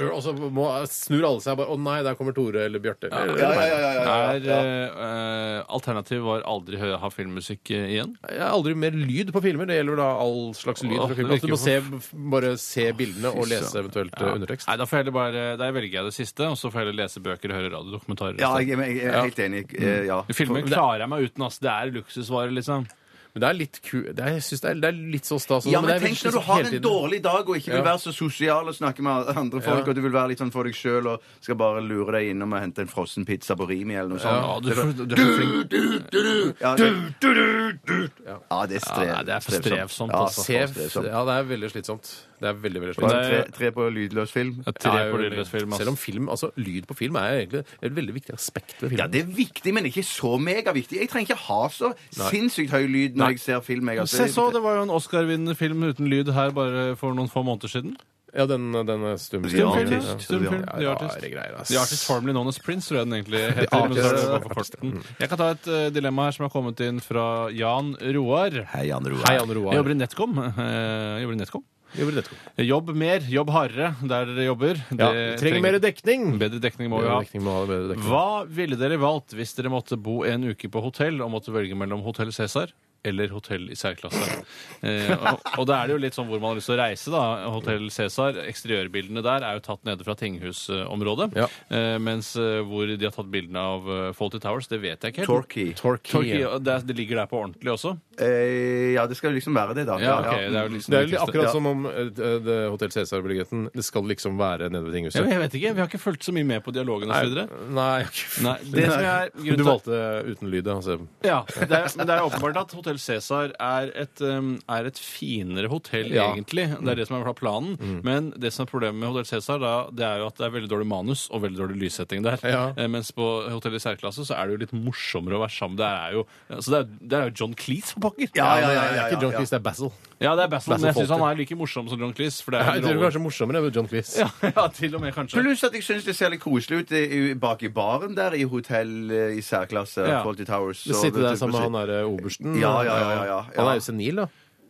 [SPEAKER 8] du. Og så må, snur alle seg og bare Å nei, der kommer Tore eller Bjarte. eller-
[SPEAKER 7] Ja, ja, ja, ja, ja, ja.
[SPEAKER 6] Er, eh, eh, alternativ var aldri hø ha filmmusikk eh, igjen?
[SPEAKER 8] Jeg har aldri mer lyd på filmer. Det gjelder da all slags lyd
[SPEAKER 6] Åh,
[SPEAKER 8] fra
[SPEAKER 6] det
[SPEAKER 8] filmen. Altså, Du må se,
[SPEAKER 6] virker
[SPEAKER 8] bare se bildene og lese eventuelt eh, undertekst.
[SPEAKER 6] Nei, da, får jeg heller bare, da velger jeg det siste, og så får jeg heller lese bøker og høre radiodokumentarer.
[SPEAKER 7] Ja,
[SPEAKER 6] i stedet.
[SPEAKER 7] jeg, jeg er helt enig. eh, Ja.
[SPEAKER 6] Filmer klarer jeg meg uten, ass. Det er luksusvare, liksom.
[SPEAKER 8] Men det er litt ku... Det er, jeg synes det er, det er litt sånn stas.
[SPEAKER 7] Ja, men
[SPEAKER 8] det er
[SPEAKER 7] tenk
[SPEAKER 8] virkelig
[SPEAKER 7] når du
[SPEAKER 8] sånn
[SPEAKER 7] har
[SPEAKER 8] hele
[SPEAKER 7] en
[SPEAKER 8] tiden.
[SPEAKER 7] dårlig dag og ikke vil
[SPEAKER 8] Ja.
[SPEAKER 7] være så sosial og snakke med andre folk, og du vil være litt sånn for deg sjøl og skal bare lure deg innom og hente en frossen pizza på Rimi eller noe sånt.
[SPEAKER 6] Ja, du,
[SPEAKER 7] Det er
[SPEAKER 6] får- du er så flink.
[SPEAKER 7] bare- ja, det- Ja, det er strev.
[SPEAKER 6] Ja, nei, det er for strevsomt,
[SPEAKER 7] Ja,
[SPEAKER 6] altså.
[SPEAKER 8] Se,
[SPEAKER 7] for strevsomt.
[SPEAKER 8] ja, det er veldig slitsomt. Det er veldig, veldig
[SPEAKER 7] Bare
[SPEAKER 8] slitsomt.
[SPEAKER 7] Tre, tre på lydløs film.
[SPEAKER 6] Tre
[SPEAKER 8] Ja,
[SPEAKER 6] på
[SPEAKER 8] jo,
[SPEAKER 6] lydløs film, ass.
[SPEAKER 8] Selv om film, altså lyd på film er egentlig et veldig viktig aspekt ved film.
[SPEAKER 7] Ja, det er viktig, men ikke så megaviktig. Jeg trenger ikke ha så sinnssykt høy lyd når jeg ser film. Jeg, altså.
[SPEAKER 6] Se så, det var jo en Oscar-vinnende film uten lyd her bare for noen få måneder siden.
[SPEAKER 8] Ja, den, den er stum.
[SPEAKER 7] Stum film,
[SPEAKER 8] ja.
[SPEAKER 7] ja.
[SPEAKER 8] Ja.
[SPEAKER 6] Stumfilm.
[SPEAKER 8] Ja,
[SPEAKER 6] The
[SPEAKER 8] rare
[SPEAKER 6] Artist.
[SPEAKER 8] greier, ass.
[SPEAKER 6] The Artist Formally Known as Prince, tror jeg den egentlig heter.
[SPEAKER 8] The
[SPEAKER 6] men så er det
[SPEAKER 8] Artist.
[SPEAKER 6] bare forkortet den. Jeg kan ta et eh, dilemma her som har kommet inn fra Jan Roar.
[SPEAKER 7] Hei, Jan Roar.
[SPEAKER 8] Hei, Jan
[SPEAKER 6] Jeg
[SPEAKER 8] Roar.
[SPEAKER 6] jobber i Netcom. Eh, jeg jobber i Netcom.
[SPEAKER 8] Jobber i Netcom.
[SPEAKER 6] Jobb mer, jobb hardere der dere jobber.
[SPEAKER 8] Ja,
[SPEAKER 6] Det
[SPEAKER 8] trenger mer dekning.
[SPEAKER 6] Bedre dekning må vi
[SPEAKER 8] Bedre
[SPEAKER 6] ha.
[SPEAKER 8] dekning må ha bedre dekning.
[SPEAKER 6] Hva ville dere valgt hvis dere måtte bo en uke på hotell og måtte velge mellom Hotell Cæsar eller hotell i særklasse? Eh, og, og da er det jo litt sånn hvor man har lyst til å reise, da. Hotell Cæsar, eksteriørbildene der er jo tatt nede fra tinghusområdet.
[SPEAKER 8] Ja.
[SPEAKER 6] Eh, mens eh, hvor de har tatt bildene av eh, Fawlty Towers, det vet jeg ikke helt.
[SPEAKER 7] Torquay.
[SPEAKER 6] Torquay,
[SPEAKER 8] Torquay.
[SPEAKER 6] og det, er- det ligger der på ordentlig også?
[SPEAKER 7] Eh, ja, det skal jo liksom være det, da.
[SPEAKER 6] Ja, ok, det er jo liksom
[SPEAKER 8] Det er jo
[SPEAKER 6] viktigste.
[SPEAKER 8] akkurat som om uh, Hotell Cæsar-billetten Det skal liksom være nede ved
[SPEAKER 6] Ja, men
[SPEAKER 8] tinghuset. Altså,
[SPEAKER 6] jeg vet ikke, Vi har ikke fulgt så mye med på dialogen osv.
[SPEAKER 8] Nei, jeg har ikke-
[SPEAKER 6] Nei, det som jeg er grunnen
[SPEAKER 8] du
[SPEAKER 6] til-
[SPEAKER 8] valgte uten lyd, altså.
[SPEAKER 6] Ja, det er, men det er åpenbart at Hotell Cæsar er, et, um, er et finere hotell,
[SPEAKER 8] Ja.
[SPEAKER 6] egentlig. Det er det som er planen. Men det som er problemet med Hotell Cæsar, da, det er jo at det er veldig dårlig manus og veldig dårlig lyssetting der.
[SPEAKER 8] Ja.
[SPEAKER 6] Eh, mens på Hotell i særklasse så er det jo litt morsommere å være sammen. Det er jo, altså det er, det er jo John Cleese for pokker!
[SPEAKER 7] Ja, ja, ja,
[SPEAKER 8] Det
[SPEAKER 7] ja,
[SPEAKER 8] er
[SPEAKER 7] ja,
[SPEAKER 8] ikke John
[SPEAKER 7] ja.
[SPEAKER 8] Cleese, det er Basil.
[SPEAKER 6] Ja, det er Basil, men jeg
[SPEAKER 8] Basil
[SPEAKER 6] syns han er like morsom som John Cleese. For det er
[SPEAKER 8] Jeg
[SPEAKER 6] en
[SPEAKER 8] tror
[SPEAKER 6] rolle.
[SPEAKER 8] kanskje morsommere med John Cleese.
[SPEAKER 6] Ja, ja, til og med, kanskje.
[SPEAKER 7] Pluss at jeg syns det ser litt koselig ut i- i- bak i baren der i hotell eh, i særklasse.
[SPEAKER 6] Ja.
[SPEAKER 7] Fawlty Towers.
[SPEAKER 8] Du
[SPEAKER 7] og-
[SPEAKER 8] sitter der sammen med han derre obersten. eh,
[SPEAKER 7] Ja, ja, ja, ja, ja.
[SPEAKER 8] Han er jo senil, da.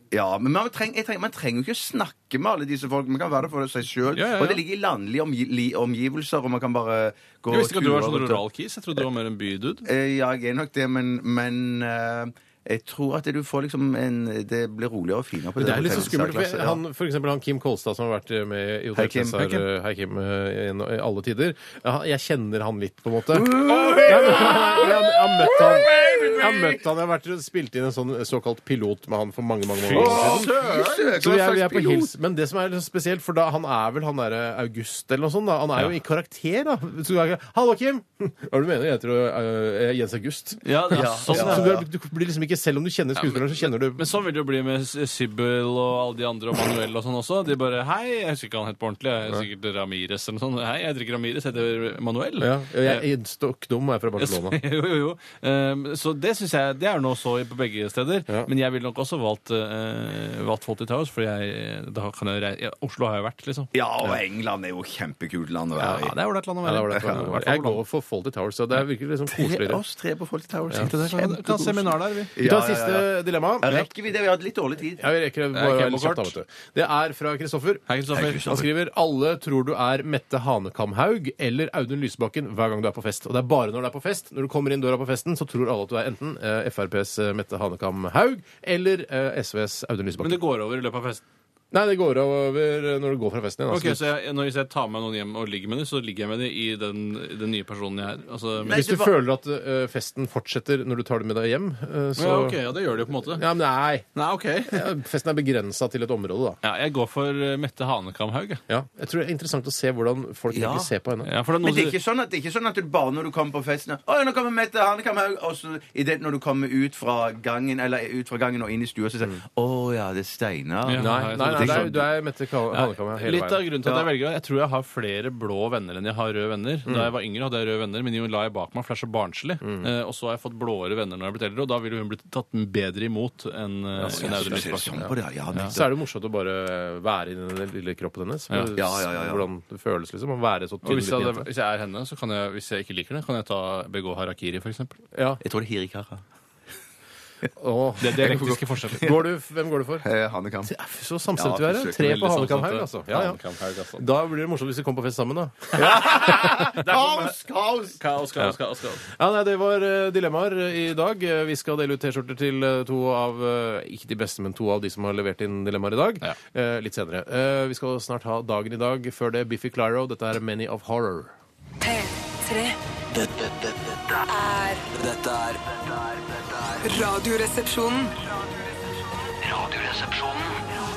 [SPEAKER 7] Ja, men man, treng, jeg treng, man trenger jo ikke snakke med alle disse folkene. Man kan være der for seg sjøl.
[SPEAKER 6] Ja, ja, ja.
[SPEAKER 7] Og det ligger i landlige omgi li, omgivelser, og man kan bare gå
[SPEAKER 6] Jeg visste ikke at du var sånn
[SPEAKER 7] rundt og-
[SPEAKER 6] rural Jeg trodde du var mer en bydude.
[SPEAKER 7] Eh, Ja, jeg er nok det, men, men eh, jeg tror at du får liksom en Det blir roligere og finere på det.
[SPEAKER 8] Det er litt så
[SPEAKER 7] hotellet i
[SPEAKER 8] skummelt.
[SPEAKER 7] særklasse,
[SPEAKER 8] For
[SPEAKER 7] ja.
[SPEAKER 8] han, for eksempel han Kim Kolstad, som har vært med i
[SPEAKER 7] Hei,
[SPEAKER 8] Hotell
[SPEAKER 7] Kim.
[SPEAKER 8] Cæsar
[SPEAKER 7] Hei, Kim.
[SPEAKER 8] eh, Hei, Kim. eh, gjennom- I alle tider. Ja, Jeg kjenner han litt, på en måte. Nei, men- Jeg jeg har møtt han. Jeg har møtt han. Jeg har vært og spilt inn en sånn såkalt pilot med han for mange, mange mange år siden.
[SPEAKER 7] Søren, hva
[SPEAKER 8] Så vi er,
[SPEAKER 7] slags
[SPEAKER 8] vi er på
[SPEAKER 7] pilot?
[SPEAKER 8] hils, men det som er litt sånn spesielt, for da, han er vel han derre August eller noe sånt, da. Han er jo i karakter, da. Så du er ikke, Hallo, Kim! Hva er det du mener? Jeg heter eh, Jens August.
[SPEAKER 6] Ja, det er sånn,
[SPEAKER 8] Altså, Så du, er, du blir liksom ikke, Selv om du kjenner skuespilleren, så kjenner du
[SPEAKER 6] Men sånn vil det jo bli med S- Sibyl og alle de andre, og Manuel og sånn også. De bare Hei, jeg husker ikke hva han het på ordentlig. Jeg er sikkert Ramires eller noe sånt. Hei, jeg heter ikke Ramires, jeg heter Manuel. Eh,
[SPEAKER 8] Ja, jeg er stokk dum, jeg er fra Barcelona.
[SPEAKER 6] jo, jo, jo. Um, så det syns jeg Det er nå så i- på begge steder.
[SPEAKER 8] Ja.
[SPEAKER 6] Men jeg ville nok også valgt, uh, valgt Fawlty Towers, for jeg, da kan jeg reise ja, Oslo har jeg vært, liksom.
[SPEAKER 7] Ja, og England er jo kjempekult land å være i.
[SPEAKER 6] Ja, det er ålreit land å
[SPEAKER 8] Ja, det
[SPEAKER 6] være
[SPEAKER 8] var det.
[SPEAKER 6] i. I hvert fall
[SPEAKER 8] Jeg
[SPEAKER 6] hvordan-
[SPEAKER 8] går for Fawlty Towers, så det virker liksom
[SPEAKER 7] Tre-
[SPEAKER 8] koseligere.
[SPEAKER 7] oss tre på Fawlty Towers.
[SPEAKER 6] Kan- Kan ha seminar der, vi.
[SPEAKER 7] Ja,
[SPEAKER 8] Vi tar
[SPEAKER 7] Ja, ja,
[SPEAKER 8] siste
[SPEAKER 7] ja.
[SPEAKER 8] dilemma.
[SPEAKER 7] Rekker vi det? Vi har hatt litt dårlig tid.
[SPEAKER 8] Ja, vi rekker
[SPEAKER 6] Ja,
[SPEAKER 8] det bare
[SPEAKER 6] ok,
[SPEAKER 8] være litt
[SPEAKER 6] på
[SPEAKER 8] kjapt da,
[SPEAKER 6] kort.
[SPEAKER 8] vet du. Det er fra Kristoffer.
[SPEAKER 6] Hei, Kristoffer. Altså,
[SPEAKER 8] Han skriver alle tror du er Mette Hanekamhaug eller Audun Lysbakken hver gang du er på fest. Og det er bare når du er på fest. Når du kommer inn døra på festen, så tror alle at du er enten eh, FrPs eh, Mette Hanekamhaug eller eh, SVs Audun
[SPEAKER 6] Men
[SPEAKER 8] Lysbakken.
[SPEAKER 6] det går over i løpet av festen.
[SPEAKER 8] Nei, det går over eh, når du går fra festen igjen.
[SPEAKER 6] Ok,
[SPEAKER 8] altså.
[SPEAKER 6] så jeg, når, Hvis jeg tar med noen hjem og ligger med dem, så ligger jeg med dem i den, den nye personen jeg er. Altså,
[SPEAKER 7] Nei,
[SPEAKER 8] Hvis du
[SPEAKER 7] det var-
[SPEAKER 8] føler at eh, festen fortsetter når du tar det med deg hjem, eh, så
[SPEAKER 6] ja, ok, ja, det gjør det jo på en måte.
[SPEAKER 8] Ja, men nei.
[SPEAKER 6] Nei, ok.
[SPEAKER 8] Ja, Festen er begrensa til et område, da.
[SPEAKER 6] Ja, jeg går for eh, Mette Hanekamhaug. jeg.
[SPEAKER 8] Ja. Jeg tror det er interessant å se hvordan folk
[SPEAKER 7] Ja.
[SPEAKER 8] egentlig ser på henne.
[SPEAKER 6] Ja, for det er
[SPEAKER 7] Men
[SPEAKER 6] noen
[SPEAKER 7] det er
[SPEAKER 6] som-
[SPEAKER 7] ikke sånn at, det er ikke sånn at du bare når du kommer på festen Å, nå kommer Mette Hanekamhaug. Og så i det, når du kommer ut fra gangen Eller ut fra gangen og inn i stua, så sier du Å ja, det er Steinar.
[SPEAKER 6] Ja.
[SPEAKER 8] Nei, nei, nei,
[SPEAKER 7] det er
[SPEAKER 8] Mm. det er,
[SPEAKER 7] sånn.
[SPEAKER 8] du er Mette Ka- Hanekamhaug hele
[SPEAKER 6] Litt av
[SPEAKER 8] veien.
[SPEAKER 6] grunnen til at jeg velger Jeg tror jeg har flere blå venner enn jeg har røde venner. Da jeg var yngre, hadde jeg røde venner, men jo la jeg bak meg, for det er så barnslig. Eh, og så har jeg fått blåere venner når jeg har blitt eldre, og da ville hun blitt tatt bedre imot enn
[SPEAKER 7] Ja,
[SPEAKER 6] eh, enn Audun
[SPEAKER 7] så ser det
[SPEAKER 6] Lysbakken.
[SPEAKER 7] sånn på det, ja, nettopp.
[SPEAKER 8] Så er det jo morsomt å bare være i den lille kroppen hennes.
[SPEAKER 6] Ja.
[SPEAKER 8] for
[SPEAKER 7] Ja, ja, ja, ja.
[SPEAKER 8] Hvordan det føles, liksom. Å være så
[SPEAKER 6] Og
[SPEAKER 8] tynn
[SPEAKER 6] hvis jeg,
[SPEAKER 8] liten
[SPEAKER 6] hadde,
[SPEAKER 8] jente.
[SPEAKER 6] hvis jeg er henne, så kan jeg, hvis jeg ikke liker det, kan jeg ta, begå harakiri, for eksempel.
[SPEAKER 8] Ja.
[SPEAKER 7] Jeg tror det er Hirikara.
[SPEAKER 8] Åh.
[SPEAKER 6] Det er dialektiske forskjeller.
[SPEAKER 8] Går du, hvem går du for?
[SPEAKER 7] Eh, Hanekam.
[SPEAKER 8] Så samstemt vi
[SPEAKER 7] Ja,
[SPEAKER 8] er. ja.
[SPEAKER 7] forsøker
[SPEAKER 8] Tre
[SPEAKER 6] Veldig
[SPEAKER 8] på
[SPEAKER 6] sånn
[SPEAKER 8] Hanekamhaug,
[SPEAKER 6] at-
[SPEAKER 8] altså. Ja, ja.
[SPEAKER 6] Hanekamhaug, altså.
[SPEAKER 8] Da blir det morsomt hvis vi kommer på fest sammen, da.
[SPEAKER 7] Kaos, kaos!
[SPEAKER 6] Kaos, kaos, kaos, kaos.
[SPEAKER 8] Ja, nei, Det var eh, dilemmaer eh, i dag. Eh, Vi skal dele ut T-skjorter til eh, to av eh, ikke de beste, men to av de som har levert inn dilemmaer i dag. Eh, Litt senere. Eh, Vi skal snart ha dagen i dag. Før det Biffy Clyro. Dette er Many of Horror.
[SPEAKER 1] P3
[SPEAKER 9] Dette, dette, dette er
[SPEAKER 1] er
[SPEAKER 9] Dette er dette er- dette er
[SPEAKER 1] Radioresepsjonen.
[SPEAKER 9] Radioresepsjonen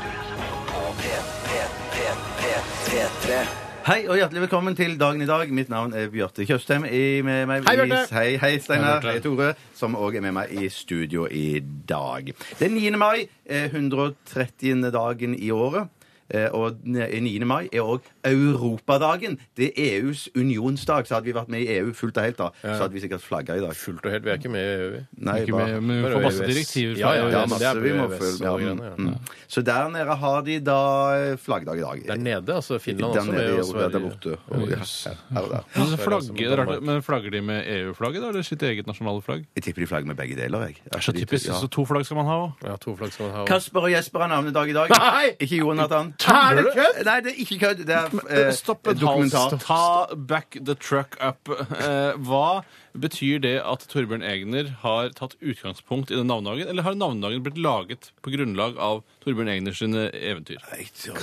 [SPEAKER 9] på P, P, P, P, P3.
[SPEAKER 7] Hei og hjertelig velkommen til dagen i dag. Mitt navn er Bjarte Tjøstheim. I- med meg
[SPEAKER 8] Hei,
[SPEAKER 7] i-
[SPEAKER 8] Bjarte.
[SPEAKER 7] Hei, hei, Steinar.
[SPEAKER 6] Hei,
[SPEAKER 7] Hei, Tore. Som òg er med meg i studio i dag. Det er 9. mai. eh, 130. dagen i året. Eh, Og den- eh, 9. mai er òg europadagen. Det er EUs unionsdag. Så hadde vi vært med i EU fullt og helt, da, så hadde vi sikkert flagga i dag.
[SPEAKER 8] Fullt og helt. Vi er ikke med i EU, vi.
[SPEAKER 7] Nei,
[SPEAKER 6] Ikke
[SPEAKER 7] bare-
[SPEAKER 6] med, men vi
[SPEAKER 8] Bare
[SPEAKER 6] får masse
[SPEAKER 8] EØS.
[SPEAKER 6] direktiver
[SPEAKER 8] Ja,
[SPEAKER 6] fra
[SPEAKER 8] ja,
[SPEAKER 6] EØS.
[SPEAKER 8] ja,
[SPEAKER 7] Ja,
[SPEAKER 8] men det er
[SPEAKER 7] E masse vi må
[SPEAKER 8] EØS
[SPEAKER 7] følge
[SPEAKER 8] og
[SPEAKER 7] med.
[SPEAKER 8] greiene,
[SPEAKER 7] Mm, mm. Så der nede har de da eh, flaggdag i dag.
[SPEAKER 8] Der nede, altså Finland
[SPEAKER 7] Den
[SPEAKER 8] også.
[SPEAKER 7] nede i
[SPEAKER 8] med oss,
[SPEAKER 7] Europa, der
[SPEAKER 8] Sverige.
[SPEAKER 7] borte. Og, ja, her, her og der.
[SPEAKER 6] Men så
[SPEAKER 8] Sverige
[SPEAKER 6] flagger-
[SPEAKER 8] også,
[SPEAKER 6] det er
[SPEAKER 8] Danmark.
[SPEAKER 6] rart, men flagger de med EU-flagget, da, eller sitt eget nasjonale flagg?
[SPEAKER 7] Jeg tipper de flagger med begge deler. jeg.
[SPEAKER 6] Det er så
[SPEAKER 7] De to-
[SPEAKER 6] typisk.
[SPEAKER 7] ja.
[SPEAKER 6] Så to flagg skal man ha òg.
[SPEAKER 8] Ja, to flagg skal man ha.
[SPEAKER 7] Kasper og Jesper har navnedag i dag.
[SPEAKER 8] Nei!
[SPEAKER 7] Ikke Jonathan.
[SPEAKER 8] Hæ, er det kødd?
[SPEAKER 7] Nei, det er ikke kødd. Det er eh,
[SPEAKER 6] Stopp en hals.
[SPEAKER 7] dokumentar.
[SPEAKER 6] Ta back the truck up. Eh, hva betyr det at Torbjørn Egner har tatt utgangspunkt i den navnedagen, eller har navnedagen blitt laget på grunnlag av Torbjørn Egner sine eventyr?
[SPEAKER 8] Eh,
[SPEAKER 7] Nei, så- Ja,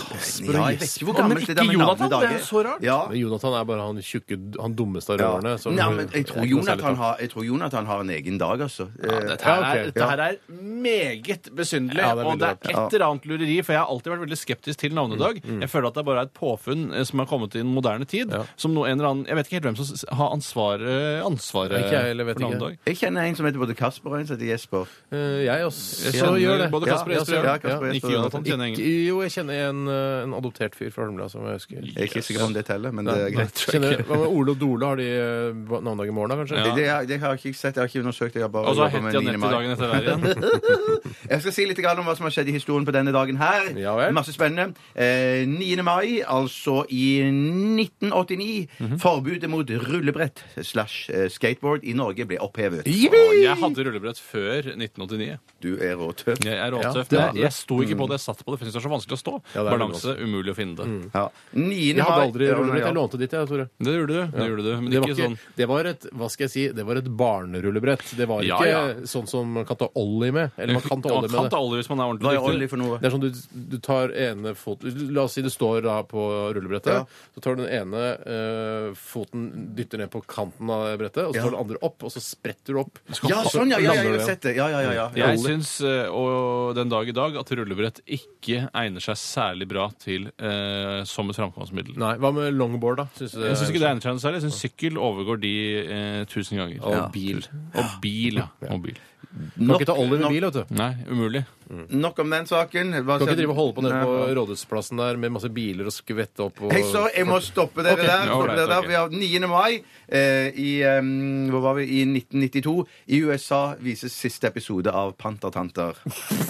[SPEAKER 7] jeg vet ikke hvor gammelt
[SPEAKER 6] Men
[SPEAKER 7] det der med
[SPEAKER 6] ikke Jonathan,
[SPEAKER 7] navnedager.
[SPEAKER 6] det er så rart.
[SPEAKER 7] Ja.
[SPEAKER 8] Men Jonathan er bare han tjukke, han dummeste av
[SPEAKER 7] Ja.
[SPEAKER 8] rørene. så-
[SPEAKER 7] Nei, men jeg
[SPEAKER 8] Det
[SPEAKER 7] tror,
[SPEAKER 8] er ikke noe særlig
[SPEAKER 7] Jonathan har, jeg tror Jonathan har en egen dag, altså. Eh,
[SPEAKER 6] Dette her,
[SPEAKER 8] Ja, ok.
[SPEAKER 6] er, dette her er meget besynderlig,
[SPEAKER 8] Ja,
[SPEAKER 6] og
[SPEAKER 8] det er veldig
[SPEAKER 6] det er et
[SPEAKER 8] rart.
[SPEAKER 6] eller annet lureri, for jeg har alltid vært veldig skeptisk til navnedag. Jeg føler at det bare er et påfunn eh, som har kommet i en moderne tid,
[SPEAKER 8] Ja.
[SPEAKER 6] som noe, en eller annen, jeg vet ikke helt hvem som s- har ansvaret, ansvaret
[SPEAKER 8] Ikke jeg heller, vet
[SPEAKER 6] for
[SPEAKER 8] ikke.
[SPEAKER 6] navnedag.
[SPEAKER 7] Jeg kjenner en som heter både Kasper og en som heter Jesper.
[SPEAKER 8] Eh, jeg også.
[SPEAKER 6] Jeg
[SPEAKER 8] Så
[SPEAKER 6] kjenner
[SPEAKER 8] gjør det.
[SPEAKER 6] både Kasper og
[SPEAKER 8] Ja,
[SPEAKER 6] Jesper, ja.
[SPEAKER 8] så- ja, Kasper og
[SPEAKER 7] Ja.
[SPEAKER 8] Jesper.
[SPEAKER 6] Ikke Jonathan kjenner jeg ingen.
[SPEAKER 8] Ikke- Jo, jeg kjenner en, eh, en adoptert fyr fra Holmlia som jeg husker.
[SPEAKER 7] Jeg er ikke sikker på om det teller, men det er
[SPEAKER 8] Nei,
[SPEAKER 7] greit.
[SPEAKER 8] kjenner, hva med Ole og Dole? Har de eh, navnedag i morgen, da, kanskje?
[SPEAKER 6] Ja.
[SPEAKER 7] Det, har- det har jeg ikke sett. Jeg har ikke undersøkt. Jeg har bare
[SPEAKER 6] Og så
[SPEAKER 7] jobbet med
[SPEAKER 6] het Janette
[SPEAKER 7] 9. mai.
[SPEAKER 6] dagen etter hver igjen.
[SPEAKER 7] Jeg skal si litt grann om hva som har skjedd i historien på denne dagen her.
[SPEAKER 8] Ja vel.
[SPEAKER 7] Masse spennende. Eh, 9. mai, altså i 1989,
[SPEAKER 8] Mhm.
[SPEAKER 7] forbudet mot rullebrett slash eh, skateboard i Norge ble opphevet.
[SPEAKER 6] Jeg hadde rullebrett før 1989.
[SPEAKER 7] Du er råtøff.
[SPEAKER 6] Jeg er råtøff.
[SPEAKER 8] Ja, det
[SPEAKER 6] men
[SPEAKER 8] hadde du.
[SPEAKER 6] jeg, jeg sto ikke på det, jeg satt på det. for Jeg synes det er så vanskelig å stå.
[SPEAKER 8] Ja, det er Mm.
[SPEAKER 6] Balanse, umulig å finne det.
[SPEAKER 7] Ja. 9.
[SPEAKER 8] Jeg hadde
[SPEAKER 7] mai-
[SPEAKER 8] aldri
[SPEAKER 7] Ja,
[SPEAKER 8] rullebrett.
[SPEAKER 7] ja.
[SPEAKER 8] Jeg lånte ditt, jeg, Tore.
[SPEAKER 6] Det gjorde du. det gjorde du, Men
[SPEAKER 8] Det var,
[SPEAKER 6] ikke sånn
[SPEAKER 8] ikke, det var et hva skal jeg si, det var et barnerullebrett. Det var
[SPEAKER 6] Ja,
[SPEAKER 8] ikke
[SPEAKER 6] ja.
[SPEAKER 8] sånn som man kan ta ollie med. Eller man kan ta ollie med
[SPEAKER 6] Man kan
[SPEAKER 8] det.
[SPEAKER 6] ta olje hvis man er
[SPEAKER 7] Hva er
[SPEAKER 6] ordentlig
[SPEAKER 7] olje
[SPEAKER 6] dyktig.
[SPEAKER 7] for noe?
[SPEAKER 8] Det er sånn du, du tar ene fot La oss si du står da på rullebrettet.
[SPEAKER 7] Ja.
[SPEAKER 8] Så tar du den ene eh, foten, dytter ned på kanten av brettet, og så
[SPEAKER 7] Ja.
[SPEAKER 8] tar du den andre opp, og så spretter du opp.
[SPEAKER 7] Ja, sånn, ja. ja, ja jeg
[SPEAKER 8] Lander
[SPEAKER 7] har
[SPEAKER 8] du
[SPEAKER 7] sett det. Ja, ja, ja, ja. ja.
[SPEAKER 6] Jeg syns eh, og den dag i dag at rullebrett ikke egner seg særlig bra til eh, som et framkomstmiddel.
[SPEAKER 8] Nei, Hva med longboard, da? Syns du
[SPEAKER 6] Jeg syns ikke det egner seg noe særlig. Jeg syns sykkel overgår de eh, tusen ganger.
[SPEAKER 8] Og bil.
[SPEAKER 6] Og bil, ja. Og bil.
[SPEAKER 8] Kan ikke ta olje med bil, vet du.
[SPEAKER 6] Nei, umulig.
[SPEAKER 7] Nok om den saken. Hva skjer-
[SPEAKER 8] Kan ikke drive og holde på nede
[SPEAKER 7] Nei.
[SPEAKER 8] på Rådhusplassen der med masse biler og skvette opp og
[SPEAKER 7] Hei, så jeg må stoppe dere der.
[SPEAKER 8] Ok.
[SPEAKER 6] Ja,
[SPEAKER 7] Stoppe
[SPEAKER 6] ålreit,
[SPEAKER 7] dere der.
[SPEAKER 6] ok.
[SPEAKER 7] Vi har 9. mai eh, i, eh, hvor var vi? i 1992. I USA vises siste episode av Pantertanter.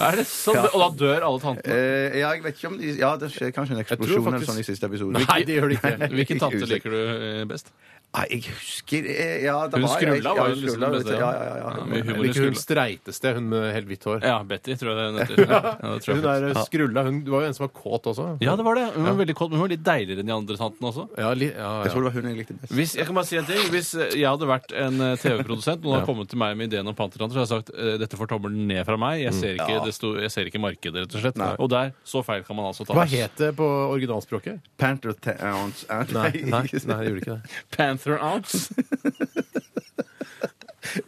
[SPEAKER 6] Er det sånn? Og da dør alle tantene.
[SPEAKER 7] Eh, ja, jeg vet ikke om de, Ja, det skjer kanskje en
[SPEAKER 8] tror
[SPEAKER 7] eksplosjon eller
[SPEAKER 8] faktisk-
[SPEAKER 7] sånn i siste episode.
[SPEAKER 8] Nei, det gjør det ikke.
[SPEAKER 6] Hvilken tante
[SPEAKER 7] Usikker.
[SPEAKER 6] liker du eh, best?
[SPEAKER 7] Nei, jeg husker eh, ja, det
[SPEAKER 6] Hun
[SPEAKER 7] var, jeg-
[SPEAKER 6] Skrulla
[SPEAKER 7] ja,
[SPEAKER 6] var jo liksom
[SPEAKER 7] Skrulla,
[SPEAKER 6] det
[SPEAKER 7] Ja,
[SPEAKER 6] beste, ja.
[SPEAKER 7] ja, ja, ja.
[SPEAKER 6] Med humor i
[SPEAKER 8] Ikke hun
[SPEAKER 6] Skrulla.
[SPEAKER 8] streiteste, hun med helt hvitt hår.
[SPEAKER 6] Ja, Betty, tror jeg det heter. Ja, ja, det tror jeg faktisk.
[SPEAKER 8] Hun der eh, skrulla, hun det var jo en som var kåt også.
[SPEAKER 6] ja, det var det. Hun var veldig kåt, men hun var litt deiligere enn de andre tantene også.
[SPEAKER 8] Ja, li,
[SPEAKER 7] Jeg
[SPEAKER 8] ja,
[SPEAKER 7] tror
[SPEAKER 8] ja.
[SPEAKER 7] det var hun jeg likte best.
[SPEAKER 6] Hvis, jeg kan bare si en ting. Hvis eh, jeg hadde vært en eh, TV-produsent, noen hadde kommet til meg med ideen om pantertanter, så hadde jeg sagt eh, dette får tommelen ned fra meg. Jeg ser ikke, det sto, jeg ser ikke markedet, rett og slett. Og der, så feil kan man altså ta.
[SPEAKER 8] Hva het det på originalspråket?
[SPEAKER 7] Panther Towns and-
[SPEAKER 8] Nei, nei, nei, det gjorde ikke det.
[SPEAKER 6] Panther Ounce?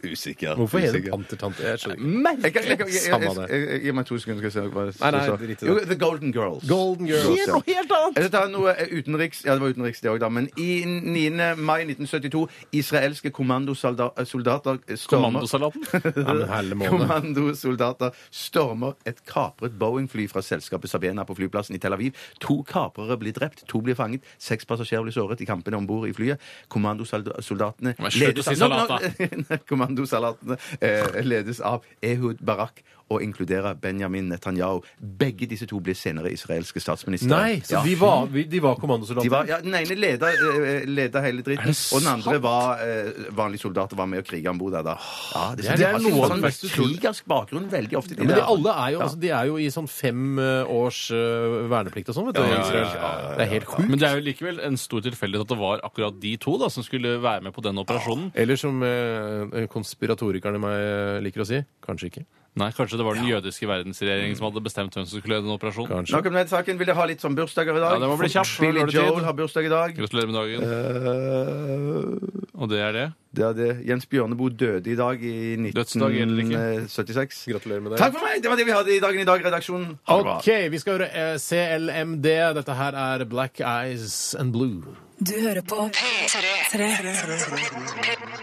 [SPEAKER 7] Usikker.
[SPEAKER 8] Hvorfor heter det
[SPEAKER 7] usikker.
[SPEAKER 8] pantertante? Jeg skjønner ikke.
[SPEAKER 7] Jeg kan- jeg kan- jeg- jeg-
[SPEAKER 8] Samme det.
[SPEAKER 7] jeg- jeg- Gi meg to sekunder, skal jeg se hva du
[SPEAKER 8] Nei, nei,
[SPEAKER 7] sa.
[SPEAKER 8] drit i det.
[SPEAKER 7] Jo, The Golden Girls.
[SPEAKER 8] Golden Girls.
[SPEAKER 7] Helt noe helt annet! Jeg skal ta noe eh, utenriks. Ja, det var utenriks, det òg, da. Men i 9. mai 1972 Israelske kommandosoldater soldater, eh, stormer
[SPEAKER 6] Kommandosalaten?
[SPEAKER 8] Nei, men helle måned.
[SPEAKER 7] Kommandosoldater stormer et kapret Boeing-fly fra selskapet Sabena på flyplassen i Tel Aviv. To kaprere blir drept, to blir fanget, seks passasjerer blir såret i kampene om bord i flyet. Kommandosoldatene
[SPEAKER 6] Men slutt å si
[SPEAKER 7] Nå, nå-
[SPEAKER 6] salat,
[SPEAKER 7] Kommandosalatene eh, ledes av Ehud Barak og inkluderer Benjamin Netanyahu. Begge disse to ble senere israelske statsministre.
[SPEAKER 8] Nei, så
[SPEAKER 7] Ja.
[SPEAKER 8] de var, vi- de var kommandosoldater?
[SPEAKER 7] De var, ja, den ene leda, eh, leda hele dritten, og den andre var eh, vanlig soldat og var med og kriga om bord der. Da. Ja, det,
[SPEAKER 8] er-
[SPEAKER 7] de
[SPEAKER 8] det er
[SPEAKER 7] har
[SPEAKER 8] noe av
[SPEAKER 7] sånn
[SPEAKER 8] det beste-
[SPEAKER 7] krigersk bakgrunn veldig ofte.
[SPEAKER 8] Men de
[SPEAKER 7] der.
[SPEAKER 8] alle er jo, altså, de er jo i sånn fem eh, års eh, verneplikt og sånn, vet du. i Israel. Det er helt sjukt.
[SPEAKER 6] Men det er jo likevel en stor tilfeldighet at det var akkurat de to da, som skulle være med på den operasjonen.
[SPEAKER 8] Eller som eh, konspiratorikeren i meg eh, liker å si kanskje ikke.
[SPEAKER 6] Nei, kanskje det var den jødiske verdensregjeringen som hadde bestemt hvem som skulle lede den operasjonen.
[SPEAKER 8] Kanskje.
[SPEAKER 7] Nok om den saken. Vil dere ha litt sånn bursdager i dag?
[SPEAKER 6] Ja, det må bli kjapt, for
[SPEAKER 7] Billy
[SPEAKER 6] nå er det tid.
[SPEAKER 7] Joel har bursdag i dag.
[SPEAKER 6] Gratulerer med dagen.
[SPEAKER 7] Eh,
[SPEAKER 6] Og det er det.
[SPEAKER 7] det er det. Jens Bjørneboe døde i dag i
[SPEAKER 6] Dødsdag eller ikke?
[SPEAKER 7] 1976.
[SPEAKER 8] Gratulerer med det.
[SPEAKER 7] Takk for meg! Det var det vi hadde i dagen i dag, redaksjonen. Ha det bra.
[SPEAKER 8] OK, vi skal høre eh, CLMD. Dette her er Black Eyes and Blue.
[SPEAKER 1] Du hører på P3.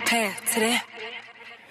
[SPEAKER 1] P3.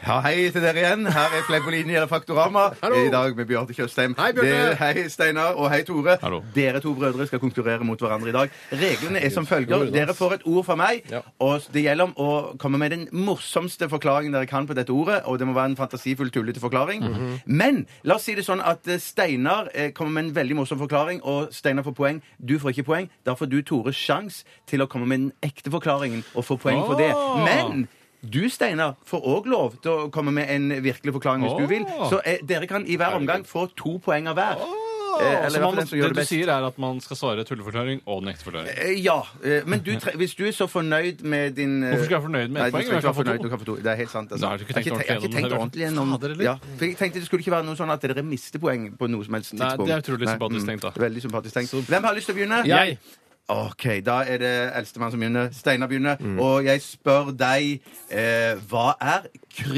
[SPEAKER 7] Ja, hei til dere igjen. Her er Fleip på linje eller Faktorama. I dag med Bjarte Tjøstheim.
[SPEAKER 8] Hei, Bjarte.
[SPEAKER 7] Dere- Hei, Steinar. Og hei, Tore.
[SPEAKER 6] Hallo.
[SPEAKER 7] Dere to brødre skal konkurrere mot hverandre i dag. Reglene er som følger. Dere får et ord fra meg,
[SPEAKER 8] Ja.
[SPEAKER 7] og det gjelder om å komme med den morsomste forklaringen dere kan på dette ordet, og det må være en fantasifull, tullete forklaring. Men la oss si det sånn at eh, Steinar eh, kommer med en veldig morsom forklaring, og Steinar får poeng. Du får ikke poeng. Da får du, Tore, sjans til å komme med den ekte forklaringen og få poeng for det.
[SPEAKER 6] Ah.
[SPEAKER 7] Men du, Steinar, får òg lov til å komme med en virkelig forklaring hvis du vil.
[SPEAKER 6] Åh.
[SPEAKER 7] Så eh, dere kan i hver omgang få to poeng av hver. Eh, eller i
[SPEAKER 6] Så
[SPEAKER 7] hvert fall
[SPEAKER 6] man,
[SPEAKER 7] den som gjør
[SPEAKER 6] det
[SPEAKER 7] det
[SPEAKER 6] du
[SPEAKER 7] best.
[SPEAKER 6] sier er at man skal svare tulleforklaring og den ekte forklaring.
[SPEAKER 7] Eh, Ja, eh, men du, tre- hvis du er så fornøyd med din eh,
[SPEAKER 6] Hvorfor skal jeg være fornøyd med ett
[SPEAKER 7] Nei, du
[SPEAKER 6] poeng?
[SPEAKER 7] skal ikke
[SPEAKER 6] Jeg kan
[SPEAKER 7] være
[SPEAKER 6] få to.
[SPEAKER 7] fornøyd, du kan få to. Det er helt sant. Altså.
[SPEAKER 6] Da har du ikke tenkt
[SPEAKER 7] jeg, har ikke, jeg har ikke
[SPEAKER 6] ordentlig
[SPEAKER 7] tenkt
[SPEAKER 6] gjennom det,
[SPEAKER 7] ordentlig gjennom
[SPEAKER 6] Fader, eller?
[SPEAKER 7] ja, for Jeg tenkte det skulle ikke være noe sånn at dere mister poeng på noe som helst
[SPEAKER 6] Nei,
[SPEAKER 7] tidspunkt.
[SPEAKER 6] det er utrolig
[SPEAKER 7] Nei,
[SPEAKER 6] sympatisk
[SPEAKER 7] mm,
[SPEAKER 6] tenkt, da.
[SPEAKER 7] Veldig sympatisk tenkt. Hvem har lyst til å begynne?
[SPEAKER 8] Jeg.
[SPEAKER 7] OK, da er det eldstemann som begynner. Steinar begynner.
[SPEAKER 6] Mm.
[SPEAKER 7] Og jeg spør deg eh, Hva er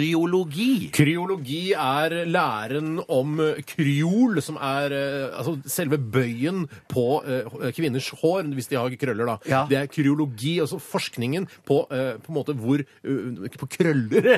[SPEAKER 7] kryologi?
[SPEAKER 8] Kryologi er læren om eh, kryol, som er eh, altså selve bøyen på eh, kvinners hår, hvis de har krøller, da.
[SPEAKER 7] Ja.
[SPEAKER 8] Det er kryologi, altså forskningen på, eh, på en måte hvor eh, På krøller!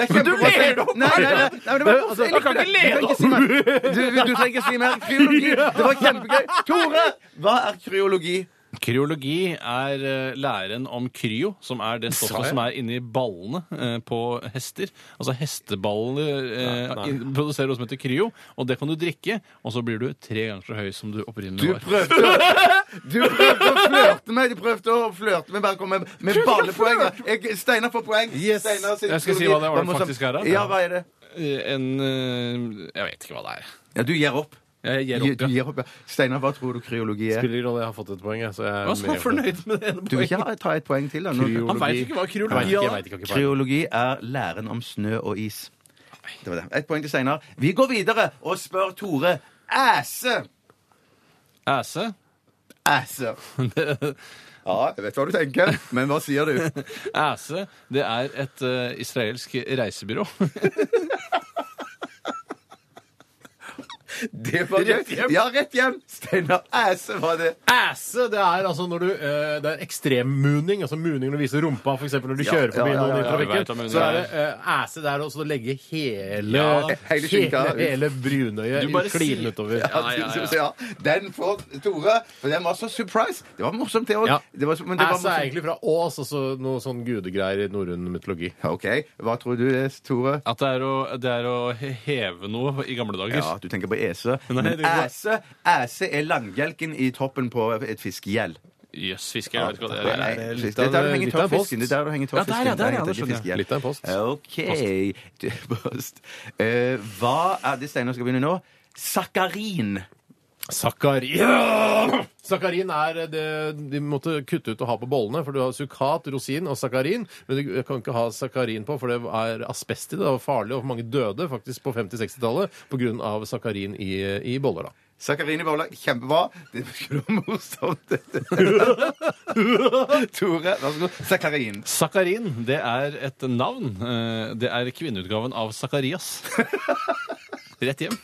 [SPEAKER 7] Men du
[SPEAKER 8] ler
[SPEAKER 7] opp! Nei, nei, nei, nei, men det var altså,
[SPEAKER 8] Du kan ikke lede
[SPEAKER 7] Du, trenger ikke si mer. du, du trenger ikke si mer. Kryologi! Det var kjempegøy. Tore, hva er kryologi?
[SPEAKER 6] Kryologi er eh, læren om kryo, som er det stoffet som er inni ballene eh, på hester. Altså hesteballer eh, in- produserer noe som heter kryo, og det kan du drikke, og så blir du tre ganger så høy som
[SPEAKER 7] Du
[SPEAKER 6] du opprinnelig var.
[SPEAKER 7] prøvde, å- du prøvde å flørte med Du prøvde å flørte med bare å komme med, med ballepoeng. Jeg- Steinar får poeng.
[SPEAKER 8] Yes.
[SPEAKER 7] Steinar sin
[SPEAKER 6] Jeg skal si
[SPEAKER 7] kryologi
[SPEAKER 6] hva det var det faktisk er, da.
[SPEAKER 7] sånn- Ja, hva er det?
[SPEAKER 6] Eh, En eh, Jeg vet ikke hva det er.
[SPEAKER 7] Ja, du gir opp.
[SPEAKER 6] Jeg gir
[SPEAKER 7] Du
[SPEAKER 6] opp, ja.
[SPEAKER 7] gir opp, ja. Steinar, hva tror du kryologi er?
[SPEAKER 8] Spiller ingen rolle, jeg har fått et poeng, jeg.
[SPEAKER 5] eh.
[SPEAKER 8] Så jeg er
[SPEAKER 6] Jeg var så
[SPEAKER 8] med på det.
[SPEAKER 6] fornøyd med det ene
[SPEAKER 7] Du vil ikke
[SPEAKER 6] poenget.
[SPEAKER 7] ha, ta et poeng til? da nå?
[SPEAKER 8] Kryologi.
[SPEAKER 6] Han veit ikke hva kryologi er.
[SPEAKER 8] Jeg vet ikke, jeg vet ikke hva det er.
[SPEAKER 7] Kryologi er læren om snø og is. Det var det. Ett poeng til Steinar. Vi går videre og spør Tore. Æse!
[SPEAKER 6] Æse.
[SPEAKER 7] Æse. Ja, jeg vet hva du tenker, men hva sier du?
[SPEAKER 6] Æse, det er et eh, israelsk reisebyrå.
[SPEAKER 7] Det var rett hjem. Ja, rett hjem. Steinar Æse var det.
[SPEAKER 8] Æse, det er altså når du eh, Det er ekstremmuning, altså muning når du viser rumpa, f.eks. når du kjører
[SPEAKER 7] ja,
[SPEAKER 8] forbi
[SPEAKER 7] ja,
[SPEAKER 8] noen
[SPEAKER 7] ja,
[SPEAKER 8] i
[SPEAKER 6] jeg vet hva
[SPEAKER 8] trafikken.
[SPEAKER 6] muning
[SPEAKER 8] Så er det
[SPEAKER 6] er.
[SPEAKER 8] eh, æse, det er også å legge hele
[SPEAKER 6] Ja,
[SPEAKER 7] hele skinka ut.
[SPEAKER 8] hele, hele brunøyet
[SPEAKER 6] Du bare
[SPEAKER 8] klinen
[SPEAKER 6] sier-
[SPEAKER 8] utover.
[SPEAKER 6] Ja, ja, ja.
[SPEAKER 7] Den får Tore, for den var så surprise. Det var morsomt, det òg.
[SPEAKER 8] Ja.
[SPEAKER 7] Det var så- men det var
[SPEAKER 8] Æse er
[SPEAKER 7] morsomt.
[SPEAKER 8] egentlig fra Ås, altså noe sånn gudegreier i norrøn mytologi.
[SPEAKER 7] OK. Hva tror du, det, Tore?
[SPEAKER 6] At det er, å, det er å he- heve noe i gamle dager.
[SPEAKER 7] Ja, du tenker på ese. Men
[SPEAKER 6] det går-
[SPEAKER 7] æse, æse er langbjelken i toppen på et fiskegjell.
[SPEAKER 6] Jøss, fisker. Jeg vet ikke hva det er.
[SPEAKER 7] Nei,
[SPEAKER 8] er litt
[SPEAKER 7] Det er
[SPEAKER 8] av-
[SPEAKER 7] der du henger
[SPEAKER 8] litt av en
[SPEAKER 7] tørrfisken.
[SPEAKER 8] post.
[SPEAKER 7] Det er der du henger
[SPEAKER 6] Ja, der, ja,
[SPEAKER 7] tørrfisken.
[SPEAKER 6] der, ja,
[SPEAKER 7] henger
[SPEAKER 6] det skjønner jeg.
[SPEAKER 7] tørrfisken.
[SPEAKER 8] Litt av en post.
[SPEAKER 7] OK Det er Post. Eh, hva er det Steinar skal begynne nå? Sakarin.
[SPEAKER 8] Sakarin. Sakarin er eh, det de måtte kutte ut og ha på bollene. For du har sukkat, rosin og sakarin. Men du kan ikke ha sakarin på, for det er asbest i det. Det var farlig, og mange døde faktisk på 50-60-tallet pga. sakarin i, i boller. da.
[SPEAKER 7] Sakarin i bolla. Kjempebra. Det skulle være morsomt. Tore, vær så god. Sakarin.
[SPEAKER 6] Sakarin, det er et navn. Eh, Det er kvinneutgaven av Sakarias. Rett hjem.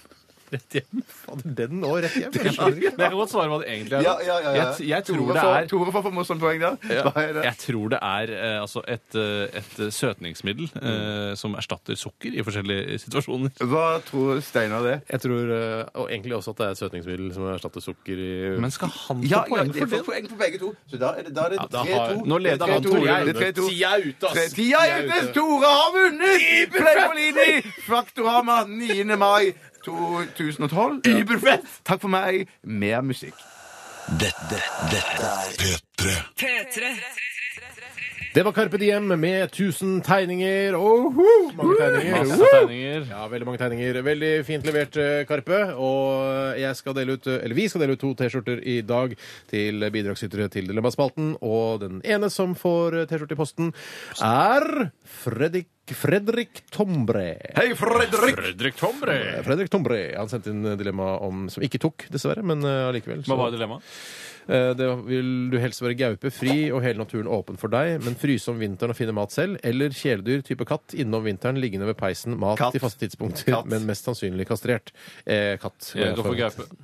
[SPEAKER 6] Rett hjem.
[SPEAKER 8] Fader, den og rett hjem. Jeg skjønner ikke.
[SPEAKER 6] Men jeg kan godt svare hva det egentlig er.
[SPEAKER 7] Ja, ja, ja, ja.
[SPEAKER 6] Jeg, jeg tror
[SPEAKER 7] Tore
[SPEAKER 6] det
[SPEAKER 7] får-
[SPEAKER 6] er
[SPEAKER 7] Tore får for morsomt poeng der. Hva er det?
[SPEAKER 6] Jeg tror det er eh, altså et, eh, et søtningsmiddel eh, som erstatter sukker i forskjellige situasjoner.
[SPEAKER 7] Hva tror Steinar det?
[SPEAKER 8] Jeg tror, eh, Og egentlig også at det er et søtningsmiddel som erstatter sukker i
[SPEAKER 6] Men skal han få
[SPEAKER 7] Ja, ja,
[SPEAKER 6] poeng
[SPEAKER 7] det
[SPEAKER 6] for
[SPEAKER 7] får
[SPEAKER 6] det?
[SPEAKER 7] poeng for begge to. Så da er det, da er det
[SPEAKER 8] da
[SPEAKER 7] 3-2.
[SPEAKER 8] har- nå leder
[SPEAKER 7] Det er
[SPEAKER 8] han
[SPEAKER 7] 3-2.
[SPEAKER 8] Tore.
[SPEAKER 7] Det er 3-2.
[SPEAKER 6] Tida er ute,
[SPEAKER 7] Tre-
[SPEAKER 6] ass!
[SPEAKER 7] Tida er ute! Store har vunnet! Fleipolini! Faktorama 9. mai 2012. Überfett! Takk for meg. Mer musikk.
[SPEAKER 9] Dette, dette er
[SPEAKER 10] P3.
[SPEAKER 8] Det var Carpe Diem med 1000 tegninger. Oho! Mange tegninger.
[SPEAKER 6] Masse tegninger.
[SPEAKER 8] Ja, veldig mange tegninger. Veldig fint levert, eh, Karpe. Og jeg skal dele ut, eh, eller vi skal dele ut to T-skjorter i dag til bidragsytere til Dilemmaspalten. Og den ene som får eh, T-skjorte i posten, er Fredrik, Fredrik Tombre.
[SPEAKER 7] Hei, Fredrik!
[SPEAKER 6] Fredrik Tomre.
[SPEAKER 8] Fredrik Tombre. Han sendte inn dilemma om, som ikke tok, dessverre, men eh, allikevel.
[SPEAKER 6] Hva
[SPEAKER 8] så-
[SPEAKER 6] var dilemmaet?
[SPEAKER 8] Eh, Det vil du helst være gaupe, fri og hele naturen åpen for deg, men fryse om vinteren og finne mat selv, eller kjæledyr type katt innom vinteren liggende ved peisen, mat
[SPEAKER 7] Katt.
[SPEAKER 8] til faste tidspunkter,
[SPEAKER 7] Katt.
[SPEAKER 8] men mest sannsynlig kastrert. Eh, katt. går
[SPEAKER 6] Jeg
[SPEAKER 8] jeg
[SPEAKER 6] går for gaupe.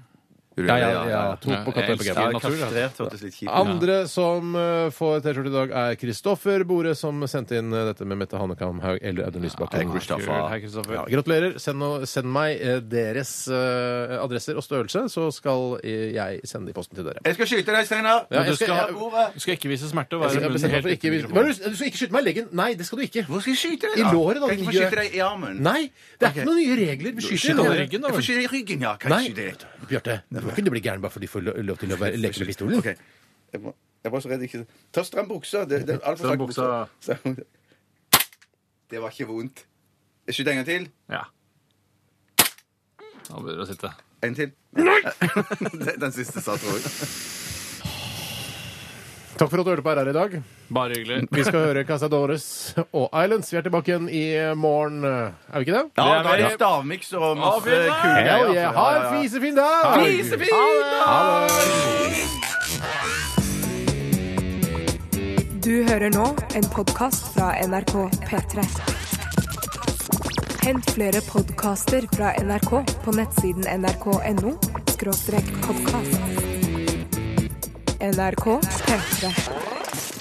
[SPEAKER 8] Ja, ja, ja. To på katt
[SPEAKER 6] Jeg
[SPEAKER 8] og på
[SPEAKER 6] elsker
[SPEAKER 8] gaupe.
[SPEAKER 6] natur, altså.
[SPEAKER 7] Kastrert hørtes litt kjipt ut.
[SPEAKER 8] Andre som eh, får T-skjorte i dag, er Kristoffer Bore, som sendte inn eh, dette med Mette Hannekamhaug eller Audun
[SPEAKER 7] Hei,
[SPEAKER 8] Lysbakken.
[SPEAKER 7] Kristoffer.
[SPEAKER 6] Kult. Hei, Kristoffer.
[SPEAKER 8] Ja, gratulerer. Send, no- send meg eh, deres eh, adresser og størrelse, så skal eh, jeg sende det i posten til dere.
[SPEAKER 7] Jeg skal skyte deg, Steinar.
[SPEAKER 8] Ja, jeg
[SPEAKER 7] Du
[SPEAKER 8] skal-
[SPEAKER 7] ha ordet.
[SPEAKER 6] Du skal ikke vise smerte og være
[SPEAKER 8] Jeg skal
[SPEAKER 6] munnen
[SPEAKER 8] bestemme meg for
[SPEAKER 6] helt
[SPEAKER 8] ikke
[SPEAKER 6] uten
[SPEAKER 8] Hva er
[SPEAKER 6] mikrofon.
[SPEAKER 8] det du- Du skal ikke skyte meg i leggen. Nei, det skal du ikke.
[SPEAKER 7] Hvor skal jeg skyte deg,
[SPEAKER 8] I låret, da,
[SPEAKER 7] Kan jeg
[SPEAKER 8] din
[SPEAKER 7] ikke få
[SPEAKER 8] gjøk.
[SPEAKER 7] skyte deg i armen?
[SPEAKER 8] Nei, det er ikke noen nye regler. Vi skyter i
[SPEAKER 6] Skyt i
[SPEAKER 8] låret.
[SPEAKER 6] ryggen, da.
[SPEAKER 7] Jeg får
[SPEAKER 6] vel?
[SPEAKER 7] skyte deg i ryggen, ja. Kan jeg
[SPEAKER 8] Nei,
[SPEAKER 7] skyte deg?
[SPEAKER 8] Bjarte. Du må ikke bli gæren bare fordi du får lo- lov til å være- leke med pistolen.
[SPEAKER 7] Ok. Jeg var, jeg var så redd ikke Ta stram buksa. Det, det, er alt for
[SPEAKER 6] Stram
[SPEAKER 7] sterk
[SPEAKER 6] buksa.
[SPEAKER 7] Stram- Det var ikke vondt. Jeg skyter en gang til.
[SPEAKER 6] Ja. Nå begynner det å sitte.
[SPEAKER 7] En til. Den den siste sa, tror jeg.
[SPEAKER 8] Takk for at du hørte på RR i dag.
[SPEAKER 6] Bare hyggelig.
[SPEAKER 8] Vi skal høre Casadores og Islands. Vi er tilbake igjen i morgen. Er vi ikke det?
[SPEAKER 7] Ja,
[SPEAKER 6] Det er
[SPEAKER 7] da er det
[SPEAKER 6] meg.
[SPEAKER 7] stavmiks og masse
[SPEAKER 6] fint,
[SPEAKER 7] kule
[SPEAKER 6] da.
[SPEAKER 8] Hell
[SPEAKER 7] greier.
[SPEAKER 8] yeah. Ha en fisefin dag!
[SPEAKER 7] Fisefin
[SPEAKER 8] Ha det! Ha det!
[SPEAKER 1] Du hører nå en podkast fra NRK P3. Hent flere podkaster fra NRK på nettsiden nrk.no podkast. NRK P3.